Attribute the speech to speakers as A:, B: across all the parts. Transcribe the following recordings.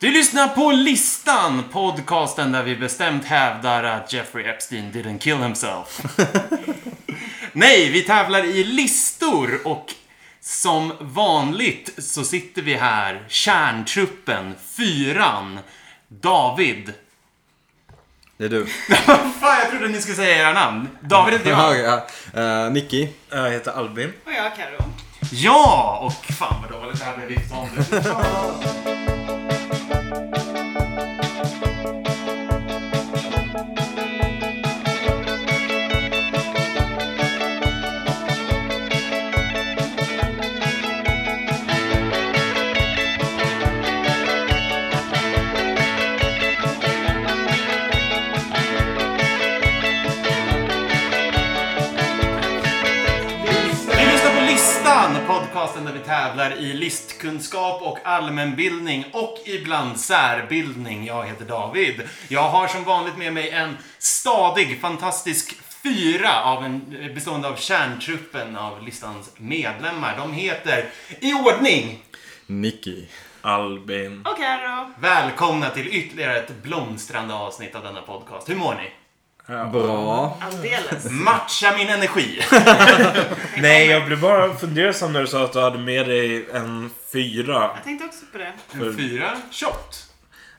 A: Du lyssnar på Listan, podcasten där vi bestämt hävdar att Jeffrey Epstein didn't kill himself. Nej, vi tävlar i listor och som vanligt så sitter vi här, kärntruppen, fyran, David.
B: Det är du.
A: Fan, jag trodde ni skulle säga era namn. David heter jag.
B: Okej, ja. Eh, Nicky.
C: Jag heter Albin.
D: Och jag Carro.
A: Ja, och fan vad dåligt det här blev viftande. Du lyssnar på Listan, podcasten där vi tävlar i listkunskap och allmänbildning och ibland särbildning. Jag heter David. Jag har som vanligt med mig en stadig, fantastisk fyra av en, bestående av kärntruppen av listans medlemmar. De heter i ordning
B: Nicky.
C: Albin.
D: Och Carro.
A: Välkomna till ytterligare ett blomstrande avsnitt av denna podcast. Hur mår ni?
B: Bra.
D: Alldeles.
A: Matcha min energi!
C: Nej, jag blev bara fundersam när du sa att du hade med dig en fyra.
D: Jag tänkte också på det.
A: En fyra shot.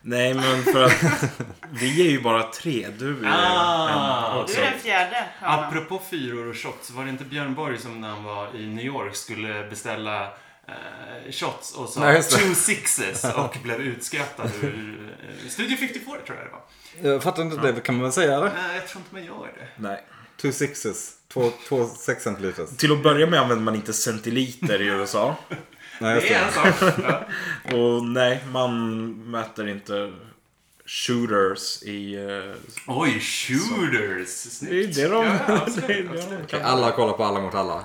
C: Nej, men för att vi är ju bara tre. Du är
A: Ah,
C: en
D: Du
B: Alltså,
C: också.
D: är den fjärde. hörnan.
A: Apropå fyror och shots, var det inte Björn Borg som när han var i New York skulle beställa eh, shots och sa
B: Nej, just det.
A: two sixes och blev utskrattad ur eh, Studio 54 tror jag det var.
B: Jag fattar inte det. Kan man väl säga det?
A: Nej, jag tror inte man gör det.
C: Nej.
B: Two sixes. Två, två sex centiliters.
C: Till att börja med använder man inte centiliter i USA.
B: Nej, just
A: Det är en
B: det.
A: sak. Ja.
C: Och nej, man mäter inte shooters i... eh,
A: Oj, shooters! Snyggt.
C: Det är ju det de...
A: Ja, alltså,
C: det är
A: absolut.
C: det de kan.
B: Alla kollar på alla mot alla.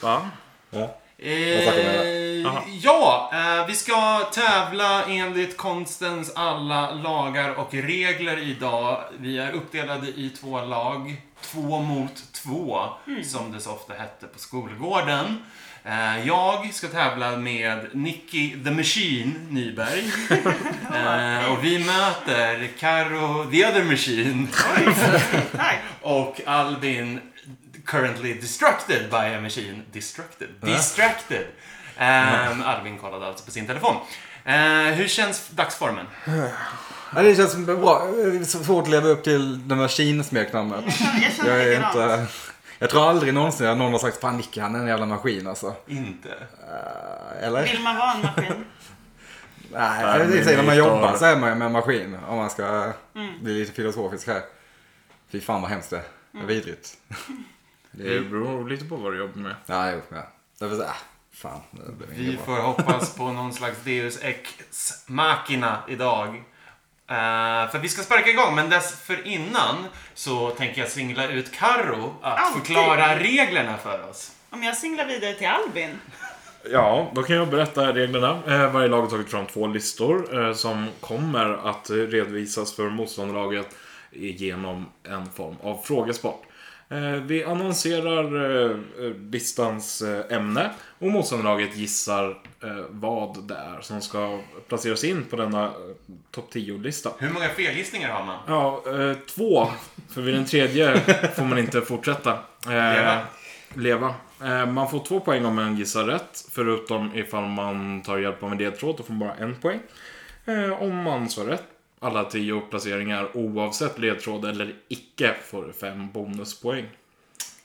C: Va?
B: Ja. Vad snackar vi om
A: Eh,
C: Aha.
A: ja, eh, vi ska tävla enligt konstens alla lagar och regler idag. Vi är uppdelade i två lag. Två mot två, som det så ofta hette på skolgården. Eh, jag ska tävla med Nicky the Machine Nyberg. eh, och vi möter Karo the other Machine
D: Tack.
A: och Albin currently destructed by a machine. Destructed? Distracted. Ehm, Albin kollade alltså på sin telefon. Ehm, hur känns dagsformen?
B: Nej, det känns bra. Det är så svårt att leva upp till det maskinsmeknamnet.
D: Jag känner
B: Jag är
D: likadant.
B: inte... Jag tror aldrig någonsin att någon har sagt fan Nicky han är en jävla maskin alltså.
A: Inte.
B: Eh, Eller?
D: Vill man vara en maskin?
B: Nej, det är så, när man jobbar så är man ju med en maskin. Om man ska bli lite filosofisk här. Fy fan vad hemskt det är. Det är vidrigt.
C: Det beror lite på vad du jobbar med.
B: Ja, jo, ja. Därför så, äh, fan, det blev
A: Vi
B: inget bra.
A: får hoppas på någon slags Deus ex machina idag. Ehm, för vi ska sparka igång, men dessförinnan så tänker jag singla ut Karo att
D: Alltid.
A: förklara reglerna för oss.
D: Om jag singlar vidare till Albin.
C: Ja, då kan jag berätta reglerna. Eh, Varje lag har tagit fram två listor eh, som kommer att eh, redovisas för motståndarlaget genom en form av frågesport. Eh, Vi annonserar eh, eh, listans eh, ämne och motståndarlaget gissar eh, vad det är som ska placeras in på denna eh, topp 10-lista.
A: Hur många felgissningar har man?
C: Ja, eh, två. För vid den tredje får man inte fortsätta. Eh,
A: Leva.
C: leva. Eh, man får två poäng om man gissar rätt. Förutom ifall man tar hjälp av en ledtråd, då får man bara en poäng. Eh, om man svarar rätt alla tio placeringar oavsett ledtråd eller icke får fem bonuspoäng.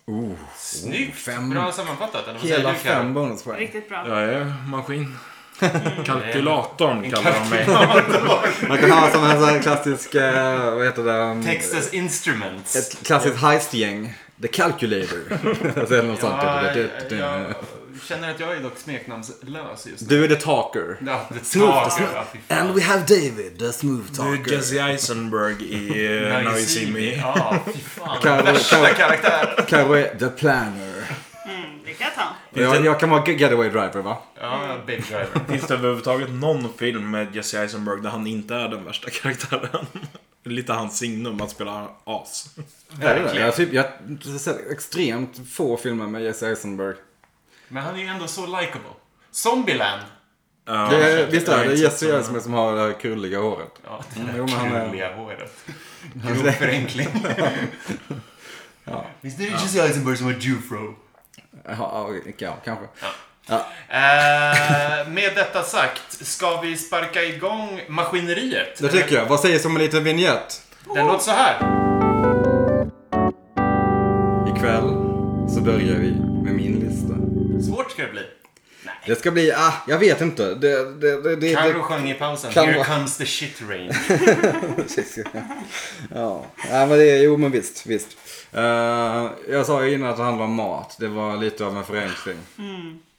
B: Oh,
A: Snyggt!
B: fem.
A: Bra sammanfattat. Eller vad säger
B: hela
A: du, Karo?
B: fem bonuspoäng.
D: Riktigt bra.
C: Jag är maskin. Kalkylatorn
A: En
C: kallar de mig.
B: Man kan ha som en sån här klassisk, eh, vad heter det?
A: Texas Instruments.
B: Ett klassiskt heistgäng. The Calculator. alltså, eller något sånt.
A: Ja,
B: Du, du, du,
A: jag
B: du.
A: känner att jag är dock smeknamnslös just nu.
B: Du är the talker.
A: Ja, det
B: Smooth,
A: tar-
B: smooth.
A: ja, fy fan.
B: And we have David, the smooth
C: Du är
B: talker.
C: Jesse Eisenberg i eh, Now You See Me.
A: Ja, fy fan.
B: Kan-
A: Värsta
B: kan-
A: karaktär.
B: Karo är the planner.
D: Mm, det kan jag ta.
B: Och Jag, jag kan vara getaway driver va?
A: Ja, Baby Driver.
C: Finns det överhuvudtaget någon film med Jesse Eisenberg där han inte är den värsta karaktären? Lite hans signum att spela as.
B: Verkligen. Jag, har typ, jag har sett extremt få filmer med Jesse Eisenberg.
A: Men han är ju ändå så likable. Zombieland.
C: Ja,
B: Det är,
C: shit,
B: visst
C: jag
B: är det
C: inte
B: Jesse
C: sett den.
B: Jönsson som har det här krulliga håret?
A: Ja,
B: Jo, men han
A: det
B: är-
A: där krulliga håret. Grov förenkling.
B: Ja.
A: Visst är det Jesse Eisenberg som har jufro?
B: Ja, ja kanske.
A: Eh, med detta sagt, ska vi sparka igång maskineriet?
B: Det tycker jag. Vad sägs om en liten vignett?
A: Den låter så här.
B: Ikväll så börjar vi med min lista.
A: Svårt ska det bli.
B: Det ska bli, ah, jag vet inte. Det, det, det, det,
A: Carro
B: det
A: sjöng i pausen.
B: Kan
A: Here
B: vara-
A: comes the shit rain.
B: ja. ja, men det, jo men visst, visst. Eh, jag sa ju innan att det handlar om mat. Det var lite av en förenkling.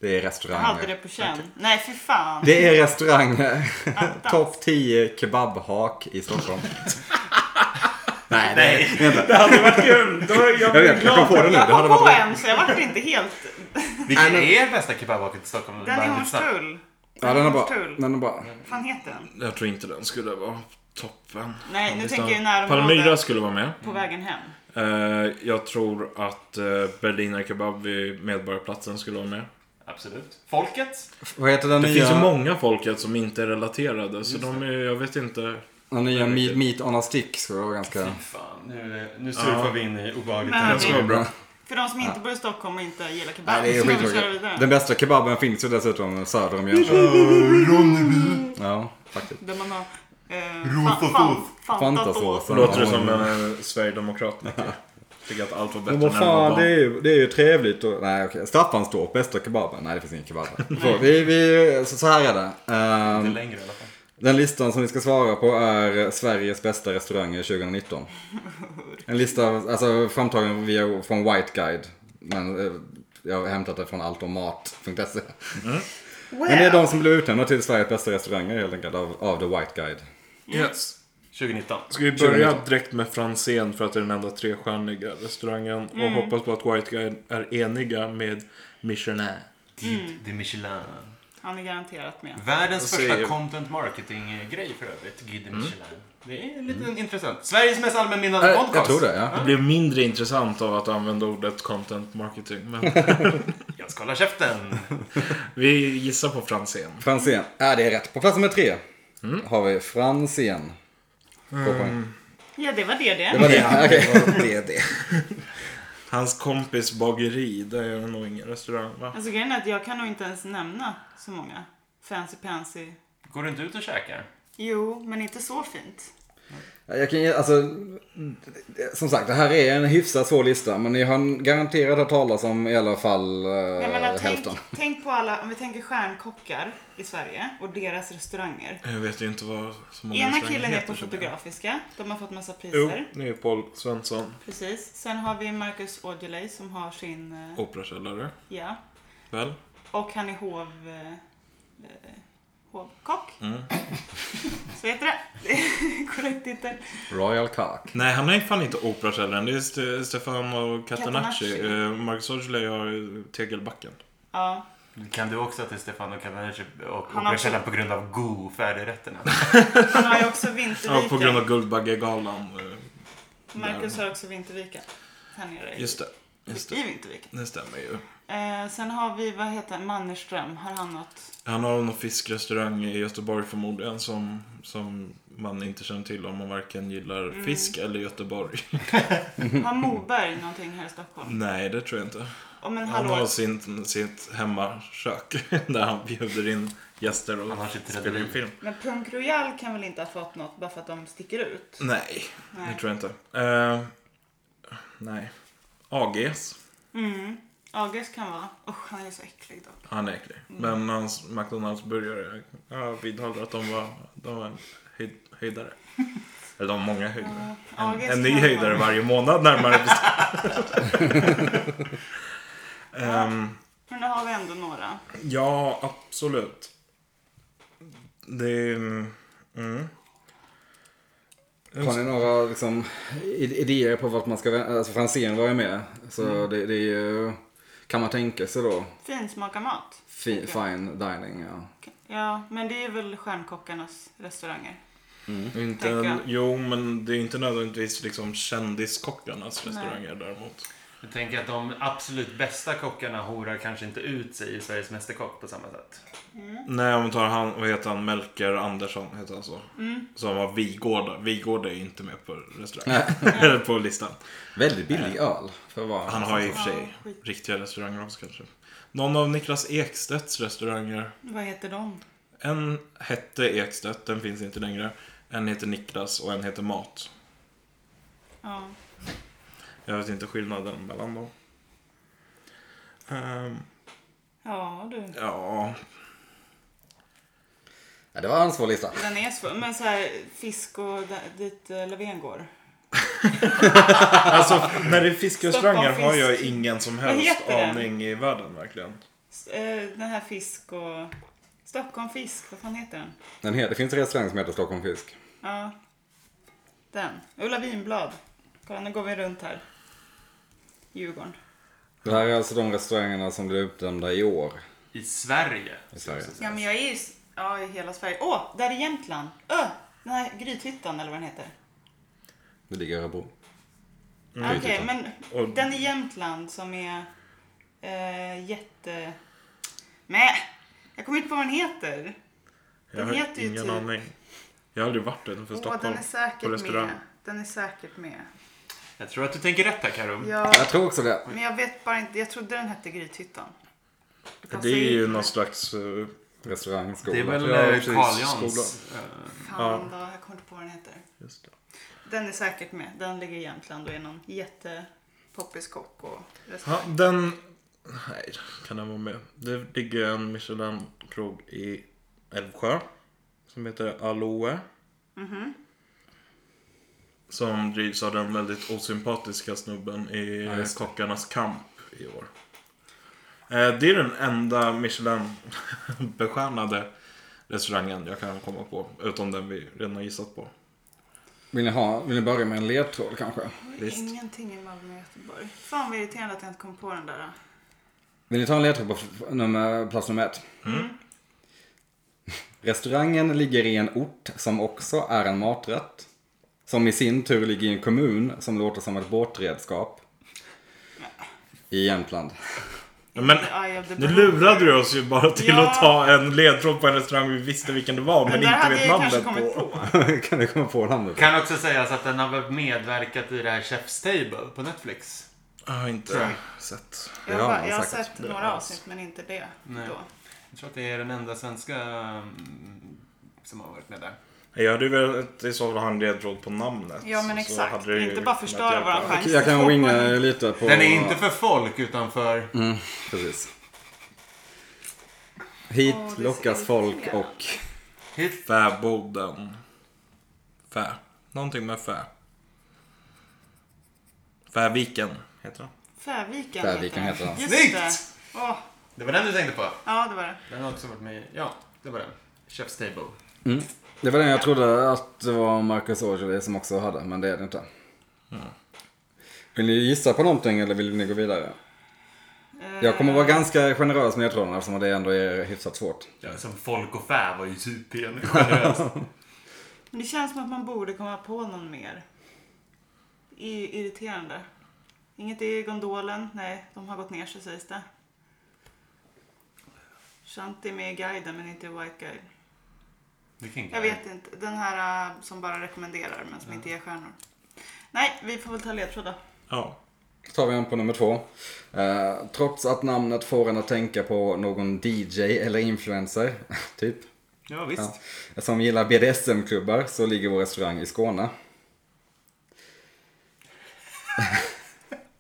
B: Det är
D: Jag hade det
B: restauranger.
D: på känn. Nej, för fan.
B: Det är restauranger. Topp 10 kebabhak i Stockholm. Nej,
A: Nej.
B: det vänta.
C: Det hade varit kul. Då är jag
B: Jag vet, jag kom på det nu. Det
D: Jag
B: hade
D: kom på
B: varit...
D: en så jag vart inte helt...
A: Vilken är
B: men-
A: er bästa kebabbaket i Stockholm?
D: Den
A: Bara
D: i
A: lite snabbt.
D: Hornstull.
B: Ja, den är bra.
D: Hornstull.
B: Den är bra.
D: fan heter den?
C: Jag tror inte den skulle vara toppen.
D: Nej, nu
C: Listan.
D: tänker jag ju närområdet.
C: Palmyra skulle vara med.
D: På vägen hem.
C: Eh, jag tror att eh, Berliner Kebab vid Medborgarplatsen skulle vara med.
A: Absolut. Folket?
B: Vad heter den
C: Det
B: nya,
C: finns ju många folket som inte är relaterade, så de är, jag vet inte.
B: den nya meat, meat on a stick? Så det var ganska...
A: Fy fan, nu, nu surfar
C: Ja.
A: vi in i obehagligt
D: Men-
C: Den ska vara bra.
D: För de som inte bor i Stockholm och inte gillar kebab
B: Nej, det är
D: så kan vi köra vidare.
B: skittråkigt. Den bästa kebaben finns ju dessutom söder om Jönköping.
D: Mm.
A: Ronneby.
B: Ja, faktiskt.
D: Där man har... Eh,
A: Rofafos.
B: Fantasås.
C: Låter det som en sverigedemokrat? Micke? Tycker att allt var bättre
B: eh, Men vad
C: när det
B: fan,
C: var
B: det
C: barn.
B: är ju, det är ju trevligt. Och, nej, okej. Staffanstorp, bästa kebaben. Nej, det finns ingen kebab här. Så, vi, vi, så, så här är det. Ehm,
A: Inte längre i alla fall.
B: Den listan som vi ska svara på är Sveriges bästa restauranger 2019. En lista alltså, framtagen via, från White Guide. Men eh, jag har hämtat det från alltommat.se. Men det är de som blev utnämnda till Sveriges bästa restauranger helt enkelt av, av The White Guide.
C: Yes.
A: 2019.
C: Ska vi börja direkt med Franzén för att det är den enda trestjärniga restaurangen
B: Mm.
C: och hoppas på att White Guy är eniga med Michelin.
D: Mm.
A: Det är Michelin.
D: Han är garanterat med.
A: Världens
C: Jag
A: första
C: säger-
A: content marketing-grej för övrigt. Guide Michelin. Det är lite intressant. Sveriges mest allmänbildande
B: Mm. Äh,
A: podcast.
B: jag tror det, ja.
C: Det blev mindre intressant av att använda ordet content marketing, men
A: Jag ska hålla käften.
C: vi gissar på Franzén.
B: Franzén. Ja, det är rätt. På plats nummer tre har vi Franzén. Mm.
D: Ja, det var det
B: Det
D: det.
B: var det. Ja, okej. det, är det.
C: Hans kompis bageri, det är nog ingen restaurang va?
D: Alltså grejen är att jag kan nog inte ens nämna så många. Fancy Pansy.
A: Går du inte ut och käkar?
D: Jo, men inte så fint.
B: Ja, Jag kan, ge- alltså, som sagt, det här är en hyfsat svår lista. Men ni har garanterat hört talas om i alla fall eh,
D: Jag menar, tänk,
B: hälften.
D: tänk på alla, om vi tänker stjärnkockar i Sverige och deras restauranger.
C: Jag vet ju inte vad så många
D: Ena
C: restauranger
D: killen är
C: heter,
D: på
C: så det-
D: Fotografiska. De har fått massa
C: Jo,
D: priser.
C: det är Paul Svensson,
D: Precis. Sen har vi Marcus Aujalay som har sin... eh,
C: operakällare,
D: Ja.
C: väl?
D: Och han är hov... Eh, eh, hovkock.
C: Mm.
D: Så heter det. Det är Korrekt titel.
B: Royal Cock.
C: Nej, han är fan inte operakällaren. Det är Ste- Stefano Catanacci.
D: Catanacci.
C: Eh, Marcus Aujalay har eh, Tegelbacken.
D: Ja.
A: Kan du också att det är Stefano Cavaneci och
D: Han har också-
A: Operakällan på grund av go-färdigrätterna?
D: Han har ju också
C: Ja, på grund
D: Vinterviken.
C: av Guldbaggegalan. eh,
D: Marcus har också Vinterviken. Här nere. i-
C: Just det. Just
D: I
C: det.
D: Vinterviken.
C: Det stämmer ju.
D: Eh, sen har vi, vad heter han? Mannerström. Har han något?
C: Han har någon fiskrestaurang i Göteborg förmodligen som, som man inte känner till om man varken gillar
D: Mm.
C: fisk eller Göteborg.
D: Har Moberg någonting här i Stockholm?
C: Nej, det tror jag inte.
D: Ja men
C: Han har
D: hallå.
C: sin, sitt hemmakök där han bjuder in gäster och
A: Han har sitt
C: spelar in
A: rederi.
C: film.
D: Men Punk Royal kan väl inte ha fått något bara för att de sticker ut?
C: Nej,
D: Nej.
C: det tror jag inte. Eh, nej. AGs.
D: Mm. August kan vara. Usch, han är så äcklig dock.
C: Han är äcklig. Men hans McDonalds-burgare, jag vidhåller att de var, de var en höjd, höjdare. Eller de har många höjdare.
D: Ja,
C: En,
D: det
C: en
D: ska
C: ny
D: man
C: höjdare
D: ha.
C: varje månad närmare bestämt. Ehm,
D: Men nu har vi ändå några.
C: ja, absolut. Det är... Mm.
B: Har ni några liksom, i- idéer på vart man ska vända? Alltså Franzén var ju med. Så
D: Mm.
B: det, det är ju, kan man tänka sig då,
D: Finsmaka mat.
B: fi,
D: Ja.
B: fine dining. Ja.
D: Ja, men det är väl stjärnkockarnas restauranger.
C: Inte
D: Tänker jag.
C: en, jo, men det är inte nödvändigtvis liksom kändiskockarnas restauranger däremot.
A: Jag tänker att de absolut bästa kockarna horar kanske inte ut sig i Sveriges Mästerkock på samma sätt.
C: Nej, om vi tar han, vad heter han, Melker Andersson heter han så. Som var Vigårda. Vigårda är inte med på restaurang. Eller på listan.
B: Väldigt billig öl. För att vara.
C: Han har ju i och för
D: Ja,
C: sig
D: skit.
C: riktiga restauranger också kanske. Någon av Niklas Ekstedts restauranger.
D: Vad heter de?
C: En hette Ekstedt, den finns inte längre. En heter Niklas och en heter Mat.
D: Ja.
C: Jag vet inte skillnaden mellan dem. Ehm,
D: Ja du.
C: ja,
B: Ja, det var en svår lista.
D: Den är svår. Men så här fisk och där, dit eh, Löfven går.
C: Alltså, när det är fiskrestauranger
D: Stockholm
C: har jag
D: fisk.
C: ingen som
D: Vad
C: helst
D: heter den?
C: aning i världen verkligen.
D: S- eh, Den här fisk och... Stockholm fisk, vad fan heter den?
B: Den heter, det finns en restaurang som heter Stockholm Fisk.
D: Ja. Den. Ulla Vinblad. Kolla, nu går vi runt här. Djurgården.
B: Det här är alltså de restaurangerna som blev utdömda i år.
A: I Sverige.
B: I Sverige.
D: Ja, men jag är ju s- ja, i hela Sverige. Åh, där är Jämtland. Ö, den här Grythyttan eller vad den heter.
B: Det ligger i Örebro.
D: Okej,
B: Grythyttan.
D: men
C: Mm. Och-
D: den i Jämtland som är eh, jätte... Nej, jag kommer inte på vad den heter.
C: Jag
D: Den
C: har
D: heter ju
C: ingen
D: typ-
C: aning. Jag har aldrig varit utanför
D: Åh,
C: Stockholm
D: den är
C: på
D: säkert
C: restaurang. Mm.
D: med. Den är säkert med.
A: Jag tror att du tänker rätt här Karum.
D: Ja,
B: Jag tror också det.
D: men jag vet bara inte. Jag trodde den hette Grythyttan. Alltså,
C: Det är ju någon slags... eh,
B: Restaurangskola.
A: Det är väl
C: Ja,
A: eh,
C: precis,
A: Carl Jans. eh,
D: Fan då, jag kommer inte på vad den heter.
C: just det.
D: Den är säkert med. Den ligger i Jämtland och är någon jättepoppis kock och
C: Ja,
D: restaurang.
C: den... Nej, kan den vara med? Det ligger en Michelin-krog i Älvsjö. Som heter Aloe.
B: Mhm.
C: Som drivs av den väldigt osympatiska snubben i
B: Ja, just det.
C: Kockarnas kamp i år. Eh, Det är den enda Michelin-bestjärnade restaurangen jag kan komma på. Utom den vi redan har gissat på.
B: Vill ni, ha, vill ni börja med en ledtråd kanske?
D: Ja,
C: visst.
D: Ingenting i Malmö och Göteborg. Fan vad irriterande att jag inte kom på den där.
B: Vill ni ta en ledtråd på f- nummer, plats nummer ett?
A: Mm.
B: Restaurangen ligger i en ort som också är en maträtt. Som i sin tur ligger i en kommun som låter som ett båtredskap. I Jämtland.
C: Men
D: Eye of the
C: nu
D: Beholder.
C: lurade du oss ju bara till
D: Ja.
C: att ta en ledtråd på en restaurang vi visste vilken det var men
D: Den där
C: inte
D: hade
C: vet
D: jag kanske
C: namnet
D: kommit
C: på.
D: på.
B: kan du komma på namnet?
A: Kan också sägas att den har väl medverkat i det här Chef's Table på Netflix.
C: Jag har inte
A: Tror jag.
C: sett.
D: Jag,
B: Ja,
D: har bara, jag har
B: säkert.
D: sett
C: Det
D: några
C: är-
D: avsnitt men inte det.
A: Nej.
D: Då.
A: Jag tror att det är den enda svenska mm, som har varit med där.
C: Jag hade ju velat i så fall ha en ledtråd på namnet.
D: Ja men
C: så
D: exakt.
C: hade det ju
D: Inte bara
C: kunnat
D: förstöra
C: hjälpa.
D: våran chans.
B: Jag kan winga lite på...
A: Den är inte för folk utan för...
B: Mm, precis. Hit
D: Åh, det ser
B: lockas folk
D: irriterande.
B: och...
A: Hit.
C: Fäboden. Fä. Någonting med fä. Fäviken heter den.
D: Fäviken,
B: Fäviken heter
D: den.
B: den.
D: Just
A: Snyggt!
D: det. Åh,
A: Det var den du tänkte på?
D: ja det var det.
A: Den har också varit med i... Ja, det var den. Chef's Table.
B: Mm. Det var den jag trodde att det var Marcus Aujalay som också hade, men det är det inte. Vill ni gissa på någonting eller vill ni gå vidare? Jag kommer vara ganska generös med ledtrådarna eftersom det ändå är hyfsat svårt.
A: Ja, som folk och fä var ju supergeneröst.
D: Men det känns som att man borde komma på någon mer. Det är ju irriterande. Inget i gondolen. Nej, de har gått ner sig sägs det. Shanti är med i guiden men inte i White Guide.
A: Vilken
D: Jag vet inte. Den här äh, som bara rekommenderar men som inte ger stjärnor. Nej, vi får väl ta ledtrådar.
C: Ja.
B: Då tar vi en på nummer två. Eh, trots att namnet får en att tänka på någon DJ eller influencer, typ,
A: Ja, visst.
B: ja, som gillar BDSM-klubbar så ligger vår restaurang i Skåne.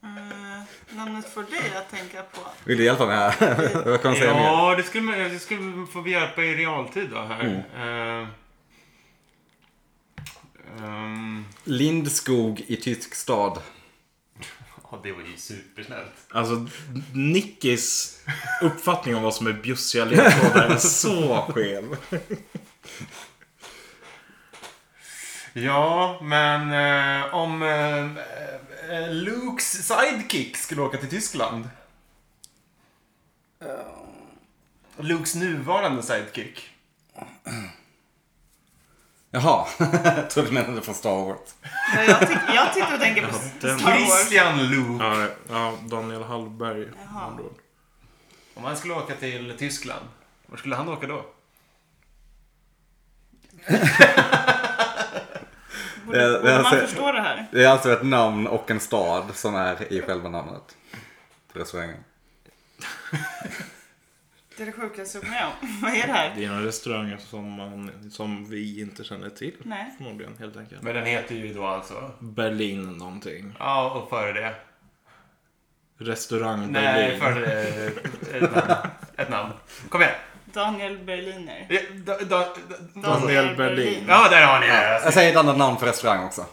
D: Eh, Namnet får dig att tänka på.
B: Vill du hjälpa mig här? Vad kan man säga mer?
A: Ja, det skulle, man- det skulle man få hjälpa i realtid då här. Eh, ehm,
B: Lindskog i tysk stad.
A: ja, det var ju supersnällt.
C: Alltså Nickis uppfattning om vad som är bjussiga ledtrådar är så skev.
A: Ja, men eh, om eh, eh, Lukes sidekick skulle åka till Tyskland. Eh. Lukes nuvarande sidekick.
B: Jaha, jag trodde du menade från Star Wars.
D: Nej, Jag, tyck, jag sitter och tänker på
C: den-
D: Star Wars.
A: Christian Luke.
C: Ja, ja, Daniel Hallberg. med
D: Jaha.
C: andra ord.
A: Om han skulle åka till Tyskland, var skulle han åka då?
B: Det-
D: Borde,
B: det
D: borde man
B: ser-
D: förstå det här?
B: Det är alltså ett namn och en stad som är i själva namnet. På restaurangen.
D: Det är det sjukaste jag varit med om. Vad är det här?
C: Det är en restaurang som, man, som vi inte känner till.
D: Nej.
C: Förmodligen, helt enkelt.
A: Men den heter ju då alltså...
C: Berlin någonting.
A: Ja, och före det.
C: Restaurang
A: Nej,
C: Berlin.
A: före det. Ett namn. Ett namn. Kom igen.
D: Daniel Berliner.
A: Ja, da- da- da-
C: Daniel Berlin.
A: Mm. Ja, där har ni det.
B: Jag säger ett annat namn för restaurang också.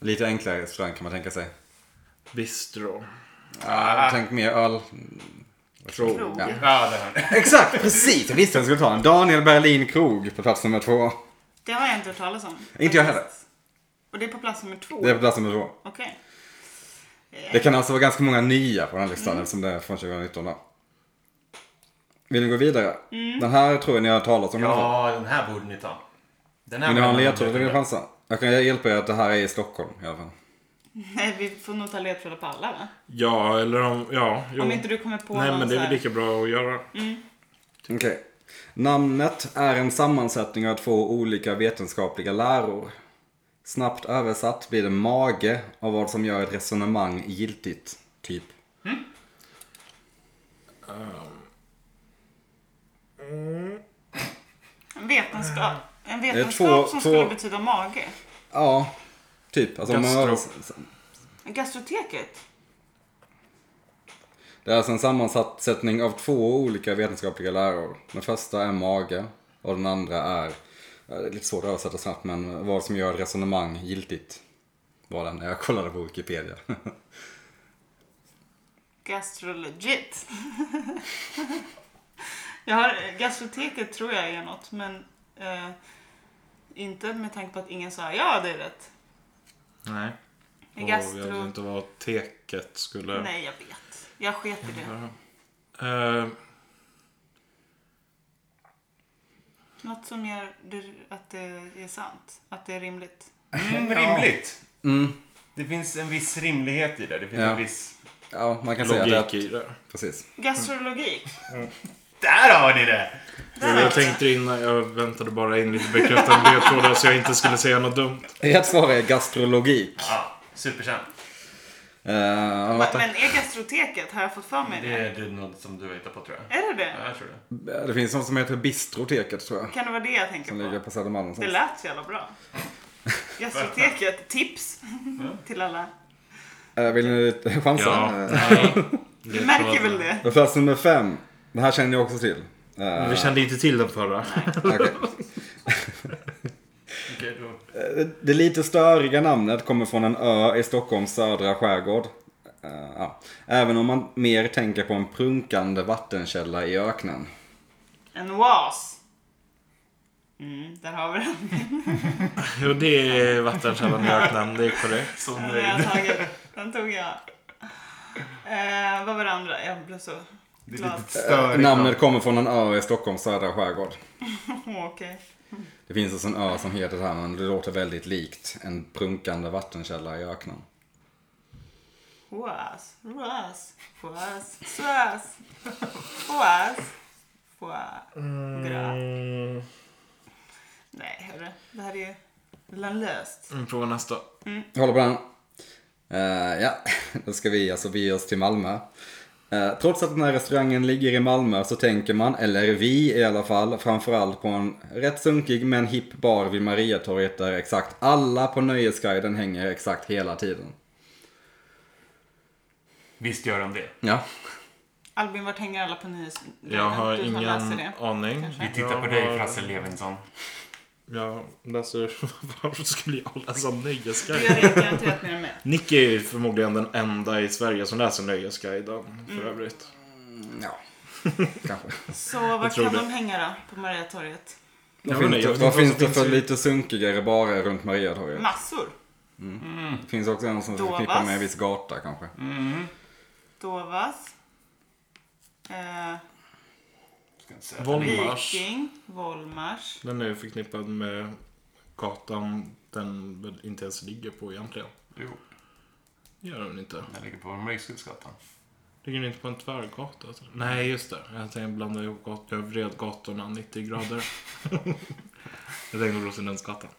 B: Lite enklare restaurang kan man tänka sig.
C: Bistro.
A: Ah.
B: Ja, tänk mer öl.
C: Krog.
D: Krog.
A: Ja, där har ni
B: Exakt, precis! Jag visste att jag skulle ta den. Daniel Berlin Krog på plats nummer två.
D: Det har jag inte hört talas om.
B: Inte jag heller.
D: Och det är på plats nummer två?
B: Det är på plats nummer två.
D: Okej. Eh,
B: Det kan alltså vara ganska många nya på den här listan eftersom det är från 2019 då. Vill ni gå vidare? Den här tror jag ni har hört talas om i alla fall.
A: Ja, den här borde ni ta. Den här
B: Vill ni ha en
A: borde ni
B: ledtråd vill ni chansa? Jag kan hjälpa er att det här är i Stockholm i alla fall.
D: Nej, vi får nog ta ledtrådar på alla va?
C: Ja, eller om... Ja, jo.
D: Om inte du kommer på
C: Nej,
D: någon
C: men det
D: så
C: är
D: här- Mm.
C: väl lika bra att göra.
B: Okej. Namnet är en sammansättning av två olika vetenskapliga läror. Snabbt översatt blir det mage av vad som gör ett resonemang giltigt, typ.
D: En vetenskap.
C: Eh,
D: En
B: är
D: vetenskap
B: två-
D: som
B: två-
D: skulle betyda mage.
B: Ja, typ. Alltså, om man
C: Gastro.
B: översätter-
D: Gastroteket.
B: Det är alltså en sammansättning av två olika vetenskapliga läror. Den första är mage och den andra är, eh, det är lite svårt att översätta snabbt, men vad som gör ett resonemang giltigt. Var den, jag kollade på Wikipedia.
D: Gastrologit. jag har, gastroteket tror jag är något, men eh, inte med tanke på att ingen sa ja, det är rätt.
C: Nej.
D: En
C: Åh,
D: gastro...
C: Jag vet inte vad teket skulle...
D: Nej, jag vet. Jag sket i det.
C: Eh,
D: Något som gör det, att det är sant. Att det är rimligt.
A: Mm, rimligt. Det finns en viss rimlighet i det. Det finns
B: Mm. Ja.
A: en viss...
B: Ja, man kan säga
C: logik
B: det.
C: i det.
B: Precis.
D: Gastrologik.
A: Där har ni det!
D: Där har vi
C: Jag
D: det.
C: tänkte innan, jag väntade bara in lite bekräftande ledtrådar så jag inte skulle säga något dumt.
B: Rätt svar är gastrologik.
A: Ja, superkänt.
B: Eh, har du
D: Va-
B: varit där?
D: Men är gastroteket, har jag fått för mig
A: Det
D: det?
A: är det något som du har hittat på tror jag.
D: Är det
A: Ja,
D: det?
A: jag tror det.
B: det finns något som heter bistroteket tror jag.
D: Kan det vara det jag tänker
B: Som ligger
D: på?
B: på Södermalm
D: Det
B: någonstans.
D: lät så jävla bra. Gastroteket, tips till alla.
B: Eh, Vill ni chansa?
C: Ja.
B: Eh,
D: Du märker väl det?
B: På Eh, plats nummer fem. Den här känner ni också till. Eh,
C: Vi kände inte till den förra.
B: okej.
A: Okej, då.
B: Eh, Det lite störiga namnet kommer från en ö i Stockholms södra skärgård. Eh, ja. Även om man mer tänker på en prunkande vattenkälla i öknen.
D: En oas. Mm, där har vi den.
C: Jo, det är vattenkällan i öknen, det är korrekt.
A: Så
D: Den, har jag
A: nöjd.
D: tagit. den tog jag. Eh, vad var det andra? Jag blev så
A: Det
D: glad.
A: är lite störigt.
B: Namnet kommer från en ö i Stockholms södra skärgård.
D: Åh, Okej.
B: Det finns alltså en ö som heter det här men det låter väldigt likt en prunkande vattenkälla i öknen.
D: Oas, oas, oas, oas, oas, oas, oas.
C: Mm,
D: Nej, hörru. Det här är ju löst.
C: vi provar nästa.
B: Jag håller på den. Eh, ja, då ska vi alltså bege oss till Malmö. Eh, trots att den här restaurangen ligger i Malmö så tänker man, eller vi i alla fall, framförallt på en rätt sunkig men hipp bar vid Mariatorget där exakt alla på Nöjesguiden hänger exakt hela tiden.
A: Visst gör de det.
B: Ja.
D: Albin, vart hänger alla på nyhets...
C: Jag har
D: du som läser det.
C: ingen aning.
D: Kanske.
A: Vi tittar på
C: Jag har-
A: dig Frasse Levinson.
C: Jag läser... Varför skulle jag läsa
D: Du
C: Nöjesguiden?
D: gör det garanterat när jag är med.
C: Nicky är ju förmodligen den enda i Sverige som läser Nöjesguiden
D: Mm.
C: för övrigt.
B: Ja. Kanske.
D: Så var
C: tror
D: kan
C: det.
D: de hänga då? På Mariatorget?
B: Vad
C: Jag
B: finns
C: vet inte, jag
B: det- Vad
C: vet inte
B: finns
C: vad
B: det
C: som
B: för
C: finns i-
B: lite sunkigare barer runt Mariatorget?
D: Massor.
C: Mm.
B: Det finns också en som
D: Dovas.
B: förknippar med en viss gata kanske.
D: Dovas. Eh,
A: Ska jag säga.
C: Volmars.
D: Viking. Volmars.
C: Den är ju förknippad med gatan den väl inte ens ligger på egentligen.
A: Jo,
C: Det gör den inte.
A: den ligger på Mörkskillsgatan.
C: Ligger den inte på en tvärgata? alltså? Nej, just det. Jag tänkte blanda ihop gat- jag vred gatorna 90 grader. jag tänkte på Rosenlundsgatan.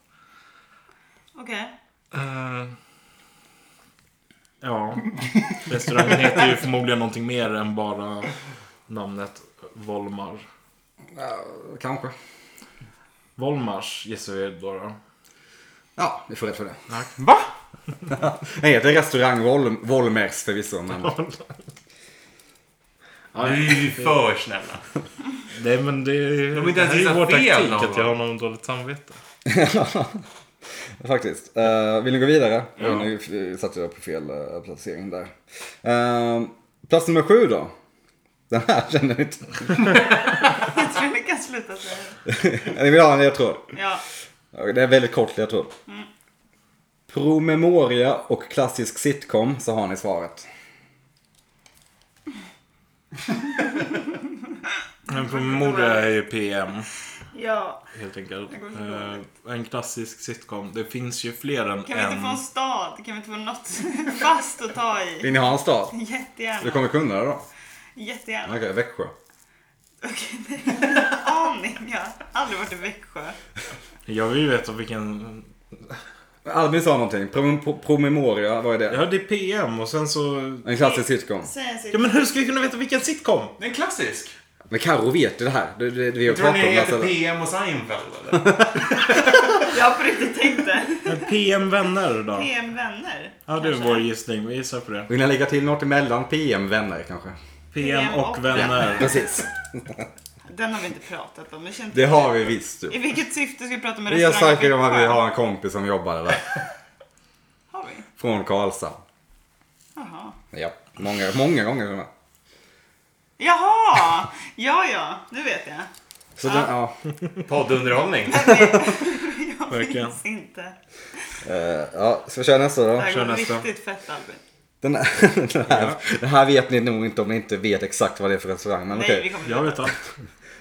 D: Okej.
C: Eh, ja, restaurangen heter ju förmodligen någonting mer än bara namnet Volmar.
B: Kanske.
C: Volmars gissar vi då. då.
B: Ja, vi får rätt för det.
A: Va?
B: Den heter restaurang Vol- Volmers förvisso, men
A: Vi är för snälla.
C: Nej men det,
A: De har inte
C: det
A: ens
C: här är ju
A: gissat
C: vår
A: fel
C: taktik
A: någon
C: att jag har något dåligt samvete.
B: faktiskt. Eh, vill ni gå vidare? Ja. Nu f- satte jag på fel eh, placering där. Eh, plats nummer sju då. Den här känner ni inte.
D: Jag tror vi kan sluta säga det.
B: Ni vill ha en ledtråd?
D: Ja.
B: Ja, Det är en väldigt kort ledtråd. Promemoria och klassisk sitcom så har ni svaret.
C: En promemoria är ju PM.
D: Ja.
C: Helt enkelt.
D: Det går så dåligt.
C: Eh, en klassisk sitcom. Det finns ju fler än
D: Kan vi inte
C: en.
D: få en stad? Kan vi inte få något fast att ta i?
B: Vill ni ha en stad? Du
D: Jättegärna.
B: kommer kunna det då?
D: Jättegärna.
B: Okej, Växjö.
D: Okej, nej. Aning, jag har aldrig varit i Växjö.
C: Jag vill ju veta vilken...
B: Albin sa någonting. Prom- pro- promemoria, vad är det?
C: Ja, det är PM och sen så...
B: En klassisk sitcom.
D: Säg en
C: Ja
D: siffra.
C: men hur ska jag kunna veta vilken sitcom?
A: Det är en klassisk.
B: Men Carro vet ju det här. Det, det, det vi
A: Jag
B: har
A: tror ni
B: pratat om.
A: det heter PM
B: Alltså,
A: och Seinfeld eller?
D: Jag har på riktigt tänkt det.
C: Men PM Vänner då?
D: PM Vänner.
C: Ja, det är
D: kanske.
C: vår gissning. Vi gissar på det.
B: vill ni lägga till något emellan PM-vänner kanske?
C: PM och
D: och
C: Vänner.
B: Precis.
D: Den har vi inte pratat om. Jag känner inte-
B: Det har vi visst
D: I
B: du.
D: vilket syfte ska vi prata med
B: Vi har
D: restaurangen?
B: sagt om att vi har en kompis som jobbade där.
D: Har vi?
B: Från Karlshamn.
D: Jaha.
B: Ja, många, många gånger till och med.
D: Jaha! Ja, ja. Nu vet jag.
B: Så den, ja.
A: Poddunderhållning.
D: Jag
C: Verkligen.
D: minns inte.
B: Eh, ja, ska vi köra nästa då?
D: Det här
C: Kör
D: går
C: nästa.
D: riktigt fett Albin.
B: Den här, den, här, den här vet ni nog inte om ni inte vet exakt vad det är för restaurang. Men
D: Nej, vi
B: okej.
D: kommer
C: Jag
D: inte.
C: vet allt.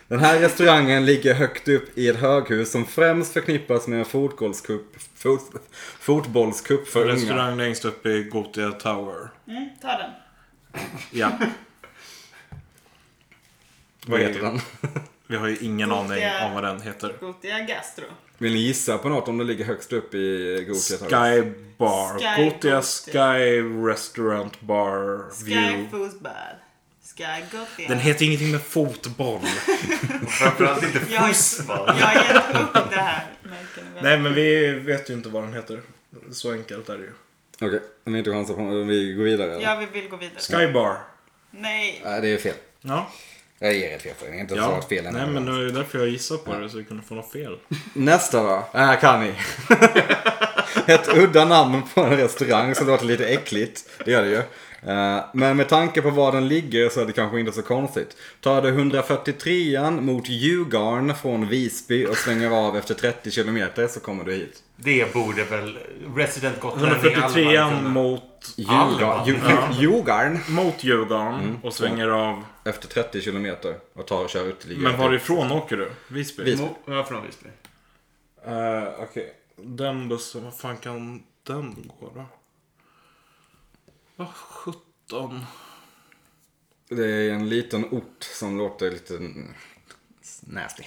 B: Den här restaurangen ligger högt upp i ett höghus som främst förknippas med en fotbollscup, fot, fotbollscup för unga.
C: Restaurang längst upp i Gothia Tower.
D: Mm, ta den.
C: Ja,
B: Vad heter den?
C: vi har ju ingen aning
D: Gothia.
C: om vad den heter.
D: Gothia Gastro.
B: Vill ni gissa på något om det ligger högst upp i Gothia
C: Sky Bar.
D: Sky
C: Gothia
D: Gothia.
C: Sky Restaurant Bar
D: Sky
C: View.
D: Foosbad. Sky Gothia.
C: Den heter ingenting med fotboll.
A: Framförallt inte
D: Jag har-
A: Fussball.
D: Jag har gett upp det här. märker ni väl?
C: Nej, men vi vet ju inte vad den heter. Så enkelt är det ju.
B: Okej, om ni inte chansar på vi går vidare eller?
D: Ja, vi vill gå vidare.
C: Sky Bar.
D: Nej.
B: Nej, det är fel.
C: Ja.
B: Jag ger ett fel för det. Ni har inte
C: ja.
B: svarat fel än.
C: Nej, men det var ju därför jag gissade på det så vi kunde få något fel.
B: Nästa då. Det här kan ni. Ett udda namn på en restaurang som låter lite äckligt. Det gör det ju. Eh, Men med tanke på var den ligger så är det kanske inte så konstigt. Ta det 143an mot Djurgården från Visby och svänger av efter 30 kilometer så kommer du hit.
A: Det borde väl Resident Gotlänning
C: 143
A: Alman kunna-
C: mot,
B: Djurgården.
A: Alban.
B: Djur- Djurgården.
C: mot Djurgården och svänger av.
B: Efter 30 kilometer och tar och kör ytterligare.
C: Men varifrån åker du? Visby?
B: Visby.
A: Mo- Ja, från Visby.
C: Eh, Okej. Den bussen, vad fan kan den gå då? Vad sjutton?
B: Det är en liten ort som låter lite mm, nasty.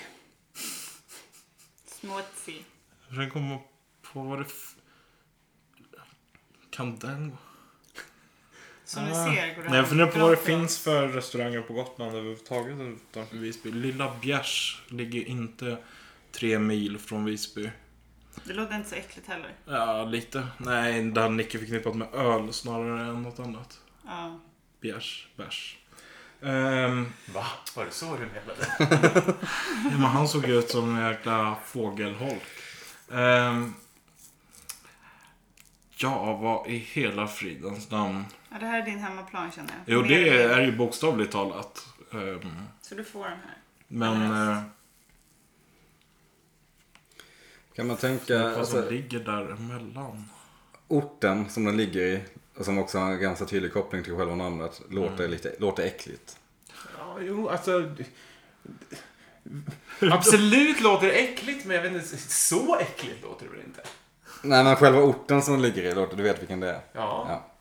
D: Smutsig.
C: Försök komma på vad det... F- kan den gå?
D: Som ni
C: Ah.
D: ser går det
C: Nej, jag
D: här
C: funderar på vad det
D: bra.
C: finns för restauranger på Gotland överhuvudtaget utanför Visby. Lilla Bjärs ligger inte tre mil från Visby.
D: Det låter inte så äckligt heller.
C: Ja, lite. Nej, den är icke förknippat med öl snarare än något annat.
D: Ja.
C: Bjärs, bärs. Ehm,
A: Va? Var det så du menade?
C: Ja, men han såg ut som en jäkla fågelholk. Ehm, ja, vad i hela fridens namn?
D: ja, det här är din hemmaplan känner jag.
C: Jo,
D: Mer
C: det
D: än-
C: är ju bokstavligt talat. Ehm,
D: Så du får den här.
C: men eh,
B: Kan man tänka...
C: eh, vad
B: alltså-
C: som ligger däremellan?
B: orten som den ligger i, och som också har en ganska tydlig koppling till
C: Mm.
B: själva namnet, låter, lite, låter äckligt.
C: Ja, jo, alltså...
A: Absolut låter det äckligt, men jag vet inte, så äckligt låter det väl inte?
B: Nej men själva orten som ligger i, låter- du vet vilken det är.
A: Ja.
B: Ja.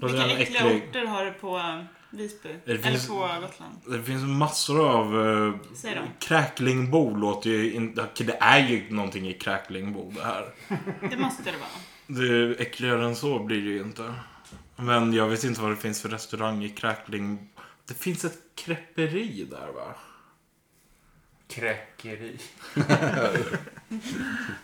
C: Och det
D: Vilka
C: är en
D: äckliga
C: äcklig-
D: orter har du på eh, Visby?
C: Det finns-
D: Eller på Gotland?
C: Det finns massor av... eh,
D: Säg då.
C: Kräklingbo låter ju inte... Det är ju någonting i kräklingbo det här.
D: Det måste det vara.
C: Det, äckligare än så blir det ju inte. Men jag vet inte vad det finns för restaurang i kräkling... Det finns ett creperi där va?
A: Kräkeri.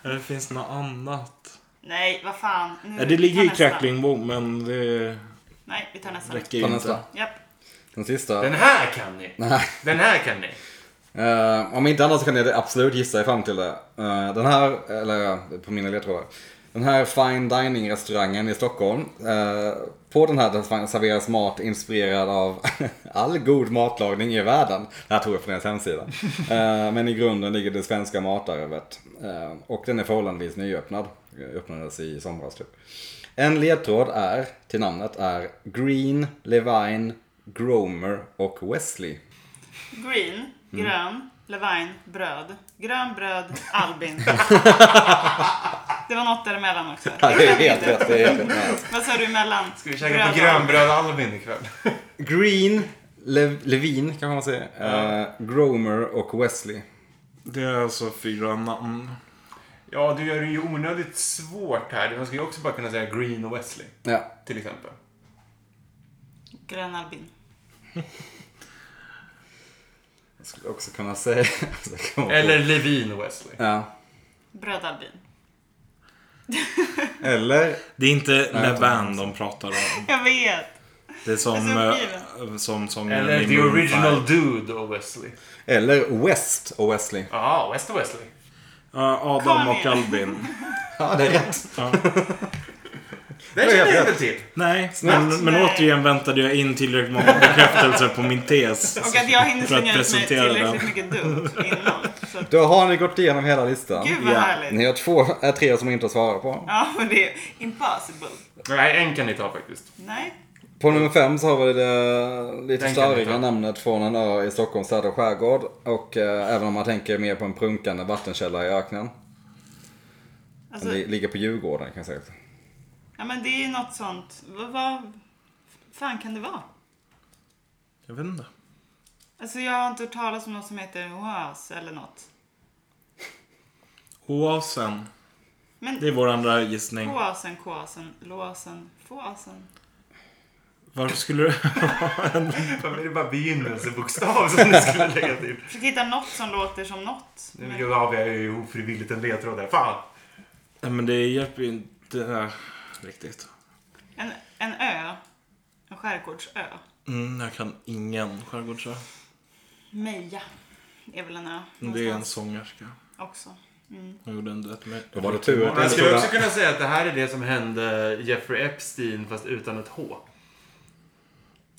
C: Eller finns det något annat?
D: Nej, vad fan. Nu,
C: Nej, det ligger
D: vi
C: i
D: tar nästa.
C: Kräklingbo men det
D: Nej, vi tar nästa.
C: räcker
B: Ta
C: ju
B: nästa.
C: inte.
D: Japp.
B: Den sista.
A: Den här kan ni.
B: Nej.
A: Den här kan ni.
B: Eh, om inte annat så kan ni absolut gissa er fram till det. Eh, den här, eller ja, på mina ledtrådar. Den här fine dining restaurangen i Stockholm. eh, på den här där serveras mat inspirerad av all god matlagning i världen. Det här tog jag från deras hemsida. Eh, men i grunden ligger det svenska matarvet. Eh, och den är förhållandevis nyöppnad. Eh, Öppnades i somras typ. En ledtråd är, till namnet är Green, Levine, Gromer och Wesley.
D: Green,
C: Mm.
D: grön, Levine, bröd. Grön bröd, Albin. det var något däremellan också.
B: Ja, det är helt rätt. Det är helt rätt. Ja.
D: Vad sa du emellan?
A: Ska vi käka på grönbröd Albin ikväll?
B: Green, Le- Levin kan man säga, eh, Gromer och Wesley.
C: Det är alltså fyra namn.
A: Ja, du gör det ju onödigt svårt här. Man skulle ju också bara kunna säga Green och Wesley,
B: Ja.
A: till exempel.
D: Grön Albin.
B: Jag skulle också kunna säga... så jag kommer på-
A: Eller Levin och Wesley.
B: Ja.
D: Bröd Albin.
B: Eller...
C: Det är inte
B: Nej, jag tar
C: Levan de pratar om.
D: Jag vet.
C: Det är som...
D: Alltså, Det är så
C: eh, som sångaren
A: Eller
C: i
A: The
C: Maroon
A: Original
C: five.
A: Dude och Wesley.
B: Eller West och Wesley.
A: Ja, West och Wesley.
C: Ja, Adam och
D: Kanye.
C: Albin.
B: Ja, det är rätt.
A: Den
B: Det är
A: känner jag
B: helt
A: väl till.
C: Nej, men, men
D: Nej.
C: återigen väntade jag in tillräckligt många bekräftelser på min tes.
D: Och att jag
C: För
D: hinner
C: att
D: slänga ut mig
C: presentera den.
D: tillräckligt mycket dumt innan. Så att,
B: Då har ni gått igenom hela listan.
D: gud vad
C: Ja,
D: härligt.
B: Ni har två, äh, tre som inte har svarat på.
D: Ja, men det är impossible.
A: Nej, en kan ni ta faktiskt.
D: Nej.
B: På nummer fem så har vi det eh, lite
A: Den kan vi
B: större
A: ta.
B: namnet från en ö i Stockholms södra skärgård. Och eh, även om man tänker mer på en prunkande vattenkälla i öknen.
D: Alltså,
B: Den li- ligger på Djurgården kan jag säga.
D: ja men det är ju något sånt. Vad, vad fan kan det vara?
C: Jag vet inte.
D: Alltså jag har inte hört talas om något som heter oas eller något.
C: Oasen.
D: Men
C: Det är vår andra gissning.
D: Kåsen, kåsen, låsen, fåsen.
C: Varför skulle du...
A: Varför är det bara begynnelsebokstav som ni skulle lägga till?
D: Försök hitta något som låter som något.
A: Nu
D: Men-
A: gav jag ju ofrivilligt en ledtråd där. Fan!
C: Nej, men det hjälper ju inte eh, riktigt.
D: En, en ö. En skärgårdsö.
C: Mm, jag kan ingen skärgårdsö.
D: Meja är väl en ö
C: Det är en
D: någonstans
C: sångerska.
D: också. Mm.
C: Hon gjorde en duett med...
B: Då var det tur att
A: Man
B: det
A: skulle
B: inte
A: också kunna säga att det här är det som hände Jeffrey Epstein fast utan ett H.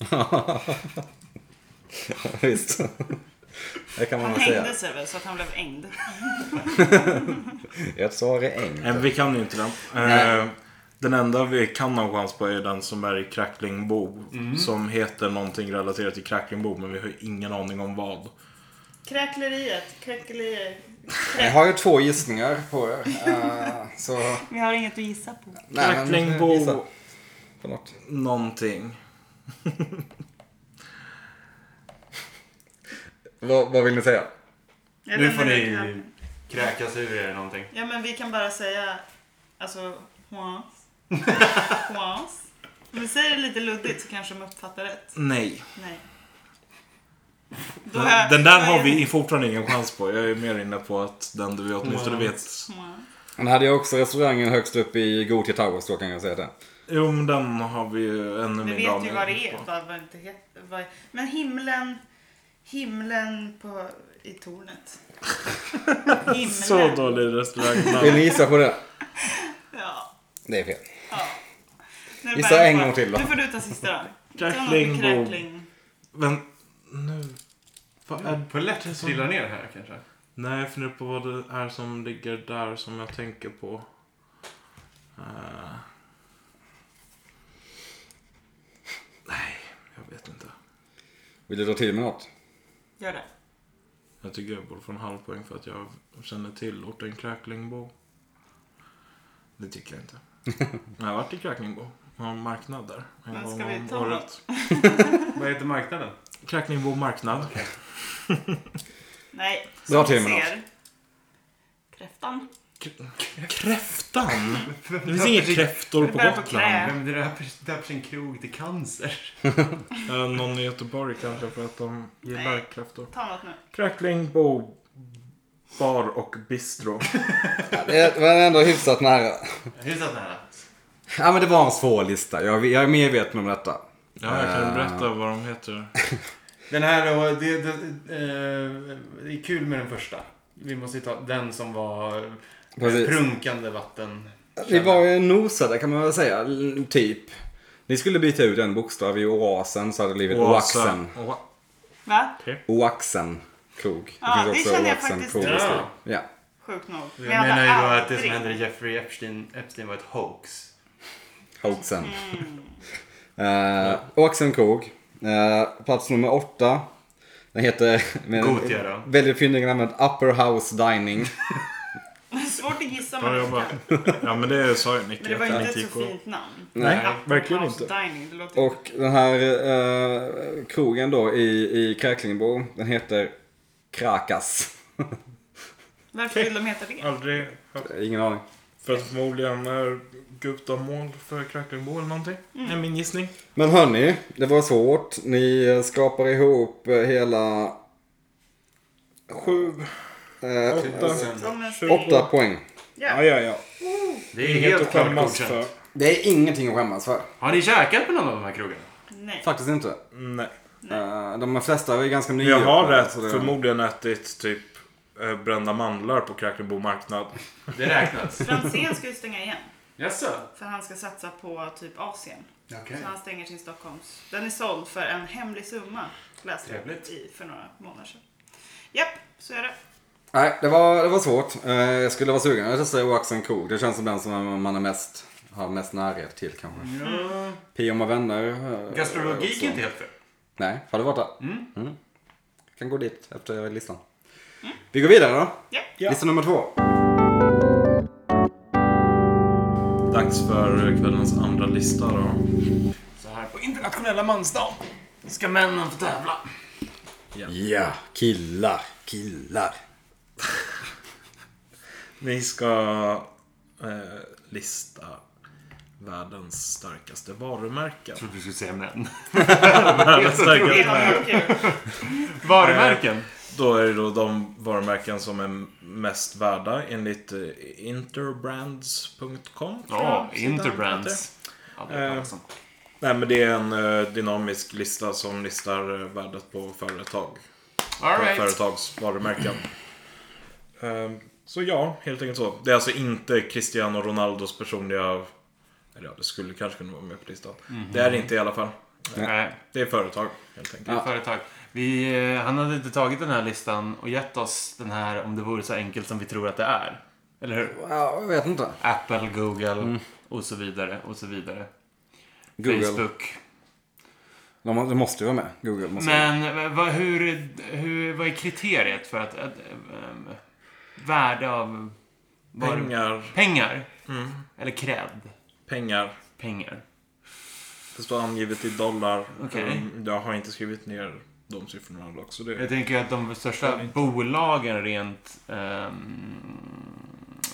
B: Visst. Det kan man
D: Han
B: nog säga.
D: hängde sig väl så att han blev ängd.
B: Ett svar är äng.
C: Nej, vi kan ju inte den. Eh, Den enda vi kan ha chans på är den som är i Kracklingbo.
B: Mm.
C: Som heter någonting relaterat till Kracklingbo, men vi har ju ingen aning om vad.
D: Kräkleriet, kräklerier.
B: Jag har ju två gissningar på er. eh, så...
D: Vi har inget att gissa på.
B: Nej, men gissa
C: Kracklingbo
B: på något.
C: någonting.
B: Vad, vad vill ni säga?
D: Jag
A: Nu
D: vet
A: får
D: inte
A: ni
D: riktigt.
A: kräkas ur er någonting.
D: Ja men vi kan bara säga, alltså, hoas. Hoas. Om vi säger det lite luddigt så kanske de uppfattar rätt.
C: Nej.
D: Nej. Då har jag-
C: Den, den där
D: då
C: har
D: är
C: vi
D: det-
C: fortfarande ingen chans på. Jag är mer inne på att den du åtminstone
A: Mm.
C: vet.
D: Hoas.
B: Den hade ju också restaurangen högst upp i Gothia Towers då kan jag säga det.
C: Jo, men den har vi ju ännu
D: Vi
C: mindre
D: vet ju
C: aning
D: vad det är.
C: på.
D: Vad, vad det inte heter, vad, men himlen, himlen på, i tornet. Himlen.
C: Så dålig restaurang.
B: Vill ni gissa på det?
D: Ja.
B: Det är fel.
D: ja. Nu är det
B: Gissa
D: bara
B: en
D: kvar.
B: gång till då.
D: Nu får du ta sista då. Ta något
C: Crackling,
D: med
C: boom.
D: crackling.
C: Men nu... Vad är...
A: På lätt trillar ner här kanske.
C: Nej, jag funderar på vad det är som ligger där som jag tänker på. Eh. Nej, jag vet inte.
B: Vill du dra till med något?
D: Gör det.
C: Jag tycker jag borde få en halv poäng för att jag känner till orten Kräklingbo. Det tycker jag inte. jag har varit i Kräklingbo. Jag har en marknad där. En
D: Men
C: gång
D: ska vi
C: om
D: ta
C: året.
D: något?
A: Vad heter marknaden?
C: Kräklingbo marknad.
D: Nej,
B: Dra
D: som
B: till
D: ni
B: med
D: ser. Kräftan.
C: Kräftan! Det finns inga kräftor på
D: Det bär på
C: Gotland.
D: knä.
A: Vem döper, döper sin krog till cancer?
C: Eh, Någon i Göteborg kanske för att de gillar
D: Nej.
C: kräftor.
D: Ta något nu.
C: Kräklingbo bar och bistro.
B: Det var ändå hyfsat nära.
A: Hyfsat nära.
B: Ja men det var en svår lista. Jag, jag är medveten om detta.
C: Ja, jag kan berätta vad de heter.
A: Den här då, det, det, eh, det är kul med den första. Vi måste ju ta den som var
B: Precis.
A: prunkande vatten.
B: Vi var ju nosade kan man väl säga, l- typ. Ni skulle byta ut en bokstav i oasen så hade det blivit oaxen.
C: Oa-
D: Va?
B: Oaxen krog.
D: Ja, det känner jag
B: Oaxen
D: faktiskt
B: krog i
A: till.
B: Sverige. Ja.
D: Sjukt nog.
A: Jag
D: hade
A: menar ju då att det som
D: aldrig-
A: hände Jeffrey Epstein, Epstein var ett hoax.
B: Hoaxen. Eh, Oaxen krog. Eh, plats nummer åtta. Den heter... med-
A: Gotia då.
B: Väldigt fyndiga namnet Upper House Dining.
D: Det är svårt att gissa
C: Bra
D: men
C: jobbat. Ja, men det sa ju Nicky.
D: Ah. Men det var
C: att den
D: ju inte ett så
C: gick och-
D: fint namn.
C: Nej,
D: Upper
C: verkligen
D: House
C: inte.
D: Dining, det låter
B: Och den här eh, krogen då i, i Kräklingbo, den heter Krakas.
D: Varför vill de heta det?
C: Aldrig hört.
B: Ingen aning.
C: För att förmodligen är gutamål för Kräklingbo eller någonting.
D: Mm.
C: Är min gissning.
B: Men hörni, det var svårt. Ni eh, skrapar ihop eh, hela
C: Sju,
B: eh,
C: åtta,
D: De är-
B: åtta poäng.
C: Ja, ja, ja.
A: Det är
C: Inget
A: helt
C: att
A: klart
C: skämmas för.
A: godkänt.
B: Det är ingenting att skämmas för.
A: Har ni käkat på någon av de här krogarna?
D: Nej.
B: Faktiskt inte.
C: Nej.
B: Eh, de flesta är ganska nya.
C: Jag har
B: på det,
C: rätt.
B: så det-
C: Förmodligen ätit typ eh, brända mandlar på Kräklingbo marknad.
A: Det räknas.
D: Franzén ska ju stänga igen.
A: Jaså?
D: För han ska satsa på typ Asien.
A: Okej.
D: Så han stänger sin Stockholms. Den är såld för en hemlig summa. Läste jag
A: Trevligt.
D: i för några månader sedan. Japp, så är det.
B: Nej, det var, det var svårt. Eh, jag skulle vara sugen. Jag testar Oaxen krog. Det känns som den som man är mest, har mest närhet till kanske.
A: Mm. Ja.
B: Pia och vänner. eh,
A: Gastrologik
B: också.
A: är inte helt fel.
B: Nej, har du varit där? Mm. Kan gå dit efter listan.
A: Mm.
B: Vi går vidare då.
D: Japp.
C: Ja.
B: Lista nummer två.
C: Dags för kvällens andra lista då.
A: Så här på internationella mansdagen ska männen få tävla.
B: Ja, killar, killar.
C: Vi ska eh, lista världens starkaste varumärken.
A: trodde du skulle säga män.
C: världens
D: Det
C: starkaste.
D: är nog kul.
A: Varumärken?
C: Då är det då de varumärken som är mest värda enligt eh, interbrands.com.
A: Ja,
C: Sidan
A: Interbrands. Ja, det är liksom.
C: Eh.
A: också.
C: Nej men det är en eh, dynamisk lista som listar eh, värdet på företag.
A: All
C: På
A: right.
C: Företags varumärken. Ehm, Så ja, helt enkelt så. Det är alltså inte Cristiano Ronaldos personliga... Eller ja, det skulle kanske kunna vara med på listan. Det är det inte i alla fall.
A: Nej,
C: Det är företag, helt
A: Eh, det är
C: enkelt.
A: företag. Vi, eh, han hade inte tagit den här listan och gett oss den här om det vore så enkelt som vi tror att det är. Eller hur?
B: Ja, jag vet inte.
A: Apple, Google och så vidare och så vidare.
B: Google.
A: Facebook.
B: De, må- de måste ju vara med. Google måste vara med.
A: Men eh, vad, hur, är- hur, vad är kriteriet för att... att ehm, värde av... varu-
C: Pengar, mm,
A: Pengar? Eller cred?
C: pengar.
A: Pengar.
C: Det står angivet i dollar.
A: Okej.
C: Ehm, Jag har inte skrivit ner de siffrorna dock. Så det...
A: Jag tänker att de största bolagen rent ehm,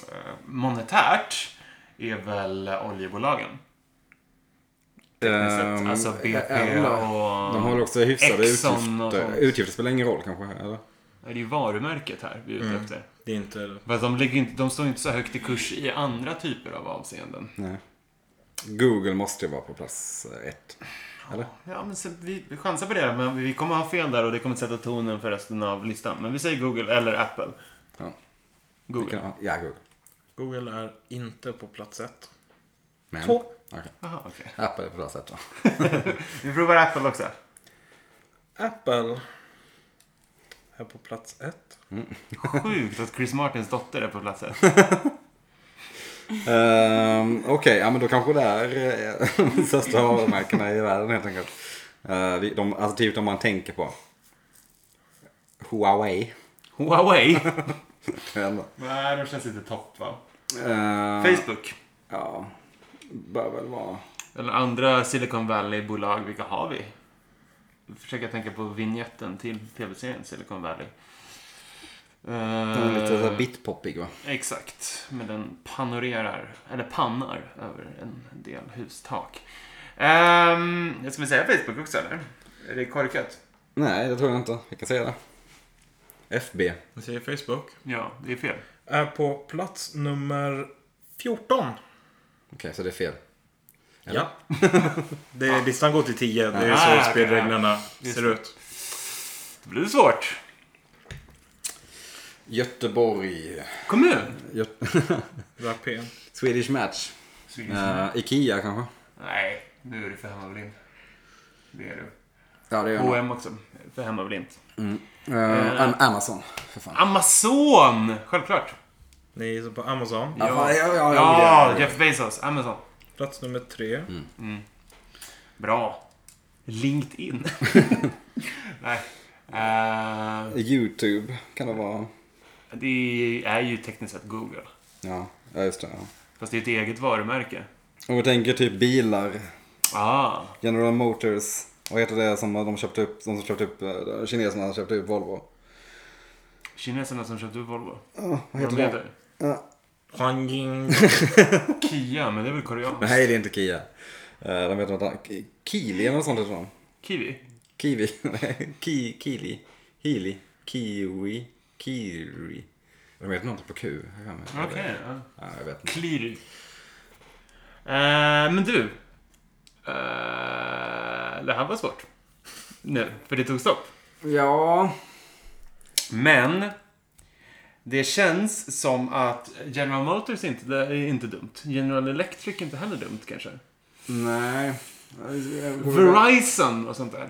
A: eh, monetärt är väl oljebolagen. Tekniskt sett.
B: Ehm,
A: alltså BP
B: ja,
A: och...
B: eh, De har också hyfsade
A: Exxon och
B: utgifter.
A: sånt.
B: Utgifter spelar ingen roll kanske, eller?
A: Det är ju varumärket här vi är ute
C: Mm.
A: efter.
C: det är inte...
A: Fast de, ligger inte, de står inte så högt i kurs i andra typer av avseenden.
B: Nej. Google måste ju vara på plats eh, ett.
A: Ja, men sen, vi vi chansar på det. Men vi kommer ha fel där och det kommer sätta tonen för resten av listan. Men vi säger Google eller Apple.
B: Ja.
A: Google.
B: Vilken- Ja, Google.
C: Google är inte på plats ett.
B: Men,
C: Två.
B: Okej.
A: Jaha, okej.
B: Apple är på plats ett då.
A: Vi provar Apple också.
C: Apple är på plats ett.
A: Sjukt att Chris Martins dotter är på plats ett.
B: Ehm, Okej, ja men då kanske det är eh, de största varumärkena i världen helt enkelt. Eh, vi- de, alltså typ de man tänker på. Huawei.
C: Huawei.
B: Ändå.
A: Nej, de känns inte topp va?
B: Eh,
A: Facebook.
B: Ja. Bör väl vara.
A: Eller andra Silicon Valley-bolag, vilka har vi? Försöker tänka på vignetten till tv-serien Silicon Valley.
B: Den är lite så här
A: Eh,
B: bitpoppig va?
A: Exakt, men den panorerar, eller pannar, över en del hustak. Ehm, jag ska väl säga Facebook också eller? Är det korkat?
B: Nej, det tror jag inte. Jag kan säga det. FB.
C: Jag säger Facebook.
A: Ja, det är fel.
C: Är på plats nummer 14.
B: Okej, så det är fel. Eller?
C: Ja. Det är, listan går till 10. Det är
A: Ah,
C: så
A: okej.
C: spelreglerna
A: Just
C: ser ut.
A: Det blir svårt.
B: Göteborg.
A: Kommun?
B: Gö-
C: Rapen.
B: Swedish Match. Eh, Ikea kanske?
A: Nej, nu är det för hemmablind. Det är du.
B: Ja, det är nog.
A: H&M också. För hemmablind.
B: Eh, Am- Amazon. För fan.
A: Amazon! Självklart.
C: Ni gissar på Amazon.
B: Ja, fan, ja, ja, ja,
A: Ja, Jeff Bezos. Amazon.
C: Plats nummer 3.
A: Bra. LinkedIn. Nej. Eh,
B: Youtube kan det vara.
A: det är ju tekniskt sett Google.
B: Ja, ja just det. Ja.
A: Fast det är ett eget varumärke.
B: Om vi tänker typ bilar.
A: Ah,
B: General Motors. Vad heter det som de köpte upp? De som köpte upp, eh, kineserna köpte upp Volvo.
A: kineserna som köpte Volvo.
B: Oh, vad heter
A: De
B: det?
A: heter
B: Ja.
C: Huangjing.
A: Kia, men det är väl koreanskt?
B: Nej, det är inte Kia. Eh, De heter något annat. Ki- Kili eller något sånt heter de.
A: Kiwi?
B: Kiwi. Nej, Ki, Kili. Hili. Kiwi. Kiri. De heter något på Q. jag har för mig.
A: Okej. ja.
B: Ja, jag vet inte.
A: Kliri. Eh, men du. Eh, det här var svårt. Nu, för det tog stopp.
B: Ja.
A: Men. Det känns som att General Motors inte, det är inte dumt. General Electric är inte heller dumt kanske.
B: Nej.
A: Verizon och sånt där.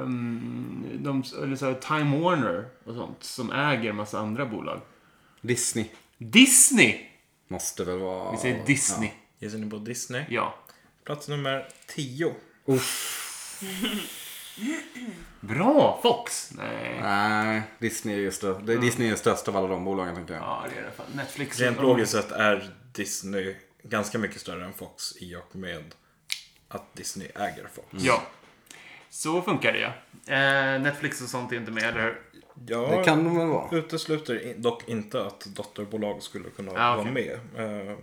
A: Ehm, de, eller så här, Time Warner och sånt. Som äger massa andra bolag.
B: Disney.
A: Disney!
B: Måste väl vara...
A: Vi säger Disney.
C: Gissar ni på Disney?
A: Ja.
C: Plats nummer 10.
A: Bra! Fox! Nej.
B: Nej, Disney är ju störst. Det- Disney är ju störst av alla de bolagen tänkte jag.
A: Ja, det är det fan. Netflix.
C: Rent logiskt sett är Disney ganska mycket större än Fox i och med att Disney äger Fox.
A: Ja. Så funkar det ja. Eh, Netflix och sånt är inte med, eller hur?
B: Det
C: Jag
B: kan de väl vara.
C: utesluter i- dock inte att dotterbolag skulle kunna
A: Ah,
C: vara
A: okej.
C: med. Eh,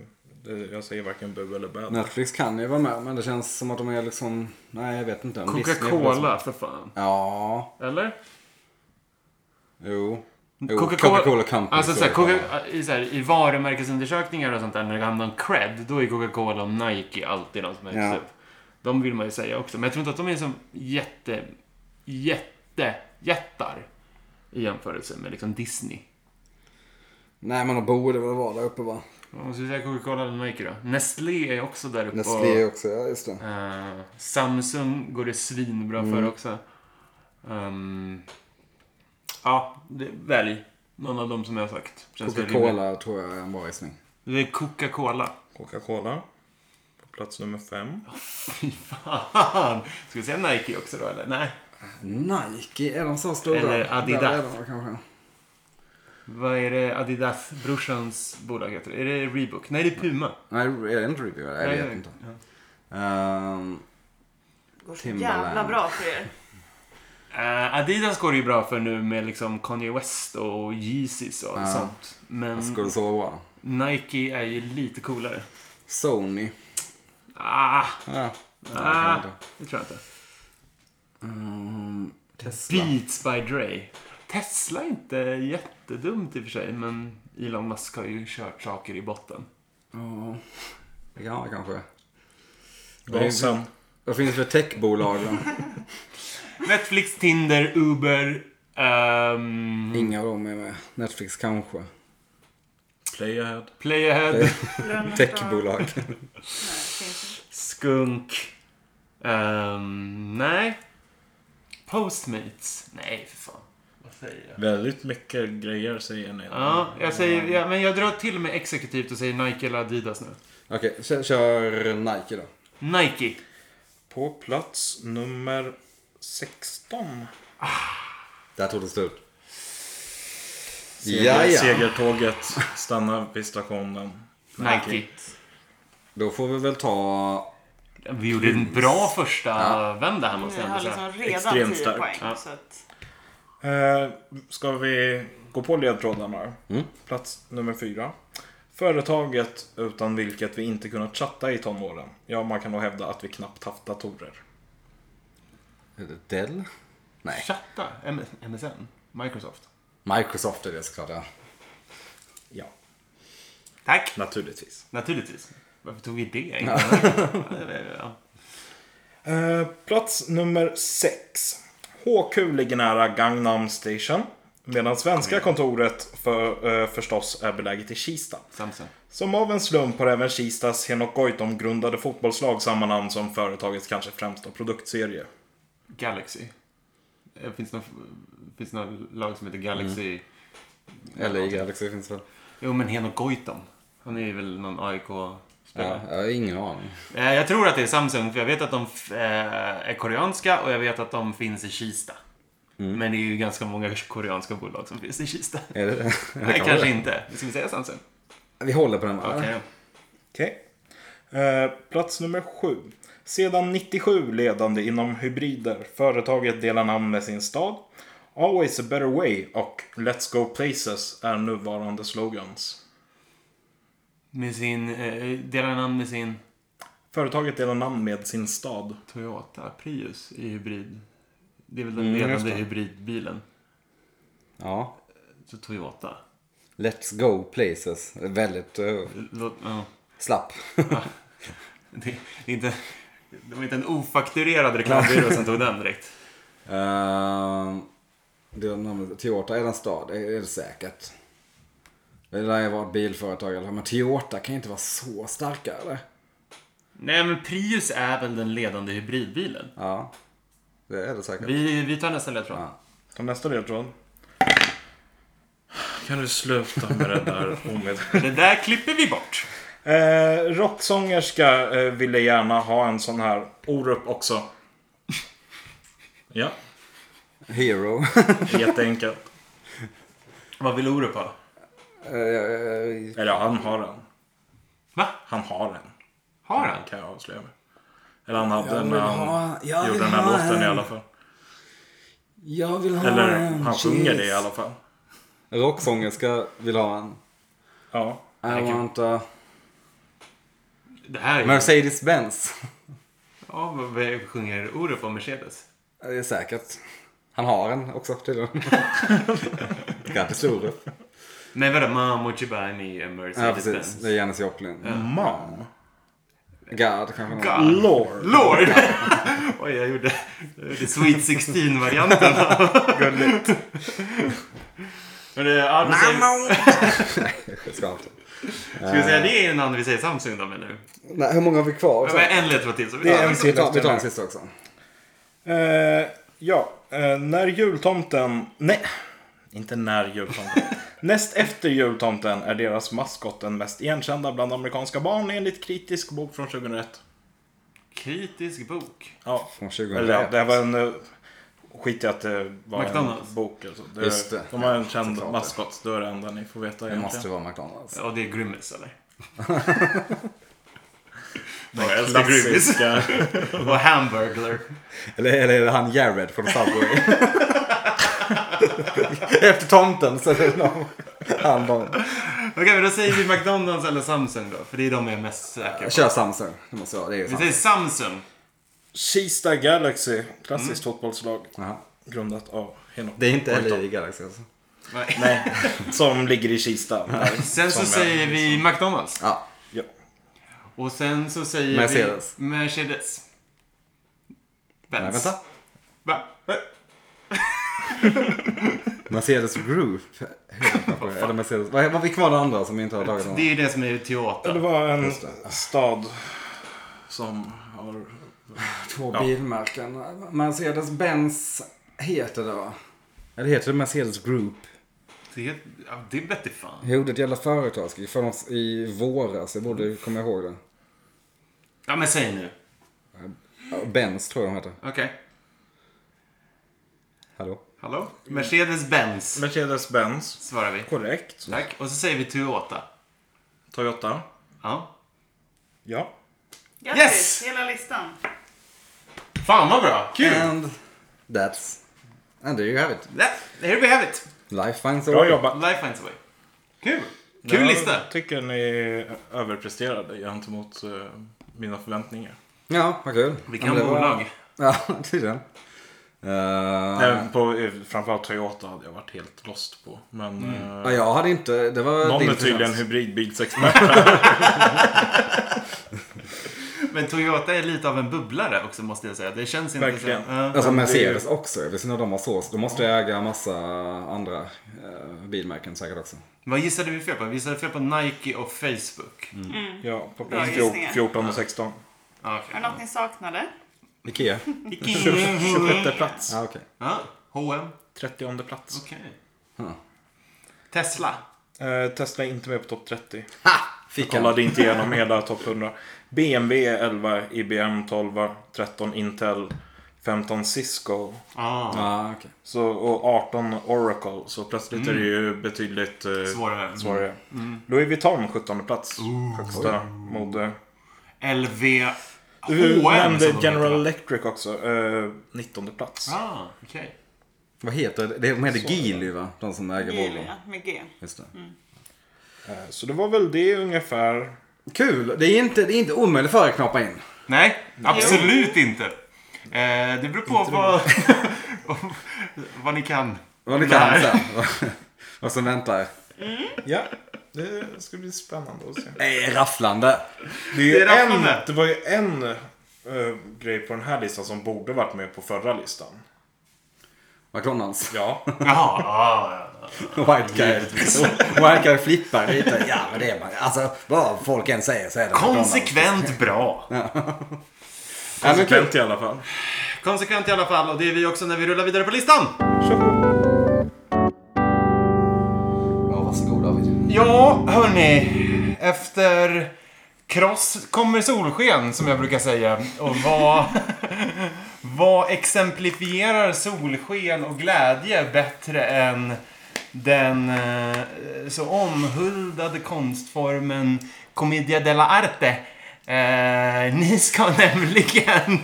C: det- Jag säger varken bu eller bä.
B: Netflix kan ju vara med, men det känns som att de är liksom... Nej, jag vet inte. Men Disney är väl
A: Coca-Cola
B: liksom-
A: för fan.
B: Ja,
A: Eller?
B: jo. Jo, Coca-Cola Company.
A: Alltså
B: så
A: såhär,
B: är det.
A: Coca- i, såhär, i varumärkesundersökningar och sånt där när det handlar om cred, då är Coca-Cola och Nike alltid de som högst
B: Ja.
A: upp. De vill man ju säga också, men jag tror inte att de är som jätte, jätte, jättar i jämförelse med liksom Disney.
B: Nej, men de borde väl vara där uppe va?
A: Vad måste vi säga Coca-Cola eller Nike då? Nestlé är också där uppe.
B: Nestlé också, Mm. ja just det.
A: Eh, Samsung går det svinbra för också. Ehm, ja, det, välj någon av dem som jag har sagt. Känns det rimligt?
B: Coca-Cola tror jag är en bra gissning.
A: Det är Coca-Cola.
C: Coca-Cola. På plats nummer 5.
A: Fy fan! Ska vi säga Nike också då eller? Nej.
B: Nike, är de så stora?
A: Eller Adidas.
B: Där är de, kanske.
A: Vad är det Adidas-brorsans bolag heter? Är det Reebok? Nej, det är Puma.
B: Nej, är det inte Review? Nej, jag vet inte.
A: Ja.
B: Ehm,
D: Går så
B: Timberland.
D: jävla bra för er.
A: Eh, Adidas går det ju bra för nu med liksom Kanye West och Yeezys och
B: Ja.
A: sånt. Men
B: Ska det så vara?
A: Nike är ju lite coolare.
B: Sony.
A: Ah,
B: Ja.
A: ah,
B: inte.
A: det tror jag inte.
B: Mm, Tesla.
A: Beats by Dre. Tesla är inte jättedumt i och för sig, men Elon Musk har ju kört saker i botten.
B: Ja, det kan man kanske.
C: Gasen.
B: Vad finns det för techbolag då?
A: Netflix, Tinder, Uber. ehm,
B: Inga av dem är med. Netflix kanske.
C: Playahead.
A: Playahead,
D: Lönnet och-
B: Techbolag.
D: Nej, finns inte.
A: Skunk. ehm, nej. Postmates. Nej, för fan. Vad säger jag?
C: Väldigt mycket grejer säger ni.
A: Ja, jag säger, ja, men jag drar till med exekutivt och säger Nike eller Adidas nu.
B: Okej, kö- kör Nike då.
A: Nike.
C: På plats nummer 16.
B: Där tog det slut.
C: Seger,
B: Ja, ja.
C: Segertåget stannar vid stationen.
A: Nike.
B: Då får vi väl ta...
A: Vi gjorde en bra första vända här måste
D: Ni
A: jag ändå
D: har
A: säga.
D: liksom redan
C: Extremt
D: 10
C: stark.
D: poäng.
A: Ja.
D: Så att,
C: Eh, ska vi gå på ledtrådarna? Plats nummer fyra. Företaget utan vilket vi inte kunnat chatta i tonåren. Ja, man kan nog hävda att vi knappt haft datorer.
B: Dell? Nej.
A: Chatta? M- MSN? Microsoft?
B: Microsoft är det såklart, ja.
C: Ja,
A: Tack!
C: naturligtvis.
A: Naturligtvis. Varför tog vi det? Ja.
C: Eh, plats nummer sex. HQ ligger nära Gangnam Station. Medan svenska kontoret för, eh, förstås är beläget i Kista.
A: Samsung.
C: Som av en slump har även Kistas Henok Goitom-grundade fotbollslag samma namn som företagets kanske främsta produktserie.
A: Galaxy. Eh, Finns det något, finns det något lag som heter Galaxy?
B: Eller i Galaxy finns väl?
A: Jo, men Henok Goitom. Han är väl någon
B: Ja,
A: AIK-spelare.
B: jag har ingen aning.
A: Eh, Jag tror att det är Samsung, för jag vet att de f- eh, är koreanska och jag vet att de finns i Kista. Men det är ju ganska många koreanska bolag som finns i Kista.
B: Är Mm. det det? det?
A: Nej,
B: kan
A: kanske
B: vara
A: inte. Ska vi säga Samsung?
B: det. Vi håller på den här.
A: Okej.
C: Okej. Eh, plats nummer sju. Sedan 97 ledande inom hybrider. Företaget delar namn med sin stad. Always a better way och Let's go places är nuvarande slogans.
A: Med sin... Eh, delar namn med sin
C: Företaget delar namn med sin stad.
A: Toyota Prius i hybrid. Det är väl den
B: Mm, just
A: ledande
B: det.
A: hybridbilen.
B: Ja.
A: Så Toyota.
B: Let's go places. Väldigt eh,
A: Låt, ja.
B: slapp.
A: det, det, är inte, det var inte en ofakturerad reklambyrå som tog den direkt.
B: Ehm, det är namnet Toyota är en stad, det är det säkert. Det lär ju vara ett bilföretag i alla fall. Men Toyota kan ju inte vara så starka eller?
A: Nej, men Prius är väl den ledande hybridbilen.
B: Ja, det är det säkert.
A: Vi, vi tar nästa ledtråd.
B: Ja.
C: Ta nästa ledtråd. Kan du sluta med det där omed...
A: Det där klipper vi bort.
C: Eh, rocksångerska eh, ville gärna ha en sån här Orup också. Ja,
B: Hero.
C: jätteenkelt.
A: Vad vill Orup ha?
B: Eh,
C: Eller han har en.
A: Va?
C: Han har en.
A: Har han?
C: Kan jag avslöja mig. Eller han hade
B: Jag
C: en
B: vill
C: när han
B: ha- jag
C: gjorde
B: vill
C: den här
B: ha
C: låten i
B: en.
C: alla fall.
B: Jag vill ha
C: Eller
B: en
C: han sjunger
B: cheese.
C: det i alla fall.
B: Rocksångerska vill ha en.
C: Ja.
B: I want a
A: Det här är...
B: Mercedes-Benz.
A: Ja, vad- vad sjunger Orup om Mercedes?
B: Det är säkert. Han har en också tydligen. Grattis Orup.
A: Men vadå, mom would you buy me a
B: Ja precis,
A: Mercedes-Benz?
B: det är Janis Joplin.
C: Mam.
B: God kanske någon.
A: God.
C: Lord.
A: Lord! Oj, jag gjorde, jag gjorde Sweet 16-varianten.
C: Gulligt.
A: Men det, ja, då säger-
B: Jag ska inte.
A: Ska vi säga det innan vi säger Samsung då, menar du?
B: Nej, hur många har vi kvar?
A: Ja, men En ledtråd till. Så vi
C: Det är
A: tar-
C: en
B: Vi
C: till
B: tar, vi
C: efter
B: tar
C: den
B: en
C: här.
B: sista också.
C: Eh, ja, eh, när jultomten... Nej, inte när jultomten. Näst efter jultomten är deras maskot den mest igenkända bland amerikanska barn enligt kritisk bok från 2001.
A: Kritisk bok.
C: Ja,
B: Från
C: eller ja,
B: 2001.
C: det här var en... eh, Skit i att det var
A: McDonald's.
C: en bok. Alltså. Det,
B: Just det.
C: De har en
B: Ja,
C: känd
B: såklart.
C: maskot. Det är det enda ni får veta
B: Det måste vara McDonalds.
A: Och det är Grimace, eller?
C: Den
A: jag älskar
C: klassiska.
A: Och Hamburglar.
B: Eller, eller är det han Jared från Subway? Efter tomten så är det någon. Han bara.
A: Okej, men då säger vi McDonalds eller Samsung då. För det är de jag är mest säker på.
B: Kör Samsung. Det måste vara. Det är ju
A: Vi säger
B: Samsung.
A: Samsung.
C: Kista Galaxy. Klassiskt fotbollslag.
B: Jaha.
C: Grundat av Henok.
B: Mm. Det är inte
C: Goitom.
B: LA i Galaxy alltså.
A: Nej.
C: Nej, som ligger i Kista. Där,
A: Sen så
C: som jag-
A: säger vi
B: liksom-
A: McDonalds.
B: Ja.
C: Ja.
A: Och sen så säger
B: Mercedes.
A: vi... Mercedes. Benz.
B: Nej, vänta.
A: Va? Eh,
B: Mercedes Group. Eller Mercedes. Vad vad fick kvar det andra som vi inte har tagit
A: Det är
B: någon?
A: ju det som är Toyota.
C: Det var en
B: Just det.
C: stad som har...
B: Två bilmärken. Mercedes-Benz heter det va? Eller heter det Mercedes Group?
A: Det, ja, det vete fan.
B: Jag gjorde ett jävla företag ska vi få något i våras. Jag borde komma ihåg det.
A: Ja, men säg nu.
B: Ja, Benz tror jag de heter.
A: Okej.
B: Hallå?
A: Hallå? Mercedes-Benz
C: Mercedes-Benz.
A: svarar vi.
C: Korrekt.
A: Tack. Och så säger vi Toyota.
C: Toyota.
A: Ja.
C: Ja.
D: Grattis,
A: Yes!
D: hela listan.
A: Fan vad bra! Kul!
B: And that's... And there you have it.
A: Nej, Here we have it!
B: Life finds a
C: Bra
B: way.
C: jobbat.
A: Life finds a way. Kul! Kul lista!
C: Jag tycker ni överpresterade gentemot eh, mina förväntningar.
B: Ja, vad kul.
A: Vilka
B: Ja, men det var-
A: bolag!
B: Ja, tydligen. Eh,
C: Även på, eh, framförallt Toyota hade jag varit helt lost på. Men eh,
B: ja, jag hade inte... Det var
C: någon
B: din
C: är tydligen
B: förtjänst.
C: hybridbilsexpert.
A: Men Toyota är lite av en bubblare också måste jag säga. Det känns inte
C: Verkligen.
A: så. Ja.
B: Alltså
C: Men det är ju-
B: Mercedes också. Jag vet inte när de har så. De måste äga massa andra eh, bilmärken säkert också.
A: Vad gissade vi fel på? Vi gissade fel på Nike och Facebook.
C: ja, på
D: Bra
C: plats
D: gissningar.
C: 14 och 16.
A: Ja,
D: Var
A: Ah, okej.
D: det något ni saknade?
B: Ikea?
C: 26 plats.
B: Ja, okej.
A: Ja, H&M.
C: 30 plats.
A: Okej.
B: Huh.
A: Tesla.
C: Eh, Tesla är inte med på topp 30.
B: Fick han.
C: Kollade inte igenom hela topp 100. BMW är 11, IBM 12, 13 Intel, 15 Cisco
A: Ah,
B: Ja, okej.
C: så, och 18 Oracle. Så plötsligt är det ju betydligt eh,
A: svårare. Mm.
C: svårare. Louis Vuitton 17 plats. Högsta mode.
A: LV.
C: Du
A: H&M
C: nämnde
A: som de heter,
C: General
A: va?
C: Electric också. Eh, 19 plats.
A: Ah, okej.
B: Vad heter det? De heter Geely va? De som äger
D: Geely,
B: Volvo.
D: ja, Mm. med G.
B: Just det.
C: Eh, så det var väl det ungefär.
B: Kul! Det är inte, det är inte omöjligt för er att knappa in.
A: Nej, absolut inte. Eh, det beror på vad, vad ni kan.
B: Vad ni kan
A: Nej.
B: sen. Vad som väntar.
C: Ja, det ska bli spännande att se.
B: Nej, Eh, rafflande.
C: Det, är ju
A: Det är
C: en,
A: rafflande.
C: det var ju en eh, grej på den här listan som borde varit med på förra listan.
B: McDonalds.
C: Ja.
A: Jaha, ja, ja.
B: White guy. White guy flippar lite. Ja, men det är man. Alltså, vad folk än säger så är det McDonald's.
A: Konsekvent bra.
B: Ja, men kul.
C: Konsekvent i alla fall.
A: Konsekvent i alla fall och det är vi också när vi rullar vidare på listan.
B: Ja, varsågod David.
A: Ja, hörni. Efter kross kommer solsken, som jag brukar säga. Och vad, vad exemplifierar solsken och glädje bättre än den eh, så omhuldade konstformen Commedia dell'arte? Eh, ni ska nämligen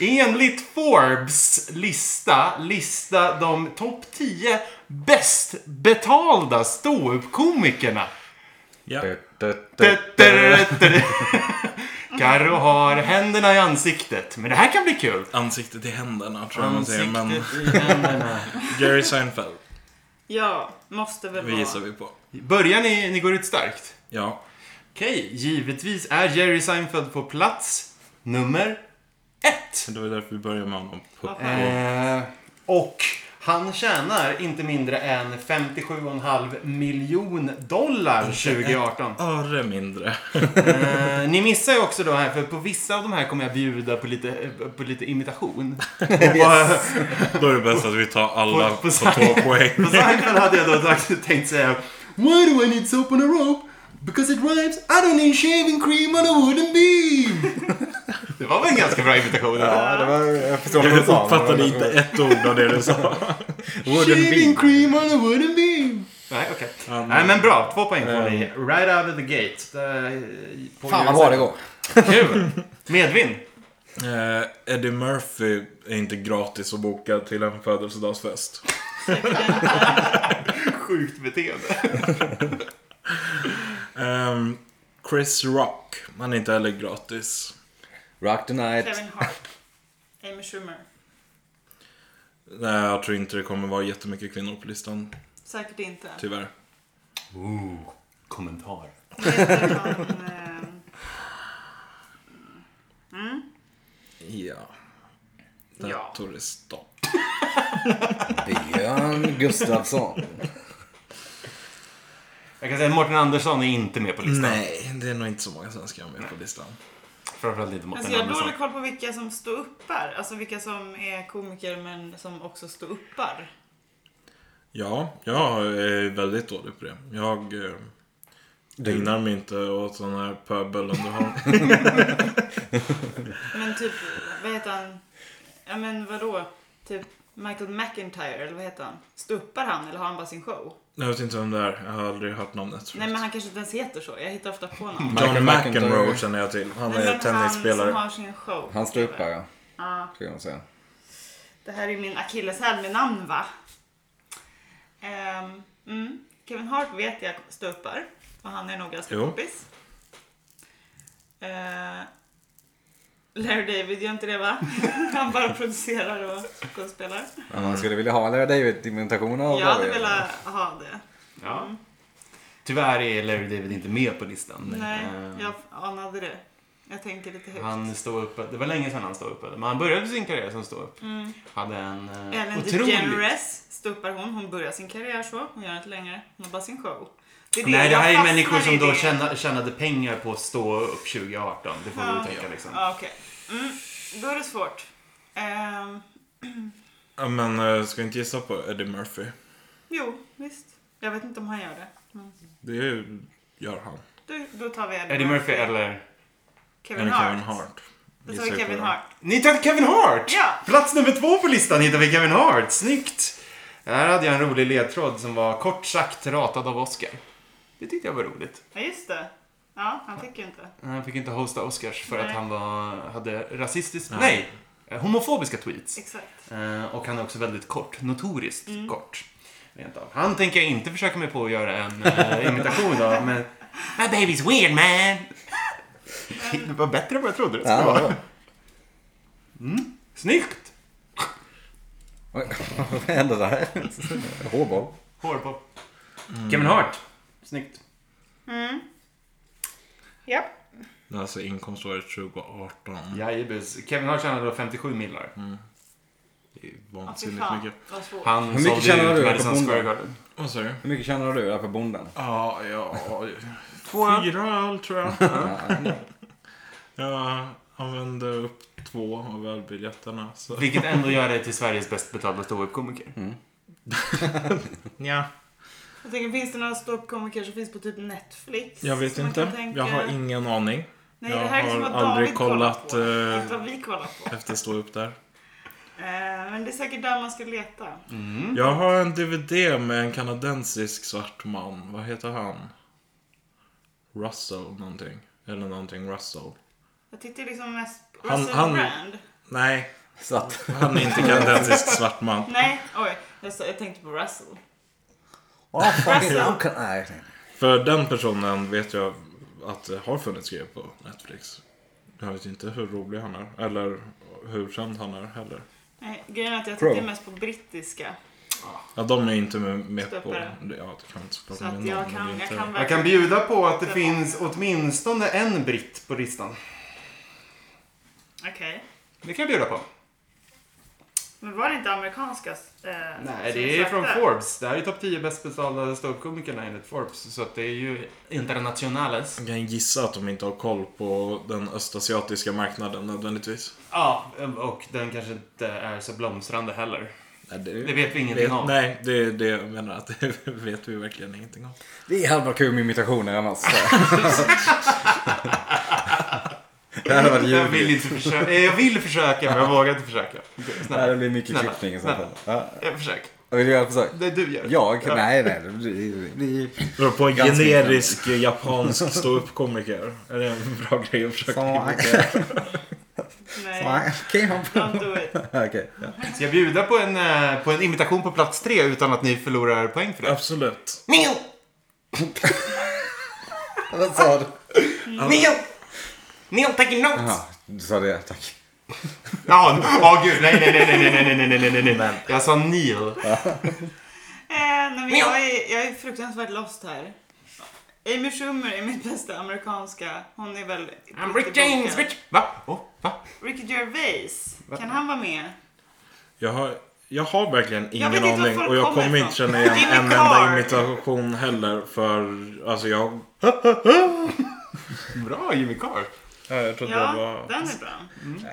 A: enligt Forbes lista lista de topp 10 bäst betalda ståuppkomikerna.
C: Ja.
A: Karo har händerna i ansiktet. Men det här kan bli kul.
C: Ansiktet i händerna tror jag man säger. Men
A: i händerna.
C: Jerry Seinfeld
D: Ja, måste väl vara.
C: visar vi på.
A: Börjar ni, ni går ut starkt?
C: Ja.
A: Okej, givetvis är Jerry Seinfeld på plats nummer ett.
C: Det var därför vi började med honom.
A: Eh, och han tjänar inte mindre än 57,5 miljon dollar 2018.
C: Öre mindre.
A: Eh, ni missar ju också då här, för på vissa av de här kommer jag bjuda på lite, eh, på lite imitation. eh,
C: Då är det bäst att vi tar alla
A: På- på
C: på, två
A: Seinfeld.
C: poäng.
A: På Seinfeld hade jag då sagt- tänkt säga Why do I need soap on a rope? Because it rhymes. I don't need shaving cream on a wooden beam. Det var väl en ganska bra imitation? eller?
B: Ja, det var... Jag förstår
C: Jag
B: vad du sa.
C: uppfattade inte ett ord av det du sa.
B: Wooden
A: Shaving
B: beam.
A: cream on a wooden beam. Nej, okej.
C: men- Ehm.
A: Nej, men bra. Två poäng får ni. Right out of the gate. Eh, på
B: Fan vad bra det går.
A: Kul. Medvind.
C: Eh, Eddie Murphy är inte gratis att boka till en födelsedagsfest.
A: Sjukt beteende.
C: Ehm, Chris Rock. Han är inte heller gratis.
B: Rock the night.
D: Kevin Hart. Amy Schumer.
C: Nej, jag tror inte det kommer vara jättemycket kvinnor på listan.
D: Säkert inte.
C: Tyvärr.
A: Ooh, kommentar.
D: Vad heter han, eh,
C: Ja. Där
D: Ja.
C: tog det stopp.
B: Björn Gustafsson.
A: Jag kan säga att Mårten Andersson är inte med på listan.
C: Nej, det är nog inte så många svenskar med på listan.
A: Framförallt inte Mårten
D: Alltså jag har
A: Andersson.
D: dålig koll på vilka som står uppar. Alltså vilka som är komiker men som också står uppar.
C: Ja, jag är väldigt dålig på det. Jag eh, ägnar mig inte åt sån här pöbelunderhållning.
D: Men typ, vad heter han? Ja men vadå? Typ Michael McIntyre, eller vad heter han? Stuppar han eller har han bara sin show?
C: Jag vet inte vem det är. Jag har aldrig hört namnet. förut.
D: Nej men han kanske inte ens heter så. Jag hittar ofta på honom.
B: Michael
C: John McEnroe
B: McEnroe.
C: känner jag till. Mm. Han
D: Nej,
C: är
D: men Han som
C: tennisspelare.
D: har sin show.
B: Han stupar,
D: Ja.
B: ska jag nog säga.
D: Det här är min akilleshäl med namn va? Ehm, mm. Kevin Hart vet jag ståuppar och han är nog ganska
C: Jo.
D: kompis. Eh, Larry David gör inte det va? Han bara producerar och skådespelar.
B: Men man skulle vilja ha Larry David-imitation av
D: Jag hade
B: Larry.
D: velat ha det.
A: Ja. Tyvärr är Larry David inte med på listan.
D: Nej,
A: Eh,
D: jag anade det. Jag tänkte lite högt.
A: Han stod upp, det var länge sedan han stod upp, men han började sin karriär som stod upp. Hade en eh,
D: Mm. Ellen
A: otrolig...
D: DeGeneres ståuppar hon. Hon börjar sin karriär så. Hon gör inte längre. Hon har bara sin show. är
A: Nej, det
D: jag
A: här är
D: fastnar
A: människor som
D: i
A: då
D: det.
A: tjäna, tjänade pengar på att stå upp 2018. Det får
D: Ja.
A: vi tänka liksom.
D: Ja, okej. Mm, då är det svårt. Ehm,
C: Ja, men eh, ska jag inte gissa på Eddie Murphy?
D: jo, visst. Jag vet inte om han gör det. Men
C: Det är ju- gör han.
D: då, då tar vi Eddie,
A: Eddie Murphy eller...
D: Kevin
C: Eller
D: Hart.
C: Kevin Hart.
D: Då tar
C: Gissar jag
D: vi
C: på
D: Kevin
C: det.
D: Hart.
A: Ni tar Kevin Hart!
D: Ja.
A: Plats nummer två på listan hittar vi Kevin Hart. Snyggt! Här hade jag en rolig ledtråd som var kort sagt ratad av Oscar. Det tyckte jag var roligt.
D: Ja, just det. Ja, han fick ju inte.
A: Han fick inte hosta Oscars för
D: Nej.
A: att han var, hade rasistiskt... Nej! eh, Homofobiska tweets.
D: Exakt.
A: Eh, Och han är också väldigt kort. Notoriskt
D: Mm.
A: kort. Rent av. Han tänker jag inte försöka mig på att göra en eh, imitation av, men... My baby's weird man! det var bättre än vad jag trodde det skulle
B: Ja,
A: vara.
B: vadå?
A: Snyggt!
B: Oj, Vad hände där? Hårboll.
A: Hår på. Kevin Hart. Snyggt.
D: Mm. Ja.
C: Men Alltså inkomståret 2018.
A: Jajebus. Kevin Hart tjänade då 57 millar.
C: Det är
D: Ja, fy
C: vansinnigt
D: fan
C: mycket.
D: vad svårt.
A: Han
B: mycket
A: sålde
B: tjänade
A: ju ut
B: du,
A: Madison
B: Jakob
A: Square
B: Bonde?
A: Garden.
C: Vad sa du?
B: Hur mycket tjänar du där för bonden?
C: Ja, ja.
A: Två.
C: Fyra öl tror jag.
B: Ja, ändå.
C: Jag använde upp två av ölbiljetterna. Så.
A: Vilket ändå gör dig till Sveriges bäst betalda ståuppkomiker.
C: Ja.
D: Jag tänker, finns det några ståuppkomiker som finns på typ Netflix?
C: Jag vet
D: som man
C: inte.
D: kan tänka-
C: Jag har ingen aning.
D: Nej,
C: jag
D: det här är
C: har
D: som vad
C: aldrig
D: David kollat,
C: kollat,
D: på.
C: eh,
D: Inte vad vi kollat på.
C: Efter stå upp där.
D: Eh, men det är säkert där man ska leta. Mm.
C: Jag har en DVD med en kanadensisk svart man. Vad heter han? Russell någonting. Eller någonting Russell.
D: Jag tittar liksom mest på
C: Han-
D: Russell
C: han-
D: Brand.
C: Nej,
B: Så att,
C: han är inte kanadensisk svart man.
D: Nej, oj. Jag, sa, jag tänkte på Russell.
B: Åh, fuck it,
D: Alltså.
B: who can- nej.
C: För den personen vet jag att det har funnits grejer på Netflix. Jag vet inte hur rolig han är. Eller hur känd han är heller.
D: Nej, grejen är att jag
B: Pro.
D: tittar mest på brittiska.
C: Ja, de är inte med, med på...
D: Stöpare.
C: Ja, det kan inte
D: Så
C: prata
D: att
C: med
D: jag
C: namn,
D: kan,
C: men
D: jag
C: inte-
D: kan
A: Jag kan
D: verkligen...
A: bjuda på att det finns åtminstone en britt på listan.
D: Okej.
A: Det kan jag bjuda på.
D: Men var det inte amerikanska? Eh,
A: Nej,
D: som
A: det är
D: jag
A: från
D: sökte?
A: Forbes. Det här är topp 10 bäst betalda ståuppkomikerna enligt Forbes. Så att det är ju internationales.
C: Jag kan gissa att de inte har koll på den östasiatiska marknaden nödvändigtvis.
A: Ja, och den kanske inte är så blomstrande heller.
C: Nej,
A: Det vet vi ingenting om.
C: Nej, det är det jag menar. Att det vet vi verkligen ingenting om.
B: Det är halva kul med imitationer annars. det hade varit
A: Jag vill
B: ljuvligt.
A: inte försöka. Eh, Jag vill försöka, men jag vågar inte försöka. Okej,
B: Nej,
A: Snälla,
B: det blir mycket
A: Snälla.
B: klippning i så fall. Ja.
A: jag försöker.
B: Vill du göra ett försök?
A: Det du gör.
B: Jag? Nej, nej. Det blir, det blir
C: Vadå, På en
B: Ganska
C: generisk japansk ståuppkomiker. Är det en bra grej att försöka imitera?
D: Nej,
B: Okej,
D: don't do it.
B: okej. ja.
A: Ska jag bjuda på en, eh, på en imitation på plats tre utan att ni förlorar poäng för det?
C: Absolut.
A: Mio!
B: Vad sa du?
A: Mio! Neil taking notes!
B: Jaha, du sa det. Tack.
A: Ja, åh gud, nej, nej, nej, nej, nej, nej, nej, nej, nej, nej, nej, nej. Jag sa Neil.
D: Eh, nej, men jag, är, jag är fruktansvärt lost här. Amy Schumer är mitt bästa amerikanska. Hon är väl...
A: I'm Rick James, bitch! Va? Oh, va?
D: Ricky Gervais. Kan han vara med?
C: Jag har, jag har verkligen
D: vet
C: ingen
D: inte var
C: aning
D: folk
C: och jag
D: kommer
C: kommer inte
D: ifrån.
C: känna igen
D: Jimmy
C: en
D: Carr.
C: enda imitation heller för alltså jag...
A: Bra Jimmy Carr.
C: Ja, Jag trodde det
D: Ja,
C: var...
D: den är bra.
C: Mm.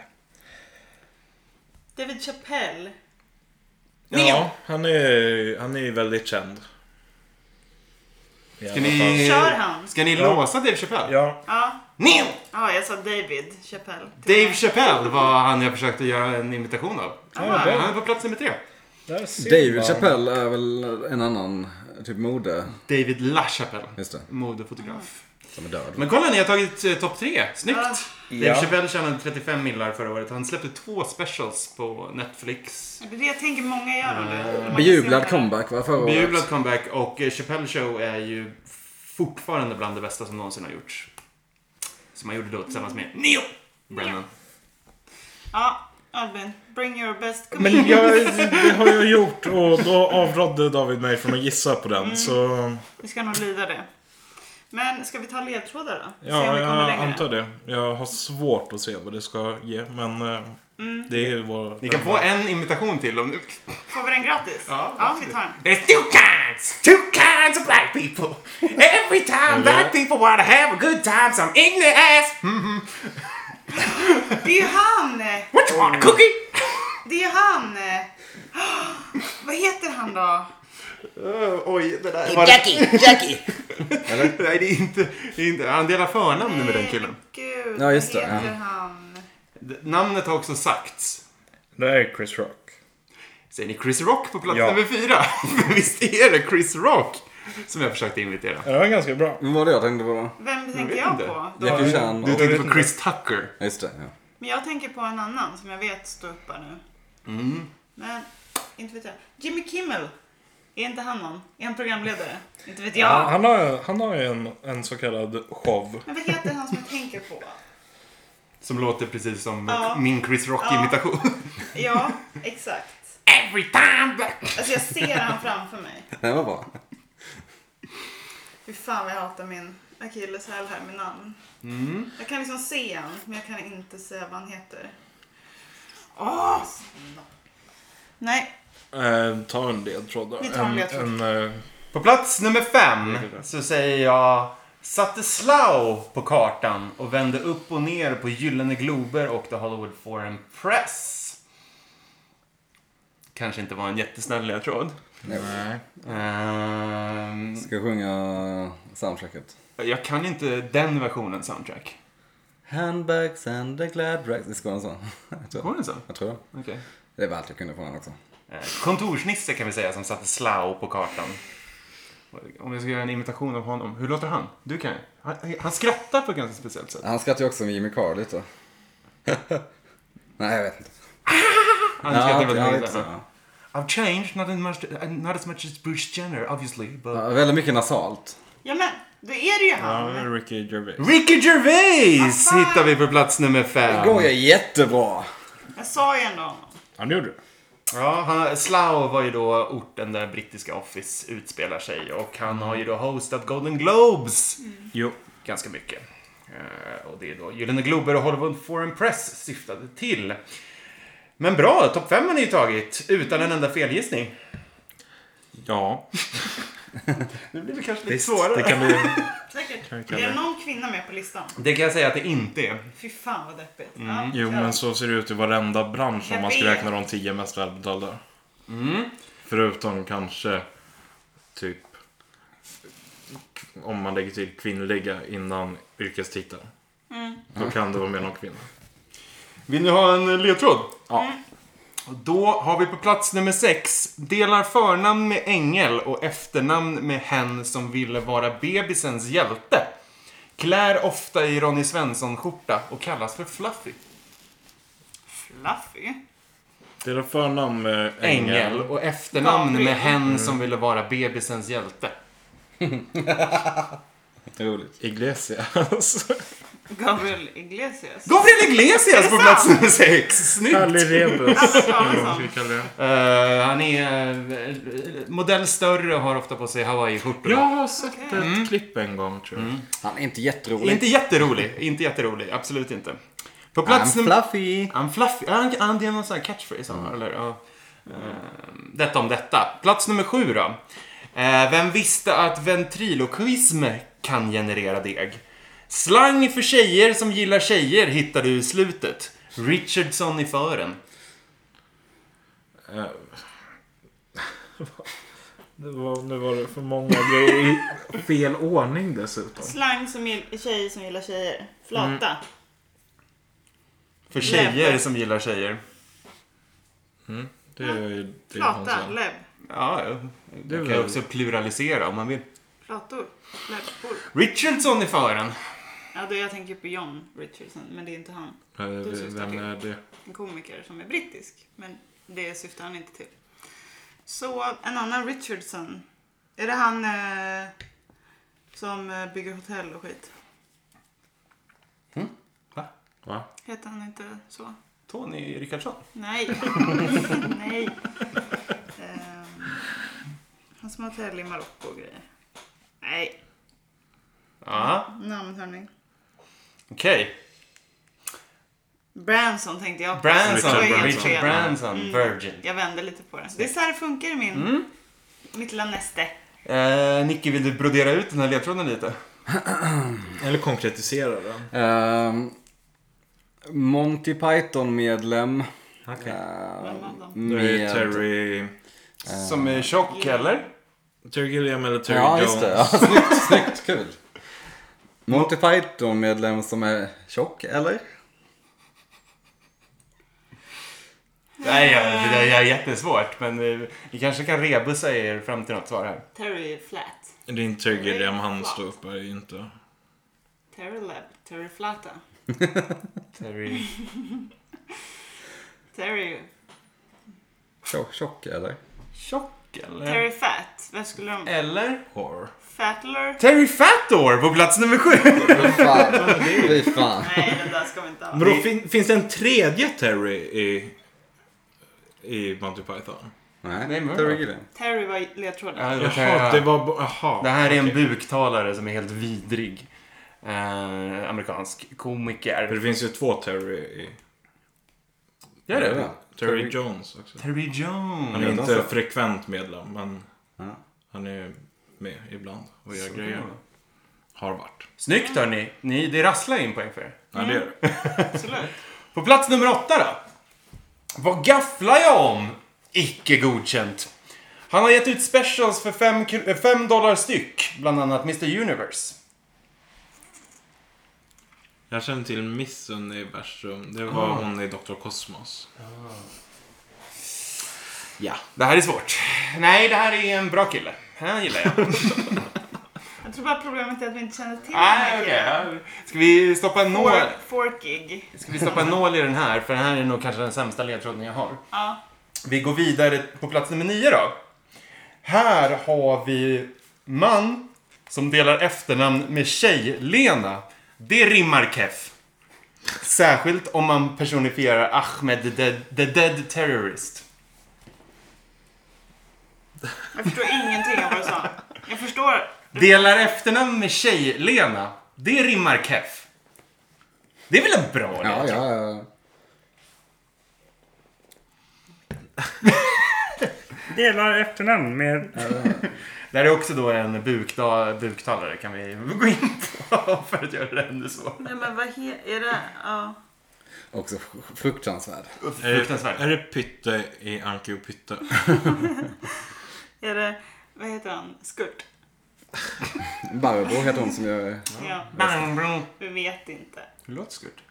D: David Chappelle.
C: Ja, han är, han är väldigt känd. I
A: Ska
C: alla fall.
A: ni,
D: Kör han?
A: Eh, ska ni
C: Ja.
A: låsa Dave Chappelle?
C: Ja,
D: Ja,
A: Neil!
D: Ja, jag sa David Chappelle.
A: Dave Chappelle var han jag försökte göra en imitation av.
C: Ja,
A: Han
C: där-
A: är på plats nummer tre.
C: där ser
B: David
C: man.
B: Chappelle är väl en annan typ mode.
A: David LaChapelle.
B: Just det.
A: Modefotograf.
B: Som är död.
A: Men kolla, ni har tagit eh, topp tre. Snyggt!
D: Ja.
A: Dave Chappelle tjänade 35 millar förra året. Han släppte två specials på Netflix.
D: Det är det jag tänker många
C: Ah.
D: gör då.
A: Eh,
D: Uh,
B: Bejublad comeback va förra året?
A: Bejublad comeback och eh, Chappelle show är ju fortfarande bland det bästa som någonsin har gjorts. Som han gjorde då tillsammans med Neil Brennan.
D: Ja, Albin. Bring your best
C: Men
D: comedian.
C: jag, det har jag gjort och då avrådde David mig från att gissa på
D: Mm.
C: den. Så
D: Vi ska nog lida det. Men ska vi ta ledtrådar då? Se om
C: ja,
D: vi kommer
C: jag
D: längre.
C: antar det. Jag har svårt att se vad det ska ge. Men eh,
D: Mm.
C: det är vår...
A: Ni kan få en imitation till om ni...
D: Får vi den gratis?
A: Ja,
D: vi tar den.
A: There's two kinds, two kinds of black people. Every time black people wanna have a good time, some ignorant ass.
D: Det är han!
A: What you want, a cookie?
D: Det är han! Vad heter han då?
A: Oh, oj, det där
E: Jackie, Jackie.
A: Nej, det är inte... Det är inte han delar förnamn med den killen.
D: Gud,
B: Ja, just
D: vad
B: det,
D: heter
B: ja.
D: han?
A: Namnet har också sagts.
C: Det är Chris Rock.
A: Säger ni Chris Rock på plats
C: Ja.
A: nummer fyra? För Visst är det Chris Rock som jag försökte imitera?
C: Det var ganska bra.
B: Vad var det jag tänkte på då?
D: Vem tänker
A: vet
D: jag
A: inte.
D: på? Då?
B: Jackie Chan
A: Du
B: och...
A: tänkte på Chris Tucker.
B: Ja, Just det, ja.
D: Men jag tänker på en annan som jag vet står uppe nu.
A: Mm.
D: Men, inte vet jag. Jimmy Kimmel! Är inte han någon? Är han programledare? Inte vet jag.
C: Han har, han har ju en, en så kallad show.
D: Men vad heter han som jag tänker på?
A: Som låter precis som
D: Ja.
A: min Chris Rock-imitation.
D: Ja, exakt.
A: Every time back.
D: Alltså jag ser han framför mig.
B: Den var bra.
D: Fy fan vad jag hatar min akilleshäl här med namn.
C: Mm.
D: Jag kan liksom se han, men jag kan inte säga vad han heter.
C: Ah!
D: Åh! snopp. Nej,
C: Eh, ta en ledtråd då.
D: Vi tar en ledtråd.
C: En, en, eh,
A: På plats nummer fem så säger jag satte Slough på kartan och vände upp och ner på Gyllene Glober och The Hollywood Foreign Press. Kanske inte var en jättesnäll ledtråd.
C: nej.
A: Ehm,
B: Ska jag sjunga soundtracket?
A: jag kan inte den versionen soundtrack.
B: Handbags and the glad rags. Visst går den så? Jag
A: Går
B: tror,
A: den så?
B: jag tror det.
A: Okej.
B: Det var allt jag kunde från den också.
A: Eh, Kontorsnisse kan vi säga som satte Slough på kartan. Om jag ska göra en imitation av honom, hur låter han? Du kan ju. han, han skrattar på ett ganska speciellt sätt.
B: Han skrattar ju också med Jimmy Carr lite. Nej, jag vet inte.
A: Han skrattar på ett
B: ja,
A: ganska
B: lite så,
A: sätt.
B: ja.
A: I've changed, not, in much, uh, not as much as Bruce Jenner obviously, but...
B: Ja, väldigt mycket nasalt.
D: ja men då är det ju
C: Ja,
D: han.
C: det är Ricky Gervais.
A: Ricky Gervais
D: Vad fan?
A: hittar vi på plats nummer fem.
B: Går jag jättebra.
D: Jag sa ju ändå honom.
C: Han gjorde det.
A: Ja, han, Slough var ju då orten där brittiska Office utspelar sig och han har ju då hostat Golden Globes
C: Jo.
A: ganska mycket. Eh, Och det är då Gyllene Glober och Hollywood Foreign Press syftade till. Men bra, topp fem har ni ju tagit utan en enda felgissning.
C: Ja.
A: Nu blir det kanske lite
C: Visst,
A: svårare.
C: det kan bli...
D: Säkert.
C: Kan- kan
D: Är det
C: det.
D: någon kvinna med på listan?
A: Det kan jag säga att det inte är.
D: Fy fan vad deppigt. Ja,
C: Mm, Jo,
D: ja.
C: men så ser det ut i varenda bransch
D: Jag
C: om man ska
D: vet.
C: räkna de tio mest välbetalda. Mm. Förutom kanske typ om man lägger till kvinnliga innan yrkestitel.
D: Mm.
C: Då kan det vara med någon kvinna.
A: Vill ni ha en eh, ledtråd?
C: Ja.
A: Och Då har vi på plats nummer sex. Delar förnamn med ängel och efternamn med hen som ville vara bebisens hjälte. Klär ofta i Ronny Svensson-skjorta och kallas för Fluffy.
D: Fluffy.
C: Deras förnamn med
A: Ängel,
C: Engel.
A: och efternamn
D: Gabriel.
A: med hen som ville vara bebisens hjälte.
B: Roligt.
C: Iglesias.
D: Gabriel Iglesias.
A: Gabriel Iglesias på
D: sant?
A: plats nummer sex. Snyggt!
C: Kalle Rebus.
D: Alltså, Samuelsson.
A: Eh, han är eh, modell större och har ofta på sig hawaii-skjortor.
C: Jag har sett
D: Mm.
C: ett klipp en gång tror jag.
B: Han är inte jätterolig.
A: Inte jätterolig. Inte jätterolig. Absolut inte. På plats
B: I'm
A: nummer...
B: fluffy.
A: I'm fluffy. Ja, Han, han, det är någon sån här catchphrase han har, eller? Ja. Ehm, detta om detta. Plats nummer sju då. Eh, vem visste att ventriloquism kan generera deg? Slang för tjejer som gillar tjejer hittar du i slutet. Richardson i
C: Mm.
A: fören.
C: Eh, Det var, nu var det för många grejer i fel ordning dessutom.
D: Slang som gill- tjejer som gillar tjejer.
C: Mm,
D: Flata.
A: För tjejer
D: Läppar.
A: som gillar tjejer.
C: Det är ju det är
D: Flata. Läbb.
A: Ja, ja. Det
C: är
A: kan
C: väl-
A: ju också pluralisera om man vill.
D: Flator. Läppor.
A: Richardson är fören.
D: Ja, det jag tänker på John Richardson, men det är inte han. Du
C: Eh,
D: syftar
C: Vem
D: till.
C: är det?
D: En komiker som är brittisk, men det syftar han inte till. Så en annan Richardson. Är det han eh, som eh, bygger hotell och skit?
C: Va?
D: Heter han inte så?
A: Tony Rickardsson.
D: Nej. Nej. Ehm, han som har hotell i Marocko och grejer. Nej.
A: Ja,
D: Namnhörning.
A: okej.
D: Branson tänkte jag på.
A: Branson.
D: Det var
C: Richard
D: helt
A: Richard
D: fel.
A: Branson. Virgin.
D: Jag vände lite på det. Det är så här det funkar i min...
A: Mm.
D: Mitt lilla näste.
A: Eh, Nicky, vill du brodera ut den här ledtråden lite?
C: Eller konkretisera den.
B: Ehm, Monty Python-medlem. Ehm,
A: Okej.
C: Äh,
D: Vem av dem?
C: Det är ju
B: Med...
C: Terry...
A: Som är tjock, eller?
C: Terry Gilliam eller Terry
B: Ja,
C: Jones.
B: just det. Ja, snyggt, snyggt, kul. Monty Python-medlem som är tjock, eller?
A: Nej, jag, det där är jättesvårt. Men eh, vi kanske kan rebussa er fram till något svar här.
D: Terry Flat.
C: det. är inte Terry Gilliam, han står upp här inte.
D: Terry Lab. Terry Flata.
A: Terry.
D: Terry...
B: Tjock, tjock eller?
A: Tjock, eller?
D: Terry Fat. Vad skulle de...
A: Eller?
C: Horror.
D: Fatler?
A: Terry Fator på plats nummer sju!
B: Fy fan. Fy fan.
D: Nej, den där ska vi inte ha.
C: Men då fin, finns det en tredje Terry i, i Monty Python?
B: Nej,
A: Nej, men
B: Terry
A: bra.
B: Gilliam.
D: Terry var ledtråden.
A: Ja,
C: Jaha, det var... bo- Jaha.
A: Det här är en buktalare som är helt vidrig. Eh, amerikansk
C: För
A: komiker.
C: det finns ju två Terry i...
A: Gör det?
C: Terry Jones också.
A: Terry
C: Han
A: Jones.
C: är
B: Redan
C: inte
B: så.
C: frekvent medlem, men
B: Ja.
C: han är med ibland och gör
A: Så.
C: grejer. Har varit.
A: Snyggt hörni. Ni, det rasslar in poäng för er.
C: Ja, det gör det.
D: Absolut.
A: På plats nummer åtta då. Vad gafflar jag om? Icke godkänt. Han har gett ut specials för 5 dollar styck. Bland annat Mr Universe.
C: Jag känner till Miss Universum. Det var hon i Dr. Cosmos.
A: Ja. Det här är svårt. Nej, det här är en bra kille. Han gillar jag.
D: Jag tror bara problemet är att vi inte känner till
A: Nej, okej. Ska vi stoppa en nål?
D: Fork, forkig.
A: Ska vi stoppa en nål i den här? För den här är nog kanske den sämsta ledtråden jag har.
D: Ja.
A: Vi går vidare på plats nummer nio då. Här har vi man som delar efternamn med tjej-Lena. Det rimmar keff. Särskilt om man personifierar Ahmed the dead, the dead terrorist.
D: Jag förstår ingenting av vad du sa. Jag förstår.
A: Delar efternamn med tjej-Lena. Det rimmar keff. Det är väl en bra
B: Ja,
A: ledtråd?
B: ja, ja.
F: Delar efternamn med...
A: Det här är också då en bukta, buktalare kan vi gå in på för att göra det ännu svårare.
D: Nej, men vad he- är det? Ja.
B: Också fr- fruktansvärd.
A: Fruktansvärt.
B: eh,
C: Är det Pytte i Anki och Pytte?
D: Är det... Vad heter han? Skurt?
B: Barbro heter hon som gör...
D: Ja.
A: Bang, bang.
D: Vi vet inte.
A: Hur låter Skurt?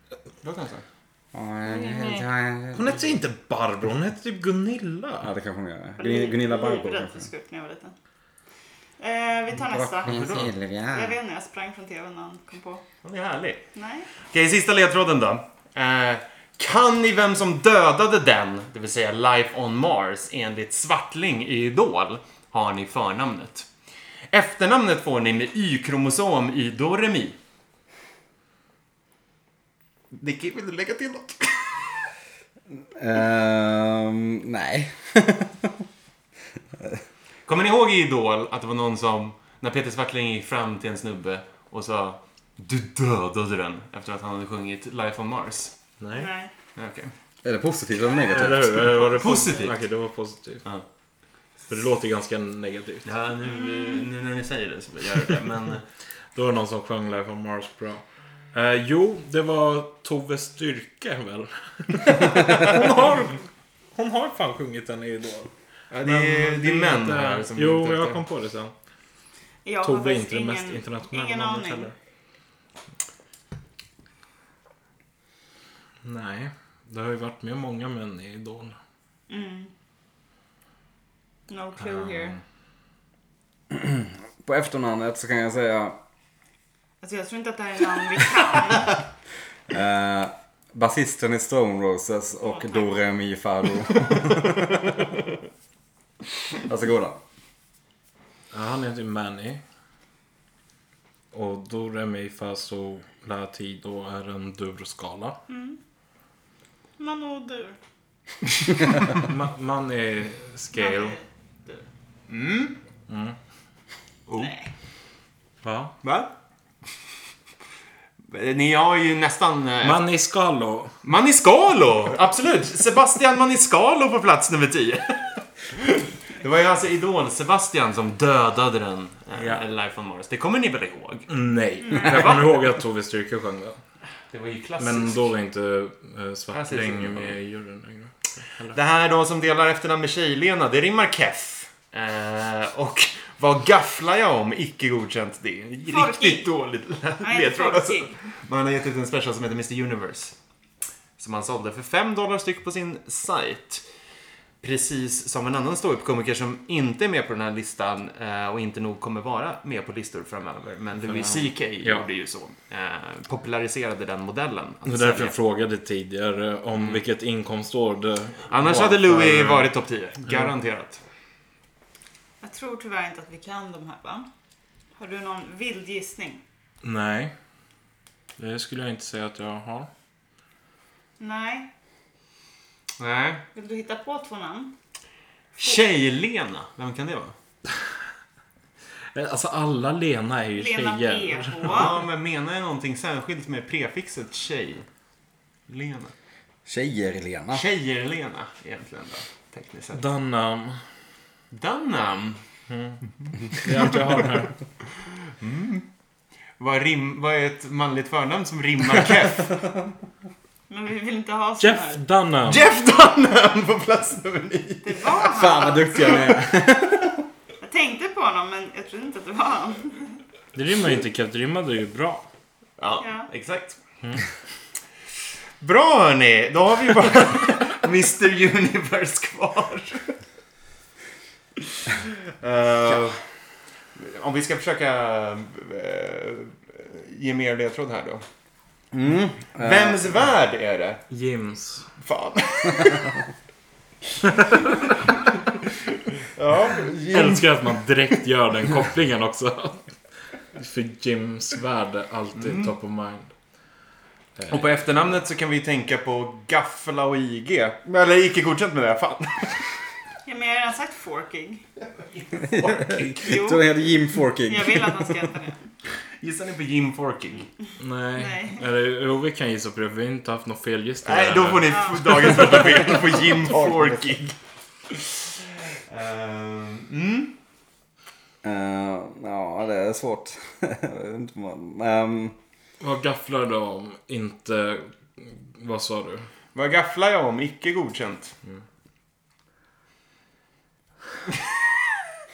A: Låter han så?
C: Hon hette inte Barbro, hon hette typ
B: Ja,
C: Gunilla.
B: det kanske hon gör. Gun- Gunilla Barbro
D: Jag för
B: kanske.
D: skurt när jag var liten. Eh, vi tar nästa.
B: Silvia.
D: Jag vet inte, jag sprang från tvn när han kom på.
A: Han är härlig.
D: Nej.
A: Okej, sista ledtråden då. Eh, kan ni vem som dödade den, det vill säga Life on Mars, enligt Svartling i Idol, har ni förnamnet. Efternamnet får ni med Y-kromosom i Doremi. Nicky, vill du lägga till något?
B: Ehm, nej.
A: Kommer ni ihåg i Idol att det var någon som, när Peter Svartling gick fram till en snubbe och sa Du dödade den efter att han hade sjungit Life on Mars.
C: Nej.
D: Nej.
A: Okej.
B: Är det positivt eller negativt?
C: Eller hur? Var det
A: Positivt.
C: Okej, det var positivt.
A: Ja.
C: För det låter ganska negativt.
A: Ja, nu, eh, nu när ni säger det så gör jag det. Men
C: Då var det någon som sjöng Life on Mars bra. Eh, jo, det var Tove Styrke väl? hon, har, hon har fan sjungit den i Idol.
A: Ja, det, är, det är män
C: inte-
A: här som är
C: Jo,
A: ute
C: jag
A: efter-
C: kom på det sen.
D: Jag har
C: Tove är
D: faktiskt
C: inte det mest
D: ingen-
C: internationella
D: Ingen
C: namnet
D: aning.
C: heller. Nej, det har ju varit med många män i Idol.
D: Mm. No
C: Ah.
D: clue here.
B: På efternamnet så kan jag säga
D: Alltså jag tror inte att det här är namn vi kan.
B: eh, basisten i Stone Roses och
D: tack.
B: Do Re Mi Fa Do. Varsågoda.
C: Ja, han heter ju Manny. Och do, re, mi, fa, sol, la, ti, do är en durskala.
D: Man och du. Mm.
C: Ma- Manny scale. Mm. Va?
A: Va? Ni har ju nästan... eh,
C: Manny scalo.
A: Maniscalo! Absolut! Sebastian Maniscalo på plats nummer 10. Det var ju alltså Idol-Sebastian som dödade den. eh,
C: Ja.
A: Life on Mars. Det kommer ni väl ihåg?
C: Nej. Jag kommer ihåg att Tove Styrke sjöng den.
A: Det var ju klassiskt.
C: Men då var inte äh,
A: Klassisk
C: Svartling
A: symbol.
C: med i juryn längre.
A: Det här då som delar efternamn med Tjej-Lena, det rimmar keff. Eh, och vad gafflar jag om? Icke godkänt det. Riktigt
D: Folkig.
A: dåligt
D: Nej,
A: ledtråd alltså.
D: folkig.
A: Man har gett ut en special som heter Mr Universe. Som han sålde för 5 dollar styck på sin sajt. Precis som en annan ståuppkomiker som inte är med på den här listan eh, och inte nog kommer vara med på listor framöver. Men Louis CK
C: Ja.
A: gjorde ju så. Eh, populariserade den modellen. att
C: Det är därför
A: sälja.
C: jag frågade tidigare om vilket inkomstår det
A: Annars
C: var
A: hade Louis
C: för-
A: varit topp 10. Garanterat.
D: Jag tror tyvärr inte att vi kan de här va? Har du någon vild gissning?
C: Nej. Det skulle jag inte säga att jag har.
D: Nej.
A: Nej.
D: Vill du hitta på två namn?
A: Tjej-Lena, vem kan det vara?
C: Alltså alla Lena är ju
D: Lena
C: tjejer.
D: PH.
A: Ja, men menar jag någonting särskilt med prefixet tjej-Lena?
B: Tjejer Lena.
A: Tjejer-Lena egentligen då, tekniskt sett.
C: Dunham.
A: Dunham,
C: Det är allt jag har här.
A: vad, rim, vad är ett manligt förnamn som rimmar keff?
D: Men vi vill inte ha sån
C: Jeff
D: här.
C: Dunham.
A: Jeff Dunham på plats nummer nio.
D: Det var han.
B: Fan vad duktiga ni är.
D: Jag tänkte på honom men jag trodde inte att det var han.
C: Det rimmar ju inte Kev, det rimmade ju bra.
A: Ja,
D: Ja.
A: exakt. Bra hörni, då har vi bara Mr Universe kvar. Eh, Om vi ska försöka eh, ge mer ledtråd här då. Eh,
B: Mm.
A: Vems värld är det?
C: Jims.
A: Fan. ja, Jim.
C: Älskar att man direkt gör den kopplingen också. För Jims värde alltid top of mind.
A: Och på efternamnet så kan vi tänka på Gaffla och IG. Eller icke godkänt med det, fan.
D: Ja, men jag har redan sagt forking.
B: Så den heter Jim Forking.
D: Jag vill att han ska äta det.
A: Gissar ni på Jim Forking?
C: Nej.
D: Nej.
C: Eller jo, vi kan gissa på det. för Vi har inte haft någon felgissning.
A: Nej, då får ni f- dagens första bild på Jim Forking. Ehm, mm.
B: Eh, ja, det är svårt. Jag vet inte vad man- ehm,
C: Vad gafflar du om? Inte... Vad sa du?
A: Vad gafflar jag om? Icke godkänt.
B: Mm.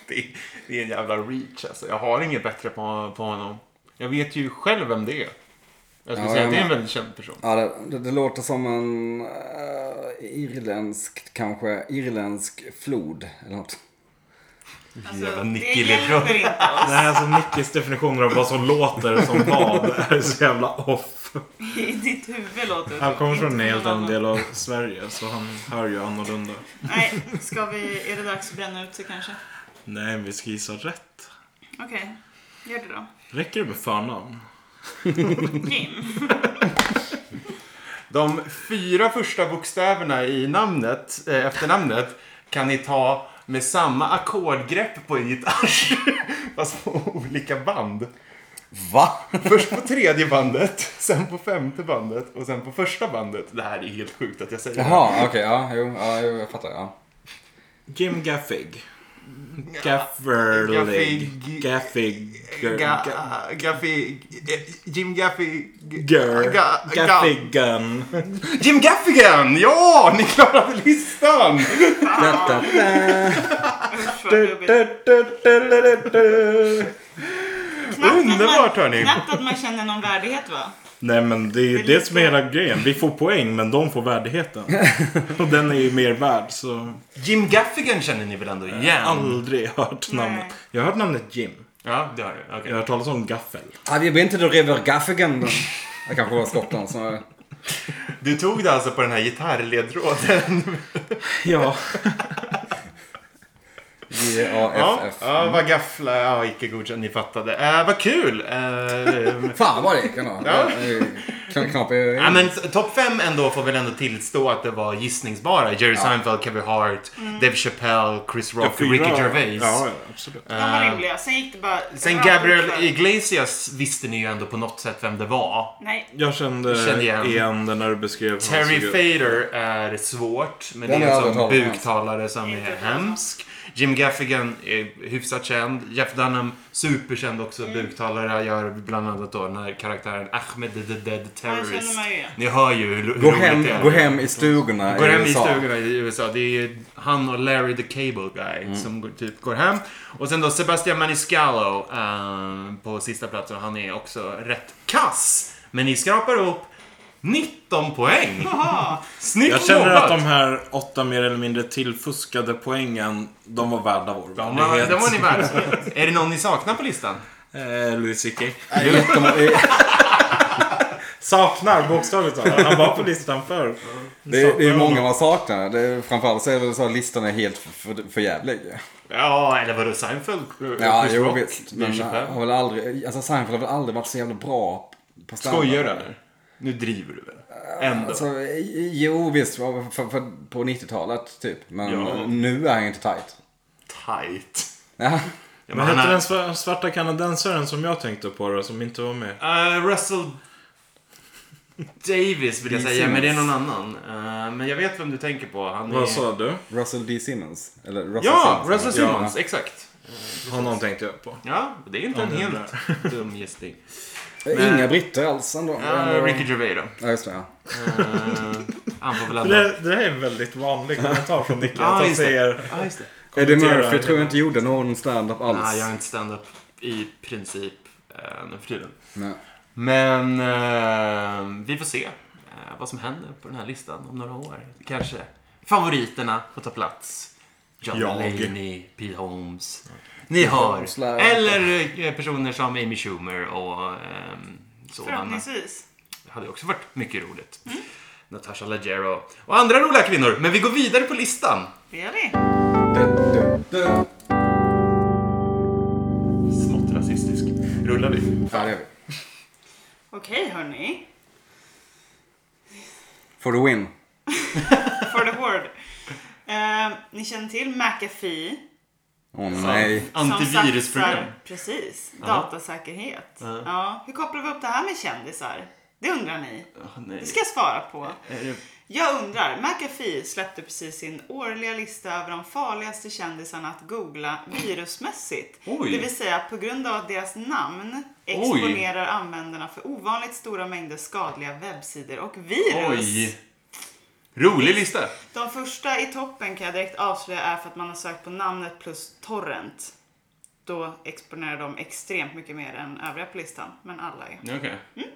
A: det, det är en jävla reach alltså. Jag har inget bättre på, på honom. Jag vet ju själv vem det är. Jag skulle
B: Ja,
A: säga att
B: jag
A: det är en
B: med.
A: väldigt känd person.
B: ja, det, det, det låter som en uh, irländsk, kanske irländsk flod eller något.
D: Alltså, det
A: Nicky
D: hjälper inte oss.
C: Nej, alltså Nickes definitioner av vad som låter som vad är så jävla off.
D: I ditt huvud låter det
C: Han
D: så.
C: kommer från
D: Inte
C: en helt
D: någon
C: annan
D: annan.
C: del av Sverige så han hör ju annorlunda.
D: Nej, ska vi... Är det dags att bränna ut sig kanske?
C: Nej, vi ska gissa rätt.
D: Okej, gör det då.
C: Räcker det med förnamn?
D: Jim.
A: De fyra första bokstäverna i namnet, eh, efternamnet kan ni ta med samma ackordgrepp på en gitarr. Fast på olika band.
B: Va?
A: Först på tredje bandet, sen på femte bandet och sen på första bandet. Det här är helt sjukt att jag säger det.
B: Jaha, okej. ja, jo, ja, jo, jag fattar. Ja.
C: Jim Gaffig. Gafferly.
A: Gaffig-
C: Gaffig.
A: Ga- Gaffy... eh, Jim Gaffy...
C: Girl.
A: Ga- ga-
C: Gaffigan.
A: Jim Gaffigan! Ja, ni klarade listan!
B: Da, da, da.
D: Usch, vad jobbigt. Knappt att man-
A: Underbart, hörni.
D: Knappt att man känner någon värdighet va?
C: Nej men det är ju
D: Det är
C: det som är hela grejen. Vi får poäng men de får värdigheten. Och den är ju mer värd så.
A: Jim Gaffigan känner ni väl ändå igen?
C: Aldrig hört
D: Nej.
C: namnet. Jag har hört namnet Jim.
A: Ja, det har du. Okej.
C: Jag har hört talas om gaffel.
B: Ah, vi blir inte då River Gaffigan. då. Jag kanske var Skottland snarare.
A: Du tog det alltså på den här gitarrledtråden.
C: Ja.
A: Ja,
B: G-A-F-F.
A: ja vad gaffla. Ja, icke godkänd. Ni fattade. Eh, vad kul! Eh,
B: Fan vad det gick ändå.
A: Ja.
B: Kn- Knappt i-
A: Ja, men s- topp fem ändå får väl ändå tillstå att det var gissningsbara. Jerry Seinfeld, Kevin Hart, Dave Chappelle, Chris Rock, Ricky Gervais.
C: Ja, ja, absolut.
D: De var rimliga. Sen gick det bara...
A: Eh, Sen
D: rakt
A: Gabriel
D: utför.
A: Iglesias visste ni ju ändå på något sätt vem det var.
D: Nej,
C: Jag kände,
A: Kände igen.
C: igen. den när du beskrev hur han
A: Terry
C: såg ut.
A: Fader är svårt, men det
B: Den
A: är
B: har jag
A: en
B: aldrig
A: sån
B: hört talas om.
A: buktalare som
D: Inte
A: är
D: hört talas om.
A: hemsk. Jim Gaffigan är hyfsat känd. Jeff Dunham, superkänd också
D: Mm.
A: buktalare. Gör bland annat då den här karaktären Ahmed the Dead
D: han känner
A: Terrorist.
D: man ju igen.
A: Ni hör ju hur, hur
B: Gå
A: roligt
B: hem,
A: det är.
B: gå hem i stugorna
A: Går hem i
B: USA.
A: stugorna i USA. Det är ju han och Larry the Cable Guy
C: Mm.
A: som går, typ går hem. Och sen då Sebastian Maniscalco eh, på sista platsen. Han är också rätt kass. Men ni skrapar upp 19 poäng.
D: Jaha,
A: Snyggt
C: Jag känner
A: jobbat!
C: att de här åtta mer eller mindre tillfuskade poängen, de var värda vår
A: De var,
C: värdighet.
A: de var ni värd. är det någon ni saknar på listan?
C: Eh, Louis CK.
B: Nej, jättemånga- det är-
C: Saknar bokstavligt talat. Han var på listan förr.
B: Det är, det är många man saknar. Det är, framförallt så är det så att listan är helt för, för, för jävlig.
A: Ja, eller vadå Seinfeld?
B: Ja,
A: Chris
B: jo
A: Rock,
B: visst.
A: Dave
B: Men eh,
A: Chappelle.
B: har väl aldrig, alltså Seinfeld har väl aldrig varit så jävla bra på standard.
A: Skojar du eller? Nu driver du väl? Ändå.
B: Alltså, jo visst, för, för, för, på 90-talet typ. Men
A: Ja.
B: nu är han ju inte tight.
A: Tight.
B: Ja.
A: Ja,
C: Men
A: han
C: hette
A: är-
C: den sva- svarta kanadensaren som jag tänkte på då, som inte var med?
A: Eh, Russell Davis vill jag
B: D.
A: säga, men det är någon
B: Simmons.
A: annan. Eh, men jag vet vem du tänker på. Han är...
C: Vad sa du?
B: Russell D. Simmons. Eller Russell
A: Ja,
B: Simmons.
A: Russell
B: Ja.
A: Simmons. Exakt.
C: Honom tänkte jag på.
A: Ja, det är inte en helt dum gissning.
B: Inga britter alls ändå.
A: Eh, Ricky Gervais då.
B: Ja, just det. Ja.
A: Eh, han får väl ändå...
C: Det, det här är en väldigt vanlig kommentar från Nicky.
A: Ja,
C: Att han
A: just det.
C: säger...
A: Ah, just det.
B: Eddie
C: Kommentera
B: Murphy
C: det.
B: tror jag inte gjorde någon stand-up alls.
A: Nej, jag är inte stand-up i princip eh, nu för tiden.
B: Nej.
A: Men eh, vi får se eh, vad som händer på den här listan om några år. Kanske favoriterna får ta plats. John
C: Jag.
A: Mulaney, Pete Holmes. Ni
B: Holmes
A: har.
B: lär-
A: Eller eh, personer som Amy Schumer och eh, sådana.
D: förhoppningsvis.
A: Det hade också varit mycket roligt. Natasha Leggero och andra roliga kvinnor. Men vi går vidare på listan.
D: Det är det.
B: Du, du, du.
A: Smått rasistisk. Rullar vi?
B: Ja, det gör vi.
D: Okej hörni.
B: For the win.
D: For the word. Eh, ni känner till McAfee.
B: Åh nej.
D: som
A: Antivirusprogram.
D: satsar- Precis. Datasäkerhet. Ja. Hur kopplar vi upp det här med kändisar? Det undrar ni. Det ska jag svara på. Jag undrar, McAfee släppte precis sin årliga lista över de farligaste kändisarna att googla virusmässigt.
A: Oj.
D: Det vill säga att på grund av att deras namn exponerar användarna för ovanligt stora mängder skadliga webbsidor och virus.
A: Oj. Rolig lista.
D: De första i toppen kan jag direkt avslöja är för att man har sökt på namnet plus torrent. Då exponerar de extremt mycket mer än övriga på listan, men alla är.
A: Okej.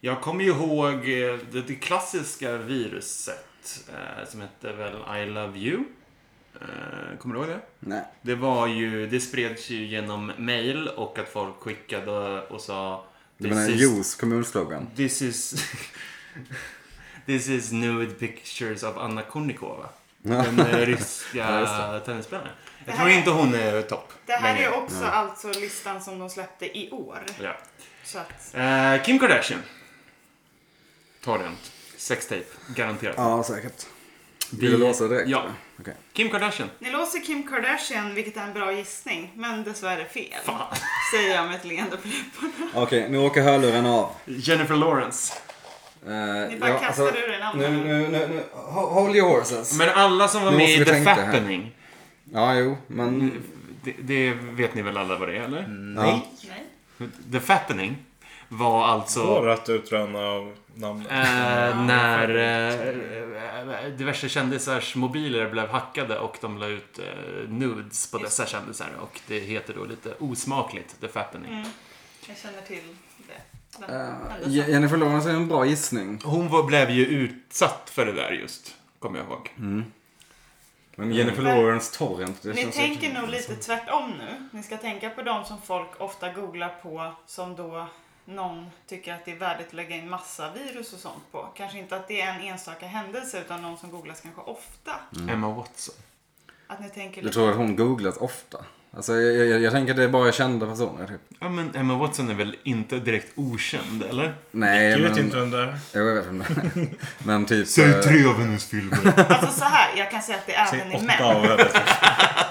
A: Jag kommer ju ihåg eh, det, det klassiska viruset eh, som hette väl I Love You. Eh, kommer du ihåg det?
B: Nej.
A: Det var ju, det spreds ju genom mail och att folk skickade och sa
B: Det var en
A: "This is-
B: juice kommunslogan.
A: This is... This is nude pictures of Anna Kournikova. Den eh, ryska tennisspelaren. Jag
D: Det
A: tror
D: här-
A: inte hon är topp.
D: Det här
A: längre.
D: är också alltså listan som de släppte i år.
A: Ja.
D: Så att,
A: Eh, Kim Kardashian. Torrent. Sextape. Garanterat.
B: Ja, säkert.
A: Vi-
B: Vill du låsa direkt?
A: Ja.
B: eller? Okej.
A: Kim Kardashian.
D: ni låser Kim Kardashian, vilket är en bra gissning, men dessvärre fel.
A: Fan.
D: Säger jag med ett leende på läpparna.
B: Okej, nu åker hörlurarna av.
A: Jennifer Lawrence.
B: Eh,
D: Ni bara kastar ur en annan.
B: nu, nu, nu, nu. Ho- Hold your horses.
A: Men alla som var
B: Nu
A: med
B: måste
A: i
B: vi
A: The
B: tänka här.
A: Fappening.
B: Ja, jo, men...
A: Det, det vet ni väl alla vad det är, eller?
B: Nej.
D: Nej.
A: The Fattening var alltså...
C: Går att utröna av namnet.
A: Eh, när eh, diverse kändisars mobiler blev hackade och de la ut eh, nudes på dessa kändisar. Och det heter då lite osmakligt The Fattening.
D: Jag känner till det. Den
B: Uh,
D: händelsen.
B: Jennifer Lawrence är en bra gissning.
A: Hon var, blev ju utsatt för det där just, kommer jag ihåg.
B: Men Jennifer Lawrence Torrent, det
D: Mm. Ni
B: känns
D: tänker nog lite tvärtom nu. Ni ska tänka på de som folk ofta googlar på som då någon tycker att det är värdigt att lägga in massa virus och sånt på. Kanske inte att det är en enstaka händelse utan någon som googlas kanske ofta.
A: Emma Watson.
D: Att ni tänker
B: Mm. Jag
D: lite...
B: tror att hon googlas ofta. Alltså, jag, jag, jag tänker att det är bara kända personer, typ.
A: Ja, men Emma Watson är väl inte direkt okänd, eller?
B: Nej,
C: Jag
B: men...
C: vet inte vem det är.
B: Jo, jag vet vem det är. Men typ... eh,
A: av hennes filmer.
D: Alltså så här, jag kan säga att det
C: Säg
D: även är män.
C: åtta av hennes.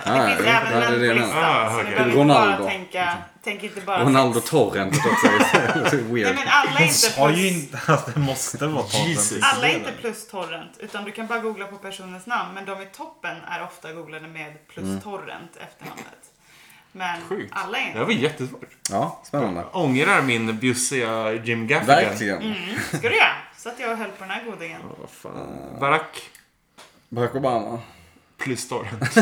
B: ja,
D: Det
B: jo,
D: finns även
B: ja, det
D: män
B: är det jag
D: på
B: menar.
D: listan.
A: Ah,
D: så ni
A: okej.
D: behöver inte
B: Ronaldo.
D: bara tänka... Tänk inte bara...
B: Ronaldo
D: sex.
B: Torrent också. Det är
D: Nej
B: weird.
D: men alla är inte
C: Sa ju
D: plus...
C: inte att det måste vara
A: Jesus.
C: Jesus.
D: Alla är inte plus torrent utan du kan bara googla på personens namn men de i toppen är ofta googlade med
B: Mm.
D: plus torrent efternamnet. Men
A: Sjukt.
D: alla är
A: Det här
D: inte.
A: var jättesvårt.
B: Ja, spännande.
A: Jag ångrar min bjussiga Jim Gaffigan.
B: Verkligen.
A: Mm.
D: Ska du göra? Så att jag höll på den här godingen.
A: Vad fan. Barack
B: Barack Obama.
A: plus Torrent.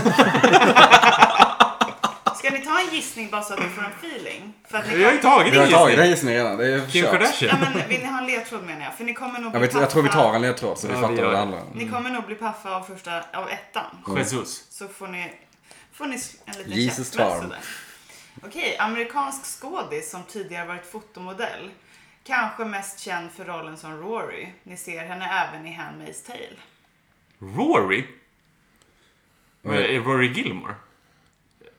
D: Ska ni ta en gissning bara så att du får en feeling? För att
A: Vi har ju
D: ni kommer...
A: tagit
B: Vi har
A: en
B: tagit den
A: gissning.
B: gissningen redan. Det är
A: Kim
B: kört.
D: Ja,
A: Kardashian.
D: men vill ni ha en ledtråd menar jag? För ni kommer nog
B: Jag,
D: bli
B: vet,
D: paffa.
B: jag tror vi tar en ledtråd så vi
A: Ja, vi
B: fattar
A: gör
B: vad det
A: det.
B: handlar om.
D: Ni kommer nog bli paffa av första, av ettan.
A: Jesus.
D: Så får ni, får ni en liten
B: Jesus
D: käftsmäll
B: charm.
D: sådär. Okej, amerikansk skådis som tidigare varit fotomodell. Kanske mest känd för rollen som Rory. Ni ser henne även i Handmaid's Tale.
A: Rory? Vad är Rory Gilmore?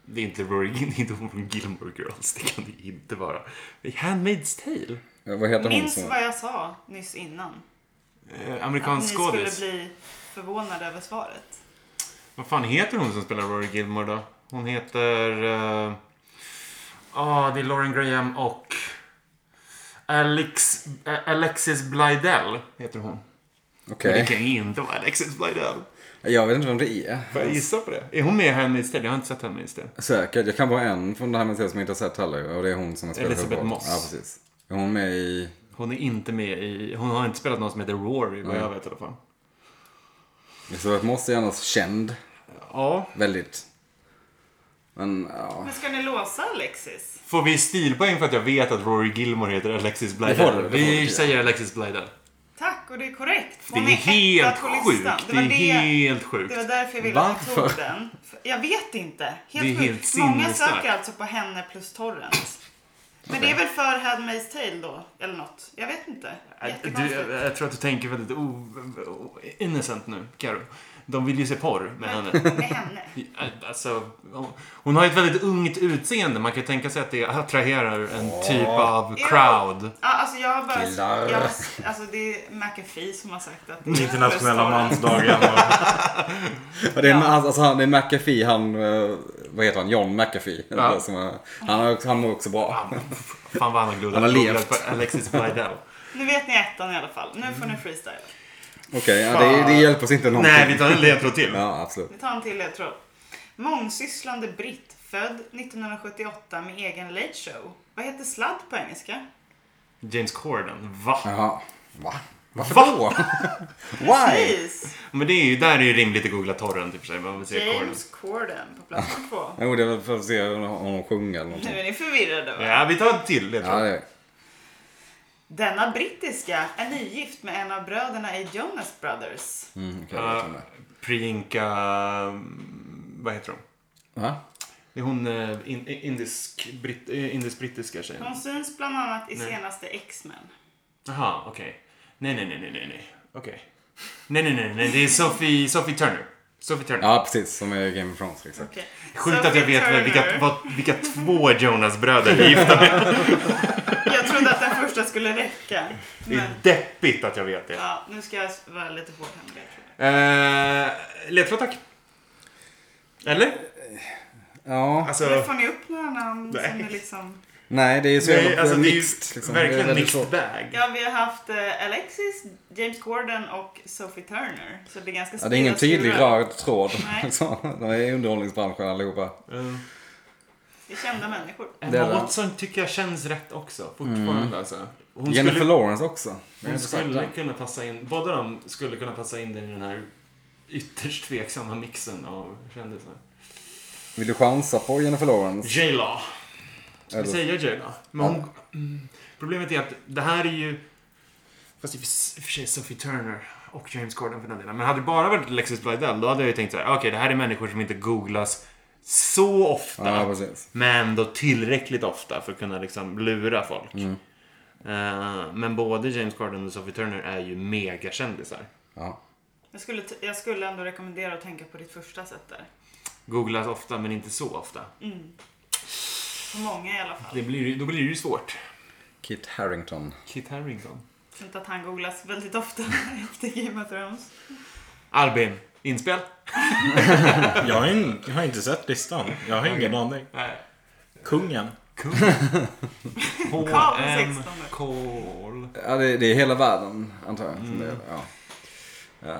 A: Det är inte Rory det är inte hon från Gilmore Girls. Det kan det inte vara. Det är Handmaid's Tale.
B: Ja, Eh, Vad heter hon
D: Minns
B: som...
D: vad jag sa nyss innan.
A: Eh,
D: Att ni
A: amerikansk
D: skulle
A: skådis.
D: bli förvånade över svaret.
A: Vad fan heter hon som spelar Rory Gilmore då? Hon heter... eh, Ah, det är Lauren Graham och... Alex, eh, Alexis Blydell heter hon. Men
B: Okej.
A: Det kan ju inte vara Alexis Blydell.
B: Jag vet inte vem det är.
A: Får jag gissa på det? Är hon med i Handmaid's Tale? Jag har inte sett Handmaid's Tale.
B: Säkert. Jag kan bara en från det här med serien som jag inte har sett heller. Och det är hon som har spelat
A: Elisabeth
B: huvudrollen.
A: Moss.
B: Ja, precis. Är hon med i...
A: Hon är inte med i... Hon har inte spelat någon som heter Rory, vad
B: Mm.
A: jag vet i alla fall.
B: Elisabeth Moss är annars känd.
A: Ja.
B: Väldigt. Men ja.
D: Men ska ni låsa Alexis?
A: Får vi stilpoäng för att jag vet att Rory Gilmore heter Alexis Blydell?
B: Det får du, det får
A: vi
B: du.
A: säger Alexis Blydell.
D: Tack, och det är korrekt.
A: Det är
D: Hon
A: helt
D: etta på
A: sjukt.
D: listan.
A: Det är helt
D: Det
A: sjukt.
D: var därför jag ville att ni tog
B: Varför?
D: den. För- Jag vet inte.
A: Det är
D: Helt
A: helt
D: sjukt. Många
A: sinnesstarkt.
D: söker alltså på henne plus Torrent. Men det är väl för Handmaid's Tale då, eller något. Jag vet inte.
A: Äh, Du, jag,
D: Jättekonstigt.
A: jag tror att du tänker väldigt o, o, innocent nu, Karo. De vill ju se porr med henne.
D: Med henne.
A: Alltså, hon har ju ett väldigt ungt utseende. Man kan ju tänka sig att det attraherar en typ av crowd.
D: Ja, alltså jag har bara...
B: Killar.
D: Jag, har- alltså det är McAfee som har sagt att det är
C: Internationella
D: plus Torrent.
C: mansdagen. och-
B: Och det är,
D: Ja.
B: alltså, han, det är McAfee, han... eh, Vad heter han? John McAfee.
A: Ja.
B: Det Som, är- han, har också- han mår också bra.
A: Fan, fan vad han har glödat.
B: Han har levt.
A: på Alexis Blydell.
D: Nu vet ni ettan i alla fall. Nu får
A: Mm.
D: ni freestyle.
B: Okej, ja, det, det hjälper oss inte någonting.
A: Nej, vi tar en ledtråd till.
B: Ja, absolut.
D: Vi tar en till ledtråd. Mångsysslande britt, född 1978 med egen late show. Vad heter sladd på engelska?
A: James Corden. Va?
B: Jaha. Va? Varför då? Why?
D: Precis!
A: Men det är ju, där är ju rimligt att googla torren typ, i och för sig. men Om vi säger Corden.
D: James Corden på plats två.
B: Jo, det är väl för att se honom sjunga eller
D: Nu
B: någonting.
D: är ni förvirrade va?
A: Ja, vi tar en till
B: Ja,
A: ledtråd.
B: det är
D: Denna brittiska är nygift med en av bröderna i Jonas Brothers.
B: mm, okej, jag
A: Ja,
B: vet inte.
A: Priyanka... mm, Vad heter hon?
B: Va?
A: Det är hon eh, in, indisk, britt, eh, indisk-brittiska tjejen.
D: De syns bland annat i senaste X-Men.
A: Jaha, okej. Nej, nej, nej, nej, nej, nej. Okej. Nej, nej, nej, nej. Det är Sophie, Sophie Turner. Sophie Turner.
B: Ja, precis. Som är Game of Thrones. liksom. Exakt.
D: Okay.
A: Sjukt att jag vet vad- vilka, vad, vilka två Jonas-bröder är gifta med.
D: Jag trodde att den första skulle räcka.
A: Det
D: Men
A: är deppigt att jag vet det.
D: ja, nu ska jag vara lite hård här med det. tror jag.
A: Eh, ledtråd tack. Eller?
B: Ja.
A: Alltså...
D: Nu får ni upp några namn som
A: Nej.
D: är liksom...
B: Nej, det är så
G: Nej,
B: jävla
G: alltså det är ju
B: mixed, liksom. Det är
G: verkligen
B: väldigt
G: mixed
B: svårt.
G: bag.
D: Ja, vi har haft eh, Alexis, James Corden och Sophie Turner. Så det är ganska
B: Ja, det är ingen
D: spridda
B: tydlig
D: skurar.
B: röd tråd.
D: Nej.
B: liksom. De är i underhållningsbranschen allihopa.
G: Mm.
D: Det är kända människor.
B: Det är
A: Emma
B: det.
A: Eh,
B: Mm.
A: Watson tycker jag känns rätt också. Fortfarande alltså. Hon
B: Jennifer
A: skulle,
B: Lawrence också.
A: hon skulle kunna passa in. Båda de skulle kunna passa in i den här ytterst tveksamma mixen av kändisar.
B: Vill du chansa på Jennifer Lawrence?
A: J-Law. Ska vi
B: Eller-
A: säga J-Law? Men hon, mm, problemet är att det här är ju... Fast i och för- i och för sig Sophie Turner och James Corden för den delen. Men hade det bara varit Alexis Bledel då hade jag ju tänkt så här. Okej, det här är människor som inte googlas så ofta.
B: Ja, precis.
A: Men ändå tillräckligt ofta för att kunna liksom lura folk.
B: Mm.
A: Eh, men både James Corden och Sophie Turner är ju megakändisar.
B: Ja.
D: Jag skulle, t- jag skulle ändå rekommendera att tänka på ditt första sätt där.
A: Googlas ofta men inte så ofta.
D: Mm. För många i alla fall.
A: Det blir, ju- då blir det ju svårt.
B: Kit Harington.
A: Kit Harington.
D: Inte att han googlas väldigt ofta efter Game of Thrones.
A: Albin, inspel?
C: Jag har, in, jag har inte sett listan. Jag har ingen aning.
A: Nej.
C: Kungen.
D: Karl den 16.
A: Kol.
B: Ja, det, det är hela världen, antar jag.
D: Mm.
B: som det är. Ja.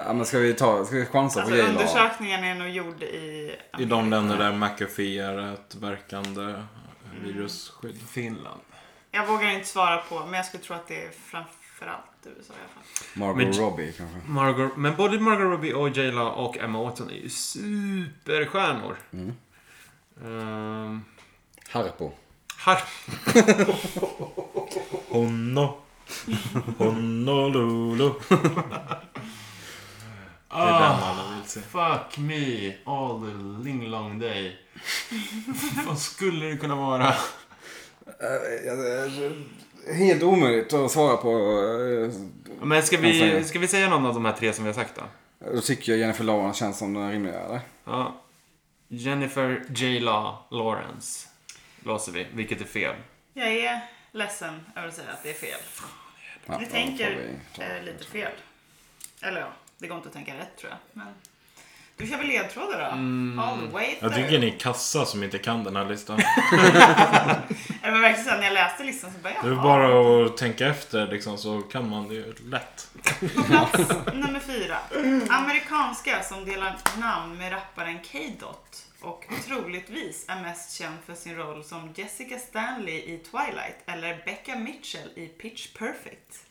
B: Ja, men ska vi ta, ska vi chansa
D: Alltså
B: på J-Law?
D: undersökningen är nog gjord i...
C: I de länder där McAfee är ett verkande virusskydd.
A: Finland.
D: Jag vågar inte svara på, men jag skulle tro att det är framförallt USA i alla fall.
B: Margot
A: Men-
B: Robbie kanske.
A: Margot, men både Margot Robbie och J-Law och Emma Watson är ju superstjärnor.
B: Mm.
A: Ehm,
B: Harpo.
A: har,
C: Honno. Honolulu. Det är den
A: ah,
C: alla vill se.
A: fuck me all the ling long day. Vad skulle det kunna vara?
B: Eh, Helt omöjligt att svara på. eh,
A: Men ska
B: Kan säga.
A: vi, ska vi säga någon av de här tre som vi har sagt då?
B: Då tycker jag Jennifer Lawrence känns som den rimliga, eller?
A: Ja. Jennifer J. Law Lawrence. Låser vi, vilket är fel.
D: Jag är ledsen över att säga att det är fel.
B: Ja,
D: Ni
B: då
D: tänker
B: får vi ta-
D: eh, lite fel. Eller ja, det går inte att tänka rätt tror jag. Men... Du kör väl ledtrådar då? All the way
C: Mm. Jag
D: through.
C: tycker ni är kassa som inte kan den här listan.
D: Det var verkligen så här, när jag läste listan så bara
C: Det
D: jag
C: är bara att tänka efter liksom så kan man det ju lätt.
D: På plats nummer fyra. Amerikanska som delar namn med rapparen K-Dot och troligtvis är mest känd för sin roll som Jessica Stanley i Twilight eller Becca Mitchell i Pitch Perfect.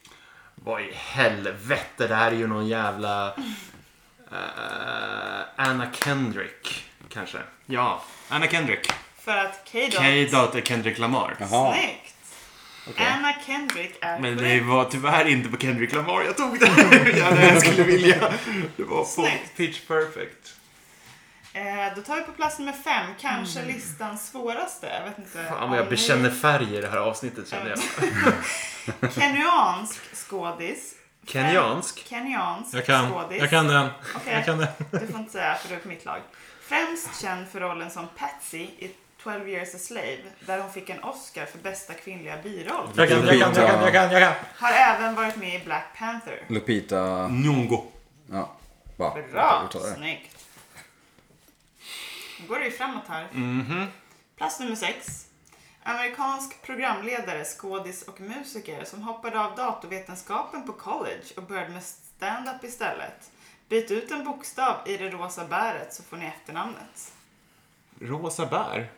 A: Vad i helvete, det här är ju någon jävla... eh, Anna Kendrick, kanske. Ja, Anna Kendrick.
D: För att K-Dot...
A: K-Dot är Kendrick Lamar.
B: Jaha.
D: Snyggt! Anna Kendrick är
A: Men det
D: korrekt.
A: var tyvärr inte på Kendrick Lamar jag tog det. jag hade jag skulle vilja. Det var på
D: Snyggt.
A: Pitch Perfect.
D: Eh, Då tar vi på plats nummer fem, kanske listans svåraste. Jag vet inte.
A: Mm. Fan vad
D: om
A: jag
D: ni-
A: bekänner färg i det här avsnittet känner jag.
D: Kenyansk skådis.
A: Kenyansk.
D: Kenyansk
C: Jag kan,
D: skådis.
C: jag kan den.
D: Okej.
C: Jag kan den.
D: Du får inte säga för du är på mitt lag. Främst känd för rollen som Patsy i 12 years a slave där hon fick en Oscar för bästa kvinnliga biroll.
C: Jag kan, jag kan, jag kan, jag kan, jag kan.
D: Har även varit med i Black Panther.
B: Lupita...
A: Nyong'o.
B: Ja. Bra.
D: Bra!
B: Jag tar det.
D: Snyggt. Nu går det ju framåt här. Plats nummer sex. Amerikansk programledare, skådis och musiker som hoppade av datorvetenskapen på college och började med stand-up istället. Byt ut en bokstav i det rosa bäret så får ni efternamnet.
A: Rosa bär.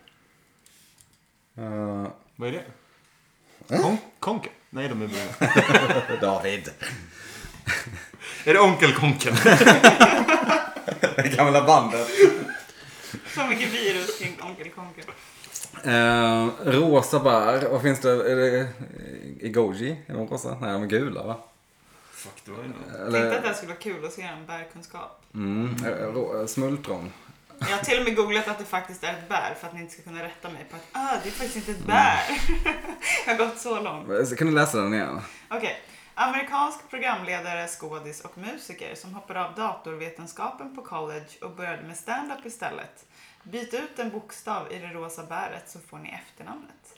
B: Eh,
A: Vad är det?
C: Äh?
A: Kon- konken? Nej, de är bruna.
B: Eh, David.
A: är det onkel Konken?
B: Det gamla bandet.
D: Så mycket virus kring Onkel Konkel.
B: Eh, rosa bär. Vad finns det? Är det Igoji? Är de rosa? Nej, de är gula va?
A: Fuck, det var ju något.
D: Tänkte att
B: Eller
D: det här skulle vara kul att se en bärkunskap.
B: mm, eh, rå- eh, smultron.
D: Jag har till och med googlat att det faktiskt är ett bär för att ni inte ska kunna rätta mig på att ah, det är faktiskt inte ett bär. jag har gått så långt.
B: Eh, Kan du läsa den igen?
D: Okej. Amerikansk programledare, skådis och musiker som hoppar av datorvetenskapen på college och började med stand-up istället. Byt ut en bokstav i det rosa bäret så får ni efternamnet.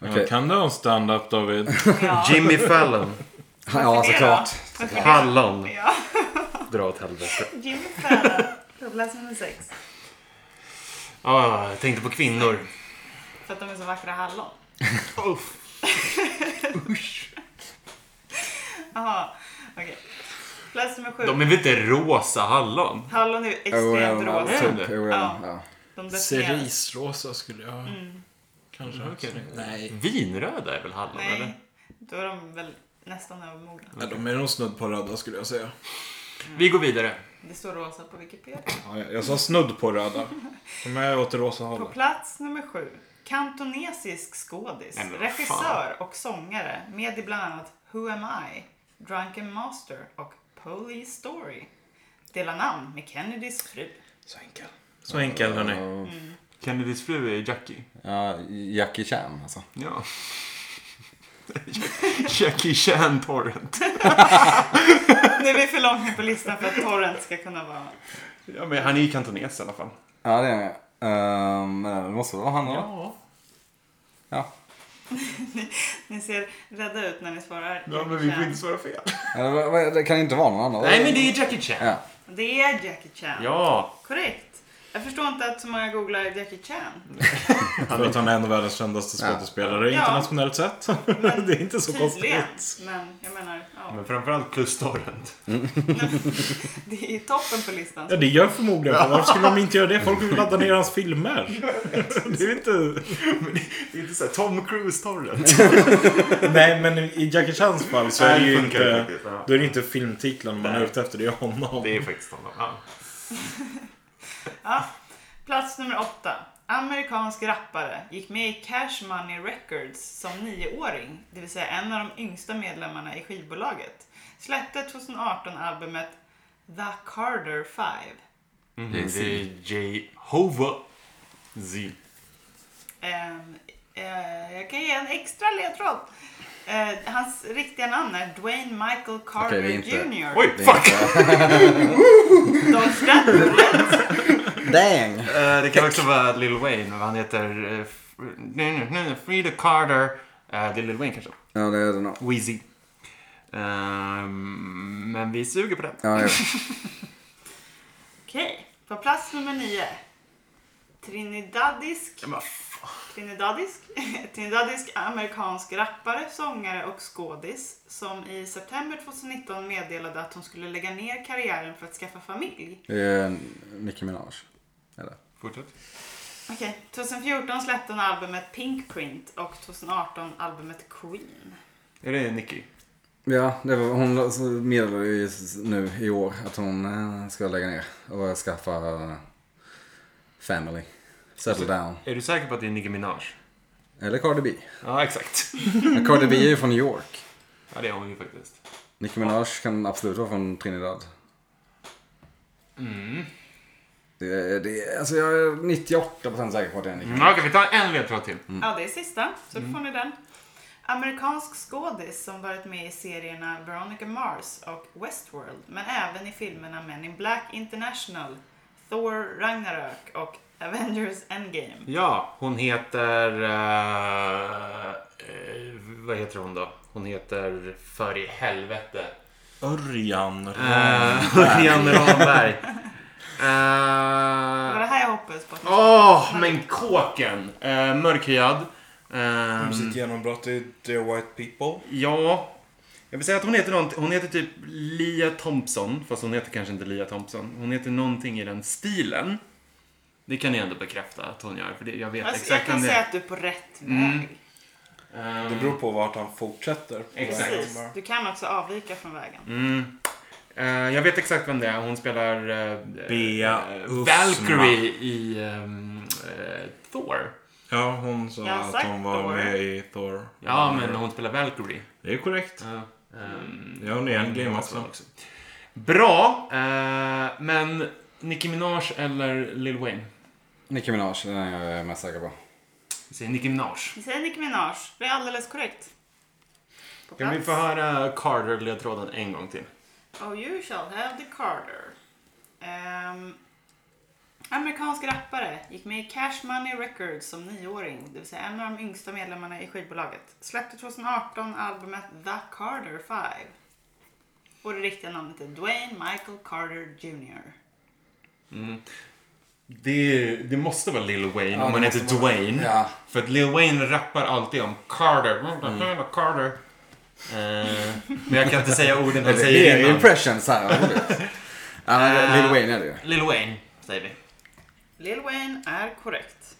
B: Okej.
C: Ja, Kan du ha en stand-up David?
D: Ja,
A: Jimmy Fallon.
B: Ja,
D: det då?
B: såklart.
D: Varför det?
A: Hallon.
D: Ja,
A: Dra åt helvete.
D: Jimmy Fallon. Plats nummer sex.
A: Ah, jag tänkte på kvinnor.
D: För att de är så vackra hallon. Jaha, okej. Plats nummer sju.
A: De är väl inte rosa hallon?
D: Hallon är ju extremt rosa.
A: alltså.
B: Typ, OL,
D: Ja.
B: ja.
D: De definieras.
C: Cerisrosa skulle jag...
D: Mm.
C: Kanske.
A: Mm,
C: Nej.
A: Vinröda är väl hallon, eller?
D: Nej, då är de väl nästan övermogna.
C: Nej, de är nog snudd på röda skulle jag säga.
A: Vi går vidare.
D: Det står rosa på Wikipedia.
C: Ja, jag jag sa snudd på röda. De är åt det rosa
D: På
C: hållet.
D: plats nummer sju. Kantonesisk skådis,
A: Nej, men vad
D: regissör och sångare med i bland annat Who Am I, Drunken Master och Police Story. Delar namn med Kennedys fru.
C: Så enkel. Så enkel hörni.
B: Och,
A: Kennedys fru är Jackie.
B: ja, Jackie Chan alltså.
A: Ja. Jackie Chan Torrent.
D: Nu är vi för långt på listan för att Torrent ska kunna vara...
A: Ja, men han är ju kantones i alla fall.
B: Ja, det är det. Ehm, Men det måste vara han då. Ja. Ja.
D: Ni ser rädda ut när ni svarar.
A: Ja, men vi får inte svara fel.
B: Eller, vad- vad- Det kan inte vara någon annan.
A: Nej, men det är Jackie Chan.
B: Ja.
D: Det är Jackie Chan.
A: Ja,
D: Korrekt. Jag förstår inte att så många googlar Jackie Chan.
C: För att han är en av världens kändaste skådespelare
D: Ja.
C: internationellt sett.
D: Men
C: det är inte så
D: Tydligen.
C: konstigt.
D: Men jag menar, ja.
A: men framförallt plus Torrent.
D: Det är toppen på listan.
C: Ja, det gör förmodligen. Varför skulle de inte göra det? Folk vill ladda ner hans filmer. Det är inte...
A: Det är inte såhär Tom Cruise Torrent.
C: Nej, men i Jackie Chans fall så är det
A: Nej,
C: ju
A: det funkar
C: inte...
A: faktiskt, ja.
C: Då är det inte filmtiteln man är ute efter, det är honom.
A: Det är faktiskt honom. Ja.
D: Ja. Plats nummer åtta. Amerikansk rappare gick med i Cash Money Records som nioåring, det vill säga en av de yngsta medlemmarna i skivbolaget. Släppte 2018 albumet The Carter Five.
A: Mm, Det är Jehova Z.
D: Ehm, eh, jag kan ge en extra ledtråd. Eh, hans riktiga namn är Dwayne Michael Carter
B: Okej, det är inte-
D: Jr.
A: Oj,
B: Det är
A: fuck!
B: inte-
D: Dolph Lundgren.
B: Dang!
A: Eh, det kan också vara Lil Wayne, vad han heter. eh, F- nej, nej, nej, Frida Carter. Eh, det är Lil Wayne kanske.
B: Ja, det är det nog.
A: Weezy. Ehm, men vi suger på den.
B: Ja, ja.
D: Okej, på plats nummer nio. Trinidadisk
A: Men vad fan.
D: Trinidadisk, Trinidadisk amerikansk rappare, sångare och skådis som i september 2019 meddelade att hon skulle lägga ner karriären för att skaffa familj.
B: Det är eh, Nicki Minaj. Eller?
A: Fortsätt.
D: Okej, 2014 släppte hon albumet Pink Print och 2018 albumet Queen.
A: Är det Nicky?
B: Ja, det var, hon så meddelade ju s- nu i år att hon eh, ska lägga ner och skaffa eh, family.
A: Alltså-
B: Settle down.
A: Är du säker på att det är Nicki Minaj?
B: Eller Cardi B.
A: Ja, exakt.
B: Men Cardi B är ju från New York.
A: Ja, det är hon ju faktiskt.
B: Nicki Minaj kan absolut vara från Trinidad.
A: Mm.
B: Det, är- det, är- alltså jag är 98% säker på att det är Nicki
A: Mm, Okej, vi tar en ledtråd till.
D: Ja, det är sista, så
A: Mm.
D: då får ni den. Amerikansk skådis som varit med i serierna Veronica Mars och Westworld, men även i filmerna Men in Black International, Thor Ragnarök och Avengers Endgame.
A: Ja, hon heter... eh, eh, vad heter hon då? Hon heter för i helvete.
C: Örjan.
A: Eh, Örjan Ramberg. Eh,
D: Det var det här jag hoppades på. att ni skulle-
A: Åh, men kåken! Eh, mörkhyad. Ehm,
C: Mm, Musikgenombrott i The White People.
A: ja. Jag vill säga att hon heter nånt. Hon heter typ Lia Thompson. Fast hon heter kanske inte Lia Thompson. Hon heter någonting i den stilen. Det kan ni ändå bekräfta att hon gör. För det, jag vet
D: Alltså, jag
A: exakt
D: kan
A: vem det
D: säga
A: är.
D: att du är på rätt
A: Mm.
D: väg.
A: Ehm,
C: på vart han fortsätter.
A: Exakt.
D: Precis. Du kan också avvika från vägen.
A: Mm. Eh, jag vet exakt vem det är. Hon spelar eh,
C: Bea
A: eh,
C: Usma.
A: Valkyrie i ehm, eh, Thor.
C: Ja, hon sa
D: Jag har
C: att
D: sagt
C: hon var
D: Thor.
C: med i Thor.
A: Ja, men hon spelar Valkyrie.
C: Det är korrekt.
A: Ja. Ehm, liksom.
C: Ja, hon är en game också.
A: Bra, eh, men Nicki Minaj eller Lil Wayne?
B: Nicki Minaj, den är jag mest säker på.
A: Mm. Vi säger Nicki Minaj.
D: Vi säger Nicki Minaj. Det är alldeles korrekt. På
A: Kan vi
D: plats.
A: få höra Carter-ledtråden en gång till?
D: Oh, you shall have the Carter. Ehm, amerikansk rappare gick med i Cash Money Records som nioåring, det vill säga en av de yngsta medlemmarna i skivbolaget. Släppte 2018 albumet The Carter Five. Och det riktiga namnet är Dwayne Michael Carter Jr.
A: Det, är- det måste vara Lil Wayne
B: Ja,
A: om
B: det
A: man heter
B: måste vara-
A: Dwayne.
B: ja.
A: För att Lil Wayne rappar alltid om Carter. Mm. Carter. Eh, men jag kan inte säga orden han
B: Det
A: säger
B: är ju
A: innan.
B: impressions här. vad roligt. Ja, men Lil Wayne är det ju.
A: Lil Wayne, säger vi.
D: Lil Wayne är korrekt.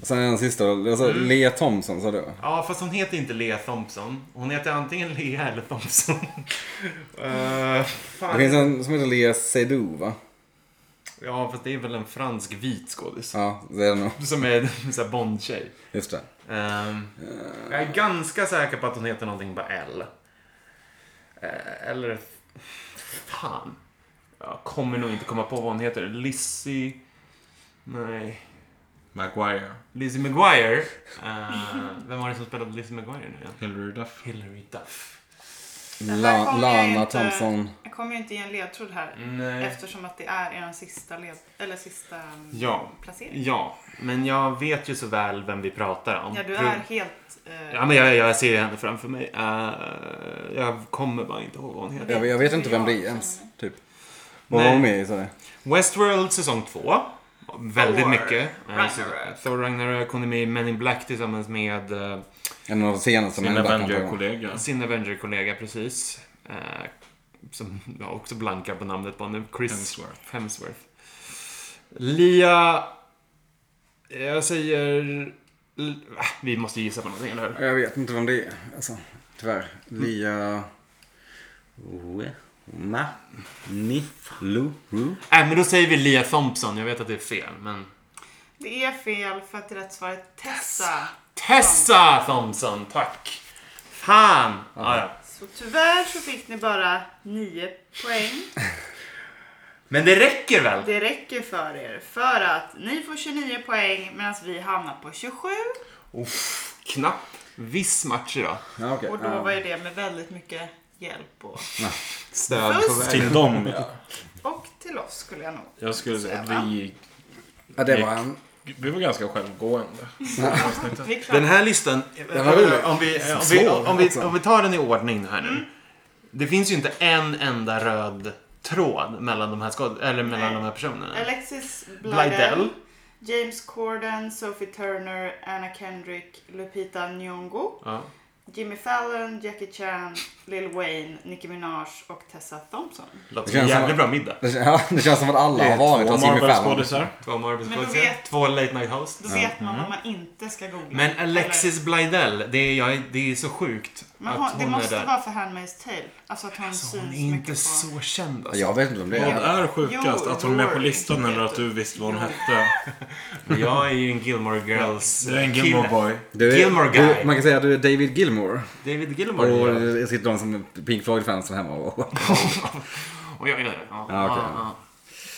B: Och sen den sista då. Alltså,
A: Mm.
B: Lea Thompson sa du?
A: Ja, fast hon heter inte Lea Thompson. Hon heter antingen Lea eller Thompson. Eh,
B: Det
A: fan.
B: finns en som heter Lea Seydoux va?
A: Ja, fast det är väl en fransk vit skådis.
B: Ja, det är det nog.
A: Som är såhär Bond-tjej.
B: Just det.
A: Ehm, jag är ganska säker på att hon heter någonting på L. Eh, eller... Fan. Jag kommer nog inte komma på vad hon heter. Lizzie... Nej.
C: Maguire.
A: Lizzie McGuire. Eh, vem var det som spelade Lizzie McGuire nu igen?
C: Hillary Duff.
A: Hillary Duff.
D: här
B: La,
D: kommer jag
B: Lana
D: inte-
B: Thompson.
D: Jag kommer ju inte ge en ledtråd här.
A: Nej.
D: Eftersom att det är er sista, led, eller sista mm,
A: Ja.
D: placering.
A: Ja, men jag vet ju så väl vem vi pratar om.
D: Ja, du
A: Pro-
D: är helt... eh,
A: Ja, men jag, jag ser ju henne framför mig. Eh, jag kommer bara inte ihåg vad hon heter.
B: Jag, jag vet inte vem det är ens. Typ. Vad
A: Nej.
B: var hon med i sa du?
A: Westworld säsong 2. Väldigt
D: Thor
A: mycket.
D: Ragnarök.
A: Eh, Thor Ragnarök. Hon är med i Men in Black tillsammans med eh,
B: En av de senaste
C: Min
B: men ändå kan jag
C: Avenger-kollega.
A: sin Avenger-kollega precis. Eh, som jag också blankar på namnet på nu. Chris
C: Hemsworth.
A: Hemsworth. Lia... Jag säger... L- ah, Vi måste gissa på någonting, eller hur?
B: Jag vet inte vem det är. Alltså, tyvärr. Lea... Ma... Ni... Lu... Ru.
A: Äh, men då säger vi Lia Thompson. Jag vet att det är fel, men...
D: Det är fel för att det rätt svar är Tessa.
A: Tessa Thompson, tack! Fan! Ah, ja.
D: Så tyvärr så fick ni bara 9 poäng.
A: Men det räcker väl?
D: Det räcker för er för att ni får 29 poäng medan vi hamnar på 27.
A: Uff, knapp viss match idag.
B: Ja, okej.
D: Och då var ju det med väldigt mycket hjälp och,
A: Stöd
D: på vägen.
C: Till dem, ja.
D: och till oss skulle jag nog.
C: Jag skulle säga att vi,
B: Ja, det var en...
C: vi var ganska självgående.
D: Vi klarar-
A: Den här listan,
B: var rolig.
A: om vi, om, vi,
B: Svår
A: om, vi,
B: också.
A: om vi tar den i ordning här
D: Mm.
A: nu. Det finns ju inte en enda röd tråd mellan de här, skåd- eller mellan
D: Nej.
A: de här personerna.
D: Alexis
A: Blydell.
D: Blydell, James Corden, Sophie Turner, Anna Kendrick, Lupita Nyong'o,
A: Ja.
D: Jimmy Fallon, Jackie Chan, Lil Wayne, Nicki Minaj och Tessa Thompson.
A: Låter
B: Det
A: som en
B: känns som-
A: jävligt bra middag.
B: Det, ja, det känns som att alla har varit
C: Alltså,
B: hos Jimmy Fallon.
C: Marvel-skådisar.
A: Två
D: Men då
A: Marvel-skådisar,
D: vet-
A: två late night hosts.
D: Då vet man vad man inte ska googla.
A: Mm. Men
D: Eller-
A: Alexis Blydell, det är, jag, är- det är så sjukt
D: Men
A: att
D: hon,
A: hon
D: det
A: är
D: måste
A: där.
D: vara för Handmaid's Tale. Alltså att hon
A: Så
D: syns
A: hon är
D: mycket
A: inte
D: på...
A: så känd alltså.
B: Jag vet inte vem det
C: Vad
B: är.
C: är sjukast?
D: Jo,
C: Att hon är med på
D: Rory.
C: listan eller att du visste vad hon hette?
A: Jag är ju en Gilmore Girls
C: Du är en
A: kille.
C: Gilmore boy.
B: Du är-
A: Gilmore Guy.
B: Du, man kan säga att du är David Gilmore.
A: David Gilmore.
B: Och
A: ja.
B: det sitter de som Pink Floyd-fansen hemma och...
A: Oj, oj, oj. Ja,
B: Ja, okej.
A: ja, ja.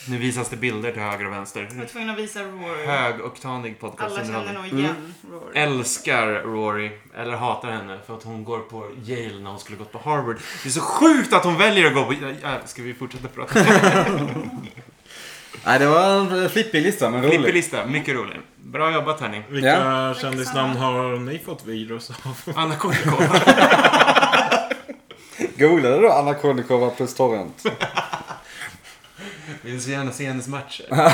A: Nu visas det bilder till höger och
D: Jag var
A: vänster.
D: tvungen att visa Rory.
A: Högoktanig
D: Alla känner nog
A: podcastunderhållning.
D: igen Rory.
A: Älskar Rory, eller hatar henne, för att hon går på Yale när hon skulle gått på Harvard. Det är så sjukt att hon väljer att gå på... Äh, ska vi fortsätta prata?
B: Nej, det var en flippig lista, men
A: Klipp i
B: rolig.
A: lista, mycket rolig. Bra jobbat hörni.
C: Vilka kändisnamn har ni fått virus av?
A: Anna Kournikova.
B: Googlade du Anna Kournikova plus Torrent?
A: Vill så gärna se hennes matcher.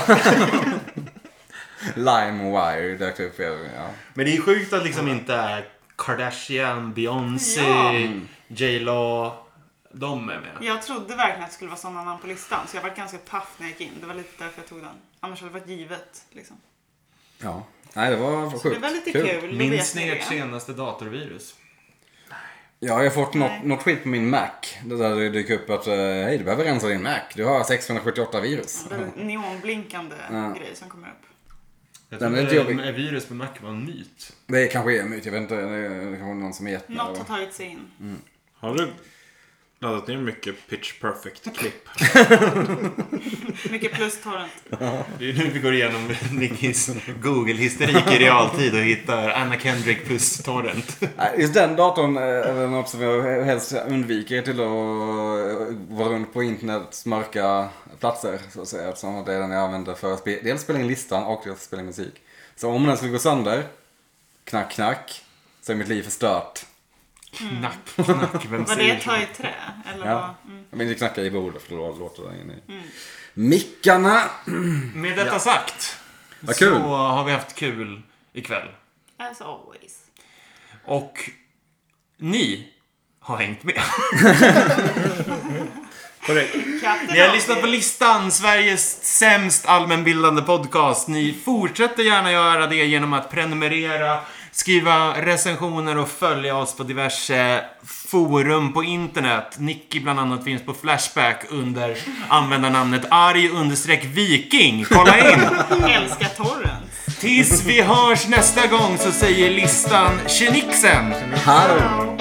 B: Limewire dök upp. Ja.
A: Men det är sjukt att liksom inte Kardashian, Beyoncé,
D: Ja.
A: J Lo, de är med.
D: Jag trodde verkligen att det skulle vara sådana namn på listan. Så jag var ganska paff när jag gick in. Det var lite därför jag tog den. Annars hade det varit givet. Liksom.
B: ja. Nej, det var
D: Så det
B: sjukt.
D: var lite kul. då
A: Minns
D: vet
A: ni ert
D: det.
A: senaste datorvirus?
B: Ja, jag har fått
D: Nej.
B: något, något skit på min Mac. Det där det dyker upp att eh, hej, du behöver rensa din Mac. Du har 678 virus.
D: Väldigt Neonblinkande
B: Ja.
D: grej som kommer upp.
A: Jag
B: Den är
A: trodde
B: inte jobbig.
A: att virus på Mac var en myt.
B: Det kanske är en myt. Jag vet inte. Det det kan vara någon som är gett mig
D: Något
B: det,
D: har
B: va?
D: tagit sig in.
B: Mm.
C: Har du laddat ner mycket Pitch Perfect-klipp?
D: Mycket plus torrent.
A: Det är nu vi går igenom Nickis Google-historik i realtid och hittar Anna Kendrick plus Torrent.
D: Mm.
B: Nej, Just den datorn eh, är något som jag helst undviker till att eh, vara runt på internets mörka platser. Så att säga. Eftersom det är den jag använder för att spe- dels spela in listan och dels spela in musik. Så om den skulle gå sönder, knack knack, så är mitt liv förstört.
A: Knack, knack. Vem
D: Var det
A: säger
D: ett
A: så?
D: tag i trä? Eller
B: Ja.
D: vad? Mm.
B: Jag vill inte knacka i bordet för då låter det in i. Mickarna!
A: Med detta sagt.
B: Vad
A: Så
B: kul.
A: har vi haft kul ikväll.
D: As always.
A: Och ni har hängt med.
H: Korrekt.
D: Katten
A: Ni har lyssnat på listan, Sveriges sämst allmänbildande podcast. Ni fortsätter gärna göra det genom att prenumerera, skriva recensioner och följa oss på diverse forum på internet. Nicky bland annat finns på Flashback under användarnamnet arg understreck viking. Kolla in!
D: Älskar torren.
A: Tills vi hörs nästa gång så säger listan tjenixen!
B: Hallå!